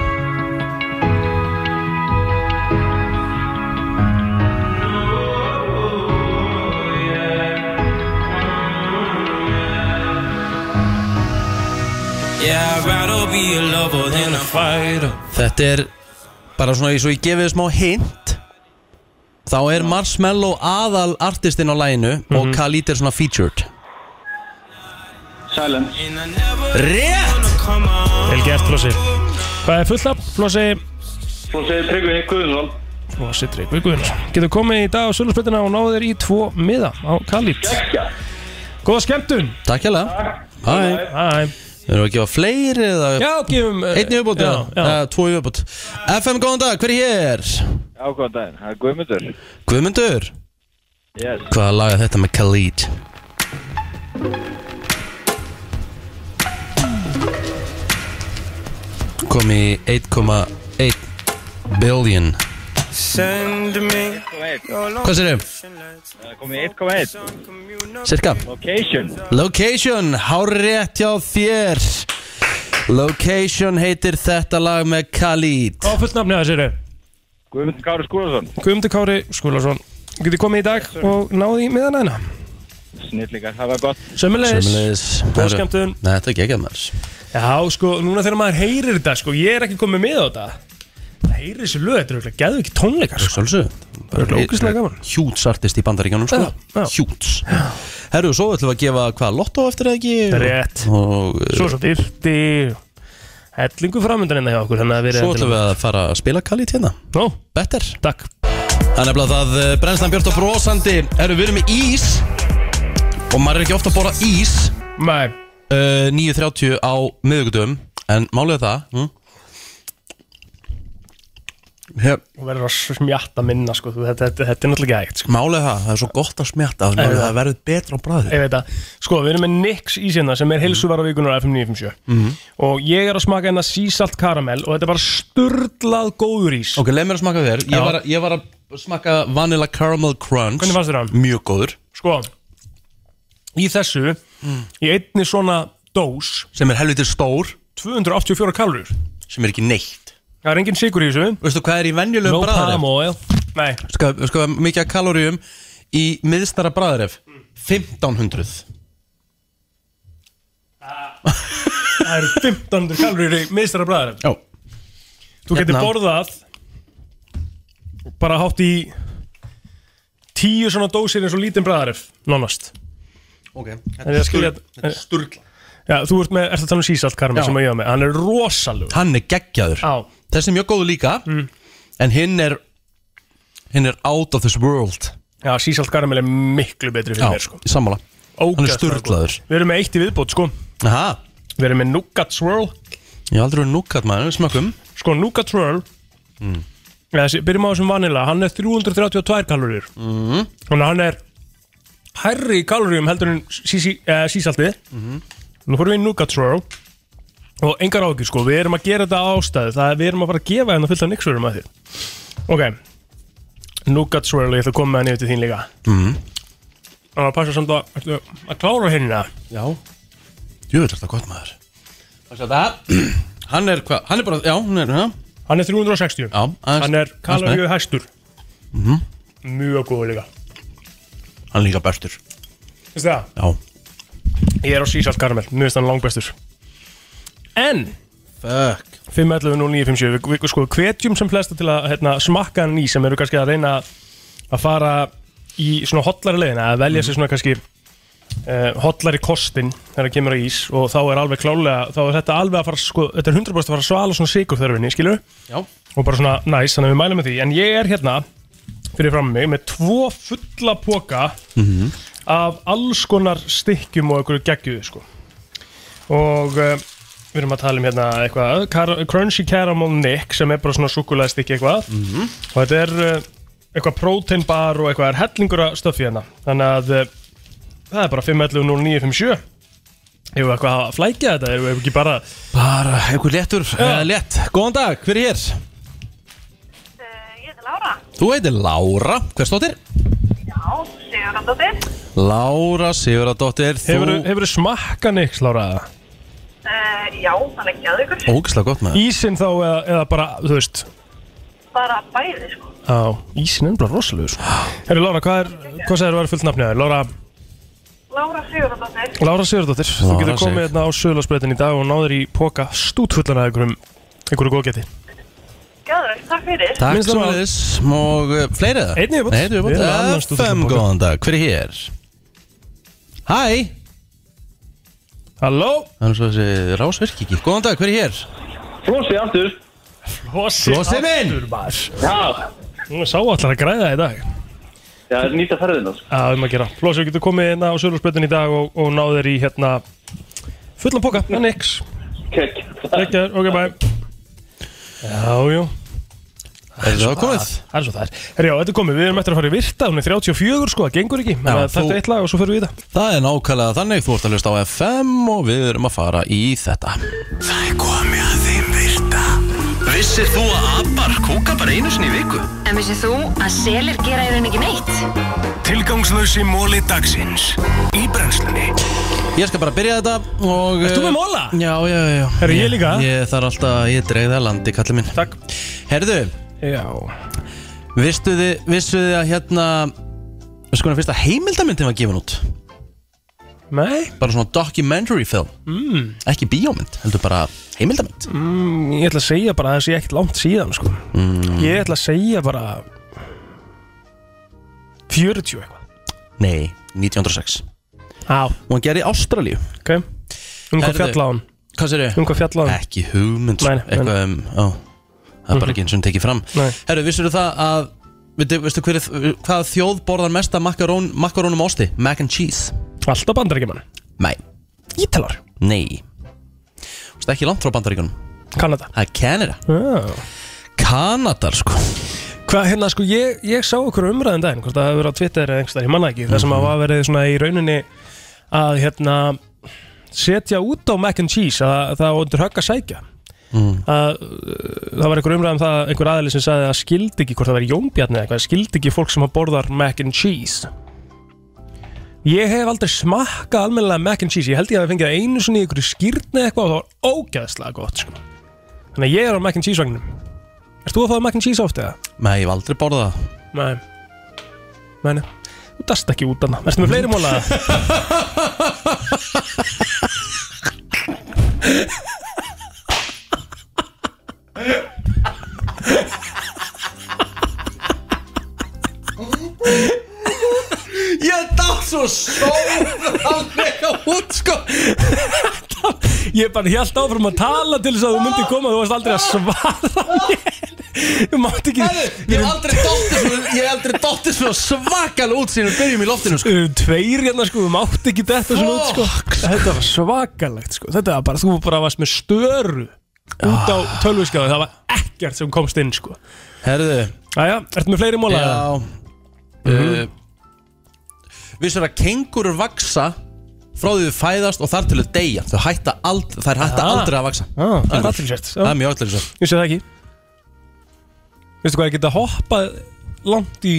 Speaker 4: Yeah, I'd rather be a lover than a fighter
Speaker 1: Þetta er bara svona eins og ég gefið smá hint Þá er Marshmello aðal artistinn á læginu og Khalid er svona featured
Speaker 14: Silence
Speaker 1: Rétt
Speaker 3: Vel gert, Flossi Hvað er fullnafn, Flossi?
Speaker 14: Flósi, Tryggvi, Guðunsson
Speaker 3: Flossi Tryggvi Guðunarsson Getur komið í dag á Sölursbreytina og náðið þér í tvo miða á Kalít Góða skemmtun
Speaker 1: Takk hérlega Hæ
Speaker 3: Hæ
Speaker 1: Við erum að gefa fleiri eða
Speaker 3: Já, gefum eh,
Speaker 1: Einni viðbót
Speaker 3: já,
Speaker 1: eða
Speaker 3: já.
Speaker 1: eða Tvo í viðbót FM, góðan dag, hver er hér?
Speaker 15: Já, góðan daginn, það er Guðmundur
Speaker 1: Guðmundur
Speaker 15: Yes
Speaker 1: Hvaða lag er þetta með Khalid? Kom í 1,1 billion
Speaker 4: Send me
Speaker 1: Hvað segirðu?
Speaker 15: Það kom í 1,1
Speaker 1: Cirka
Speaker 15: Location
Speaker 1: Location, hár rétt hjá þér Location heitir þetta lag með Khalid
Speaker 3: Hvað er fullnafni að þessiru?
Speaker 15: Guðmundur Kári Skúlason
Speaker 3: Guðmundur Kári Skúlarsson Getur komið í dag og náðið í miðan aðeina
Speaker 15: Snillingar, það var gott
Speaker 3: Sömmulegis
Speaker 1: Sömuleiðis.
Speaker 3: Góð skemmtun
Speaker 1: Nei, þetta er ekki ekki að maður
Speaker 3: Já, sko, núna þegar maður heyrir þetta, sko, ég er ekki komið með á þetta Það heyrir þessi lög, þetta er auðvitað geðu ekki tónleikar, sko
Speaker 1: Sjálfsög
Speaker 3: Það er örugglega ógeðslega gaman.
Speaker 1: Hjúts artist í bandaríkjanum sko
Speaker 3: Já, já.
Speaker 1: Hjúts Herru, svo ætlum við að gefa hvað lotto eftir eða ekki og-
Speaker 3: Rétt.
Speaker 1: Og eh,
Speaker 3: Svo svo dyrti Hellingu framöndan hérna hjá okkur, þannig að við
Speaker 1: svo ætlum við að fara að spila Khalid hérna
Speaker 3: Nó
Speaker 1: Better
Speaker 3: Takk
Speaker 1: Það er nefnilega það eh, brennslan björt og brosandi Herru, við erum með ís Og maður er ekki ofta að bora ís
Speaker 3: Nei
Speaker 1: uh, 9.30 á miðugdum En málið er það hm? Hef,
Speaker 3: Þú verður að smjatta minna, sko, þú, þetta, þetta, þetta er náttúrulega ekki hægt, sko
Speaker 1: Málið er það, það er svo gott að smjatta að
Speaker 3: Nei,
Speaker 1: Málið er
Speaker 3: það-
Speaker 1: það verður betra á bræði
Speaker 3: Ég veit að, sko, við erum með Nix í sinna sem er heilsuvar á vikunar FM 957
Speaker 1: Mhm.
Speaker 3: Og ég er að smaka hérna sísalt karamell og þetta er bara sturdlað góður ís
Speaker 1: Ok, leið mér að smaka þér
Speaker 3: Já.
Speaker 1: Ég var, að- ég var að smaka Vanilla Caramel Crunch
Speaker 3: Hvernig fannst þér hann?
Speaker 1: Mjög góður
Speaker 3: Sko, í þessu,
Speaker 1: Mm.
Speaker 3: í einni svona dós
Speaker 1: Sem er helviti stór
Speaker 3: 284 kalorur
Speaker 1: Sem er ekki neitt
Speaker 3: Það er enginn sigur í þessu
Speaker 1: Veistu hvað er í venjulegum
Speaker 3: No
Speaker 1: bragðaref?
Speaker 3: palm oil Nei
Speaker 1: Ska, ska, Mikið af kaloríum Í miðstara bræðaref 1500
Speaker 3: Það eru 1500 kalorir í miðstara bræðar
Speaker 1: Já
Speaker 3: Þú getur
Speaker 1: Hérna.
Speaker 3: borðað Bara hátt í Tíu svona dósir eins og lítinn bræðaref Nánast
Speaker 1: Ok
Speaker 3: En ég skilja-
Speaker 1: Sturla
Speaker 3: Já, þú ert með, ert að tala um sísalt karma
Speaker 1: Já.
Speaker 3: sem að ég var með Hann er rosalegur
Speaker 1: Hann er geggjaður
Speaker 3: Já
Speaker 1: Þessi er mjög góður líka En hinn er Hinn er out of this world
Speaker 3: Já, sísalt karamell er miklu betri fyrir
Speaker 1: Já,
Speaker 3: mér sko
Speaker 1: sammála Hann er
Speaker 3: Ógeðslega
Speaker 1: sturglaður
Speaker 3: góð. Við erum með eitt í viðbót sko
Speaker 1: Aha,
Speaker 3: Við erum með nougat swirl
Speaker 1: ég hef aldrei verið núkat maður, smakum
Speaker 3: Sko, nougat swirl
Speaker 1: Mm.
Speaker 3: ja, þessi, Byrjum á þessum vanilla Hann er 332 kalorir
Speaker 1: mm.
Speaker 3: Þannig að hann er Hærri í kaloríum heldur en sísi, uh, sísaltið
Speaker 1: Mm-hmm.
Speaker 3: Nú fórum við í nougat swirl Og engar ákir sko Við erum að gera þetta á ástæðu Það er við erum að fara að gefa hennar fullt af nixurum að þér Ok Nougat swirl, ég ætla að koma með hann yfir til þín líka
Speaker 1: Mm.
Speaker 3: Það var að passa samt að, ættu að klára hérna
Speaker 1: Já Jú, þetta er gott maður Hvað sér það? Hann er hvað, hann er bara, já, hann er, hæ?
Speaker 3: Hann er 360 Já,
Speaker 1: aðeins-
Speaker 3: Hann er
Speaker 1: aðeins
Speaker 3: kaloríu
Speaker 1: meir.
Speaker 3: hæstur
Speaker 1: Mhm.
Speaker 3: Mjög góð líka
Speaker 1: Hann er líka bestur
Speaker 3: Veistu það?
Speaker 1: Já.
Speaker 3: Ég er á sísalt karamell, mér finnst hann langbestur En
Speaker 1: Fuck
Speaker 3: 5.11.09.57 Við, við sko hvetjum sem flesta til að hérna, smakka hann í sem eru kannski að reyna að fara í svona hotlari leiðina að
Speaker 1: Mhm.
Speaker 3: velja sér svona kannski uh, hotlari kostin þegar það kemur að ís og þá er alveg klálega þá er þetta alveg að fara sko, þetta er 100% að fara að svala svona sigur þörfinni, skilur
Speaker 1: Já.
Speaker 3: og bara svona næs, nice, þannig að við mælum með því en ég er hérna fyrir fram mig með tvo fulla póka af alls konar stykkjum og einhverju geggjuðu sko. og uh, við erum að tala um hérna eitthvað Car Crunchy Caramel Nick sem er bara svona súkulega stykki eitthvað
Speaker 1: Mhm.
Speaker 3: og þetta er uh, eitthvað protein bar og eitthvað er hellingur að stöffi hérna þannig að uh, það er bara 5.11.09.57 Hefur við eitthvað að flækja þetta? Hefur við ekki bara...
Speaker 1: Bara einhver léttur, eða létt Góðan dag, hver er hér? Þú heitir Lára, hver stóttir?
Speaker 10: Já, Sigurðardóttir.
Speaker 1: Lára Sigurðardóttir
Speaker 3: Hefur, hefur smakka neiks, Lára?
Speaker 10: Uh, já, hann er gæðugur.
Speaker 1: Ógislega gott með
Speaker 3: Ísinn þá eða, eða bara, þú veist
Speaker 10: Bara bæði, sko.
Speaker 3: á, Ísinn er bara rosalegu sko. Herri, Lára, hvað, er, hvað segir þú að vera fullt nafni á þér? Lára,
Speaker 10: Lára Sigurðardóttir.
Speaker 3: Lára Sigurdóttir, þú
Speaker 1: Lára
Speaker 3: getur komið
Speaker 1: Sig.
Speaker 3: hérna á Söðlarsbreytin í dag og náður í póka stútfullana einhverjum, einhverju góðgeti
Speaker 10: Gæðugur, takk fyrir.
Speaker 1: Takk
Speaker 3: Minnst
Speaker 1: sem
Speaker 3: það var-
Speaker 1: að þess Og uh, fleiri það?
Speaker 3: Einn í viðbót.
Speaker 1: Einn
Speaker 3: Við erum
Speaker 1: viðbútt
Speaker 3: annars
Speaker 1: FM,
Speaker 3: stúdent að borga.
Speaker 1: góðan dag, hver er hér? Hæ
Speaker 3: Halló
Speaker 1: Þannig svo þessi rásverk ekki Góðan dag, hver er hér?
Speaker 16: Flossi aftur
Speaker 3: Flossi
Speaker 1: Flossi minn!
Speaker 3: aftur, maður.
Speaker 16: Já,
Speaker 3: Nú sá allar að græða í dag
Speaker 16: já það er nýta ferðina sko.
Speaker 3: að um að gera Flossi, þú getur komið hérna á Söðlarsbreytin í dag og, og náður í hérna fullan póka, en neiks
Speaker 16: Kekk
Speaker 3: Kekk, ok, bye Já, jú
Speaker 1: Er það komið?
Speaker 3: Það er svo það er Herjá, þetta er komið, við erum eftir að fara í virta, hún er 34 sko, það gengur
Speaker 1: Já,
Speaker 3: ekki Já, Þetta
Speaker 1: þú-
Speaker 3: er eitt lag og svo förum við í það
Speaker 1: Það er nákvæmlega þannig, þú ert að hlusta á FM og við erum að fara í þetta
Speaker 4: Það er komið að þeim virta Vissir þú að abar kúka bara einu sinni í viku?
Speaker 17: En vissið þú að selir gera í rauninni ekki neitt?
Speaker 4: Tilgangslösi móli dagsins Í brennslunni
Speaker 1: Ég skal bara byrja þetta og eh,
Speaker 4: Ert þú með
Speaker 3: móla?
Speaker 1: Já, já, já, já
Speaker 3: Herru, ég líka?
Speaker 1: Ég þarf alltaf, ég dreigði að landi, kallið minn
Speaker 3: Takk
Speaker 1: Herðu,
Speaker 3: Já
Speaker 1: vissuð þið, vissuð þið að hérna Sko, hvernig fyrsta heimildamyndin var gefin út?
Speaker 3: Nei
Speaker 1: Bara svona documentary film
Speaker 3: mm.
Speaker 1: Ekki bíómynd, heldur bara heimildamynd
Speaker 3: Mm, Ég ætla að segja bara að það sé ekkert langt síðan sko.
Speaker 1: mm,
Speaker 3: Ég ætla að segja bara 40 eitthvað
Speaker 1: Nei, 1906
Speaker 3: Á
Speaker 1: Og hann gerði í Ástralíu
Speaker 3: Ok Um hvað
Speaker 1: Herðu,
Speaker 3: fjalla hann?
Speaker 1: Hvað sér ég?
Speaker 3: Um hvað fjalla hann?
Speaker 1: Ekki hugmynd
Speaker 3: Nei, Mhm. nei,
Speaker 1: Eitthvað um, á, það er bara ekki eins og hann tekið fram
Speaker 3: Nei.
Speaker 1: Herru, vissur þú það að Veitu, veistu hver, er- hvað þjóð borðar mest af makkarón, makkarónum ásti? Mac and cheese
Speaker 3: Alltaf bandaríkjumann?
Speaker 1: Nei
Speaker 3: Ítalar?
Speaker 1: Nei Veistu ekki langt frá bandaríkunum?
Speaker 3: Kanada
Speaker 1: Það er Canada
Speaker 3: Já
Speaker 1: Kanadar sko
Speaker 3: Hvað hérna sko, ég, ég sá okkur umræðin daginn Hvort að það hefur verið á Twitter eða einhverstaðar, ég manna ekki Það sem að var verið svona í rauninni Að hérna setja út á mac and cheese að það var undir högg að sækja
Speaker 1: mm.
Speaker 3: að uh, það var einhver umræðum það einhver aðeins sem sagði að skildi ekki hvort það var jónbjarni eða eitthvað, skildi ekki fólk sem að borðar mac and cheese ég hef aldrei smakkað almennilega mac and cheese, ég held ég að það fengið það einu svona í einhverju skýrni eitthvað og það var ógæðslega gott sko. þannig að ég er á mac and cheese vagnum Erst þú að fáið mac and cheese oft eða?
Speaker 1: Nei, ég hef aldrei borðað það
Speaker 3: Nei Nei, nei Þú dast ekki út annað Erstu með fleiri móla?
Speaker 1: Ég datt svo stóðanlega út sko
Speaker 3: Ég bara hjælt áfram að tala til þess að þú myndir koma Þú varst aldrei að svara mér Þú mátt ekki
Speaker 1: Ég hef aldrei dóttið svona, ég hef aldrei dóttið svona svakal út síðan við byrjum í loftinu sko
Speaker 3: Tveir hérna sko, þú mátt ekki þetta svona út sko Þetta var svakalegt sko Þetta var bara, þú bara varst með störu Út á
Speaker 1: Ah.
Speaker 3: tölviskaðu Það var ekkert sem komst inn sko
Speaker 1: Herðu
Speaker 3: Æja, ertu með fleiri móla?
Speaker 1: Já uh, Vissur að kengur vaksa frá því þau fæðast og þar til þau deyja þau hætta ald, þær hætta
Speaker 3: Ah.
Speaker 1: aldrei að vaksa
Speaker 3: Ah, það er
Speaker 1: Kengúrur.
Speaker 3: athyglisvert. Já.
Speaker 1: það er mjög allir sér
Speaker 3: Ég sé það ekki Veistu hvað, ég geta hoppað langt í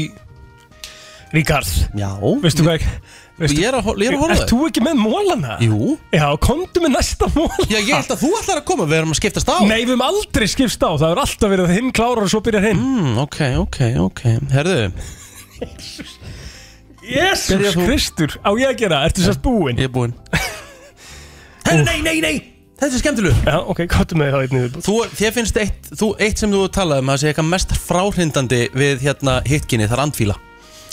Speaker 3: Ríkard
Speaker 1: Já
Speaker 3: Veistu hvað ekki veistu,
Speaker 1: Ég er að hor- ég er að horfa á
Speaker 3: Ert
Speaker 1: þig.
Speaker 3: þú ekki með mólana?
Speaker 1: Jú
Speaker 3: Já, komdu með næsta móla
Speaker 1: Já, ég held að þú ætlar að koma, við erum að skiptast á
Speaker 3: Nei, við höfum aldrei skipst á Það er alltaf verið að hinn klárar og svo byrjar hinn
Speaker 1: mm, Ok, ok, ok Herðu
Speaker 3: Jésús
Speaker 1: þú-
Speaker 3: Kristur Á ég að gera, ertu sérst búinn?
Speaker 1: Ég er búinn Herru, nei, nei, nei Þetta er skemmtileg
Speaker 3: Já, ok, kottum með það einnig
Speaker 1: Þú, þér finnst eitt, þú, eitt sem þú talaði um að sé eitthvað mest fráhrindandi við hérna hitkinni, það er andfíla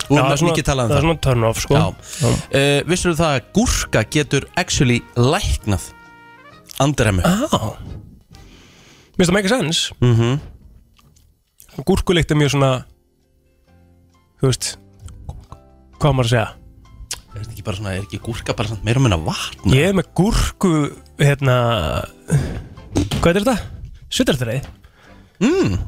Speaker 1: Þú erum
Speaker 3: Já,
Speaker 1: að
Speaker 3: svona-
Speaker 1: mikið talað um
Speaker 3: það
Speaker 1: það
Speaker 3: er svona turn off, sko.
Speaker 1: Já,
Speaker 3: Já.
Speaker 1: Uh, Vissur það að gúrka getur actually læknað andremmu
Speaker 3: ah. Mér finnst það make sense
Speaker 1: mm
Speaker 3: Gúrkuleikt er mjög svona Þú veist Hvað á maður að segja?
Speaker 1: Er þetta ekki bara svona, er ekki gúrka bara svona meira og minna vatn?
Speaker 3: Ég er með gúrku Hérna Hvað er þetta? Svittartreið
Speaker 1: Mm,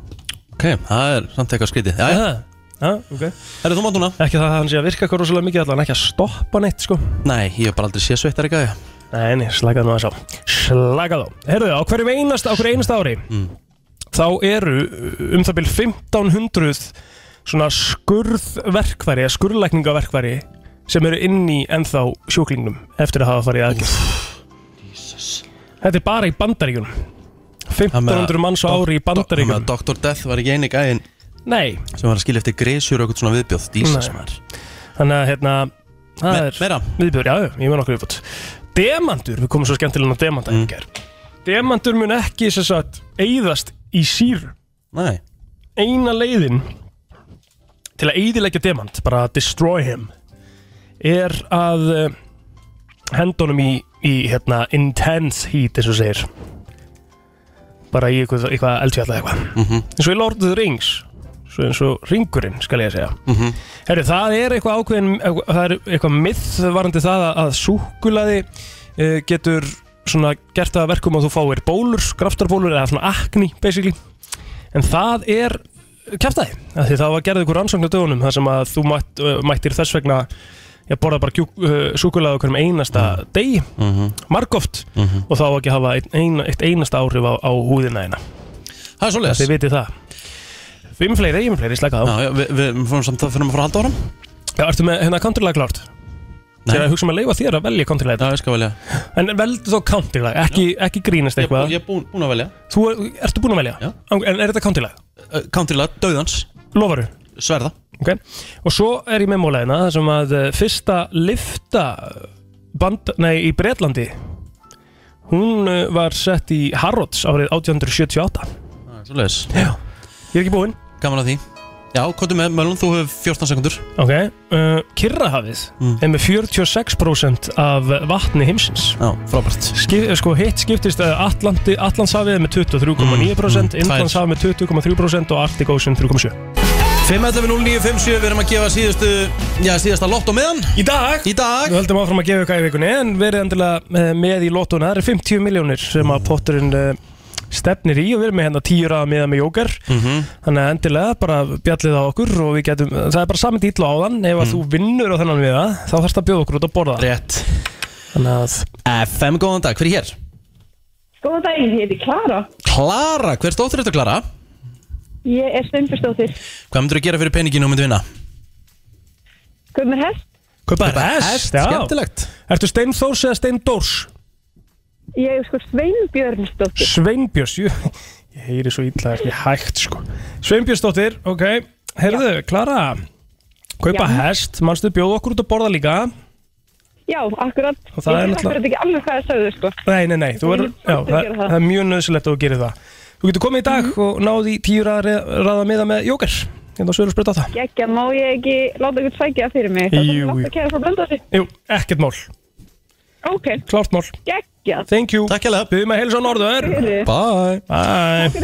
Speaker 1: ok, það er samt eitthvað skrítið Já,
Speaker 3: Ah.
Speaker 1: já,
Speaker 3: Já, ok
Speaker 1: Herra, þú mátt núna
Speaker 3: Ekki það að hann sé að virka eitthvað rosalega mikið Allan ekki að stoppa neitt, sko
Speaker 1: Nei, ég hef bara aldrei séð sveittar ekki að
Speaker 3: Nei, nei, slakaðu nú aðeins á Slakaðu á Herðu, á hverjum einasta, á hverju einasta ári Þá eru um það byrjum 1500 Svona skurðverkværi eða Skurðlækningaverkværi Sem eru inn í ennþá sjúklingnum Eftir að hafa farið aðgjörð Þetta er bara í bandaríkunum 1500 manns á ári í bandaríkunum
Speaker 1: Þannig að Dr. Death var ekki eini gæðin
Speaker 3: Nei
Speaker 1: sem var að skilja eftir gresjur og eitthvað svona viðbjóð Jesus
Speaker 3: Nei.
Speaker 1: maður
Speaker 3: Þannig að hérna það er
Speaker 1: meira?
Speaker 3: Viðbjörn, já, já, ég mun okkur viðbútt Demantur, við komum svo skemmtilega á demanta mm. Demantur mun ekki sem sagt eyðast í síru
Speaker 1: Nei
Speaker 3: Eina leiðin til að eyðilegja demant bara að destroy him er að uh, hendunum í, í hérna, intense heat eins og segir bara í eitthvað, eitthvað eldfjalla eitthvað
Speaker 1: Mhm.
Speaker 3: eins og í Lord of the Rings svo eins og ringurinn skal ég að segja
Speaker 1: Mhm.
Speaker 3: Herru, það er eitthvað ákveðin það er eitthvað myth varandi það að, að súkulaði uh, getur svona gert það að verkum að þú fáir bólur, graftarbólur eða svona akni basically en það er kæftæði af því það var gerðið ykkur rannsókn á dögunum þar sem að þú mætt, uh, mættir þess vegna ég borða bara kjúk, uh, súkulaði okkur um einasta degi,
Speaker 1: Mhm.
Speaker 3: margóft
Speaker 1: Mhm.
Speaker 3: og þá á ekki að hafa ein, ein, eitt einasta áhrif á, á húðina eina
Speaker 1: Það er svoleiðis.
Speaker 3: Þið vitið það Fimm fleiri, ég með fleiri, slaka á
Speaker 1: Já, já, við, við fórum samt að fyrir að fara að halda áram
Speaker 3: Já, ertu með hérna countrylag klárt? Nei Þegar að hugsa um að leifa þér að velja countrylag
Speaker 1: Já, ég skal velja
Speaker 3: En veldu þá countrylag, ekki, ekki grínast eitthvað
Speaker 1: Ég er búin, búin að velja
Speaker 3: Þú er- ertu búin að velja? Já En er þetta countrylag?
Speaker 1: Uh, Countrylag, döðans
Speaker 3: Lofaru?
Speaker 1: Sverða
Speaker 3: Ok Og svo er ég með mólæðina þar sem að eh, fyrsta lifta band, nei, í Bretlandi Hún eh, var sett í Harrods árið 1878
Speaker 1: Svoleiðis Já
Speaker 3: Ég er ekki búinn
Speaker 1: Gaman að því Já, kóttu með Mölun, þú hefur 14 sekundur
Speaker 3: Ok, uh, Kirrahafið er með 46% af vatni heimsins
Speaker 1: Já, frábært
Speaker 3: Skip, sko, Hitt skiptist uh, Atlanti, Atlantshafið er með
Speaker 1: Mm,
Speaker 3: 23,9%
Speaker 1: mm,
Speaker 3: Indlandshafið með 20,3% og Arctic Ocean 3,7
Speaker 1: 5.11.09.57, við erum að gefa síðustu, já, síðasta lott á meðan
Speaker 3: Í dag
Speaker 1: Í dag
Speaker 3: Við höldum áfram að gefa ykkur í vikunni en verið endilega eh, með í lotuna Það eru 50 miljónir sem að potturinn eh, stefnir í og við erum með hérna 10 ráða miða með jókar
Speaker 1: Mhm.
Speaker 3: Þannig að endilega bara bjallið á okkur og við getum, það er bara saman dýtla á þann ef
Speaker 1: Mhm.
Speaker 3: að þú vinnur á þennan miða þá þarfst að bjóða okkur út að borða
Speaker 1: Rétt
Speaker 3: Þannig að
Speaker 1: FM, góðan dag, hver er hér?
Speaker 10: Góðan daginn, ég heiti Klara.
Speaker 1: Klara, hver stóttir þetta Klara?
Speaker 10: Ég er Sveinbjörnsdóttir.
Speaker 1: Hvað myndur þú gera fyrir peninginu og myndu vinna?
Speaker 10: Hvað með hest?
Speaker 3: Kaupa
Speaker 1: Kaupa
Speaker 3: hest,
Speaker 1: hest,
Speaker 3: já.
Speaker 1: skemmtilegt.
Speaker 3: Ertu Steinþórs eða Steindórs?
Speaker 10: Ég er sko Sveinbjörnsdóttir.
Speaker 3: Sveinbjörns, jú Ég heyri svo illa, það er ekki hægt sko Sveinbjörnsdóttir, ok Herðu, Klara Kaupa
Speaker 10: Já.
Speaker 3: hest, manstu bjóð okkur út að borða líka
Speaker 10: Já, akkurat.
Speaker 3: Og það
Speaker 10: ég
Speaker 3: er
Speaker 10: veit
Speaker 3: náttúrulega-
Speaker 10: akkurat ekki alveg hvað það sagði, sko.
Speaker 3: Nei, nei, nei, þú
Speaker 10: Ég
Speaker 3: er,
Speaker 10: er
Speaker 3: já,
Speaker 10: að
Speaker 3: það,
Speaker 10: gera það. Mhm.
Speaker 3: það er mjög nöðsilegt að þú gerir það Þú getur komið í dag og náði tíu raða, raða miða með jóker Hérna á Söður á það
Speaker 10: Gekja, má ég ekki láta ykkur sækja það fyrir mig? Það
Speaker 3: Jú,
Speaker 10: er
Speaker 3: jú.
Speaker 10: látt að kæra frá blönda sig.
Speaker 3: Jú, ekkert mál,
Speaker 10: Ok,
Speaker 3: klárt mál
Speaker 10: gekja.
Speaker 3: Thank you Takk hérlega Byðum að heilsa á norður
Speaker 10: Fyrir.
Speaker 1: Bye
Speaker 3: Bye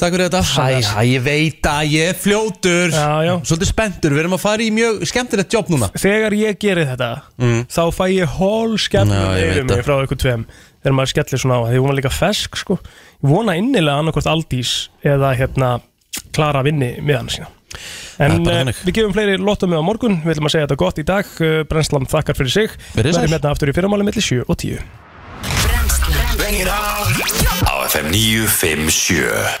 Speaker 1: Takk fyrir þetta Hæ, hæ, ég veit að ég er fljótur já,
Speaker 3: já.
Speaker 1: Svolítið spenntur, við erum að fara í mjög skemmtilegt jobb núna
Speaker 3: Þegar ég geri þetta Þá fæ ég hól
Speaker 1: Mm. Já, ég
Speaker 3: skemmur
Speaker 1: veit það.
Speaker 3: mig frá ykkur tveim Þegar maður skellir svona á Því hún var líka fesk sko Ég vona innilega annarkvort Aldís Eða hérna Klara vinni miðan sína En
Speaker 1: bara
Speaker 3: eh,
Speaker 1: þannig.
Speaker 3: við gefum fleiri lottum með á morgun Við ætlum að segja þetta gott í dag Eh, Brennslan þakkar fyrir sig
Speaker 1: Verið sæl.
Speaker 3: Verðum hérna aftur í fyrramáli milli 7 og 10
Speaker 4: Á FM 957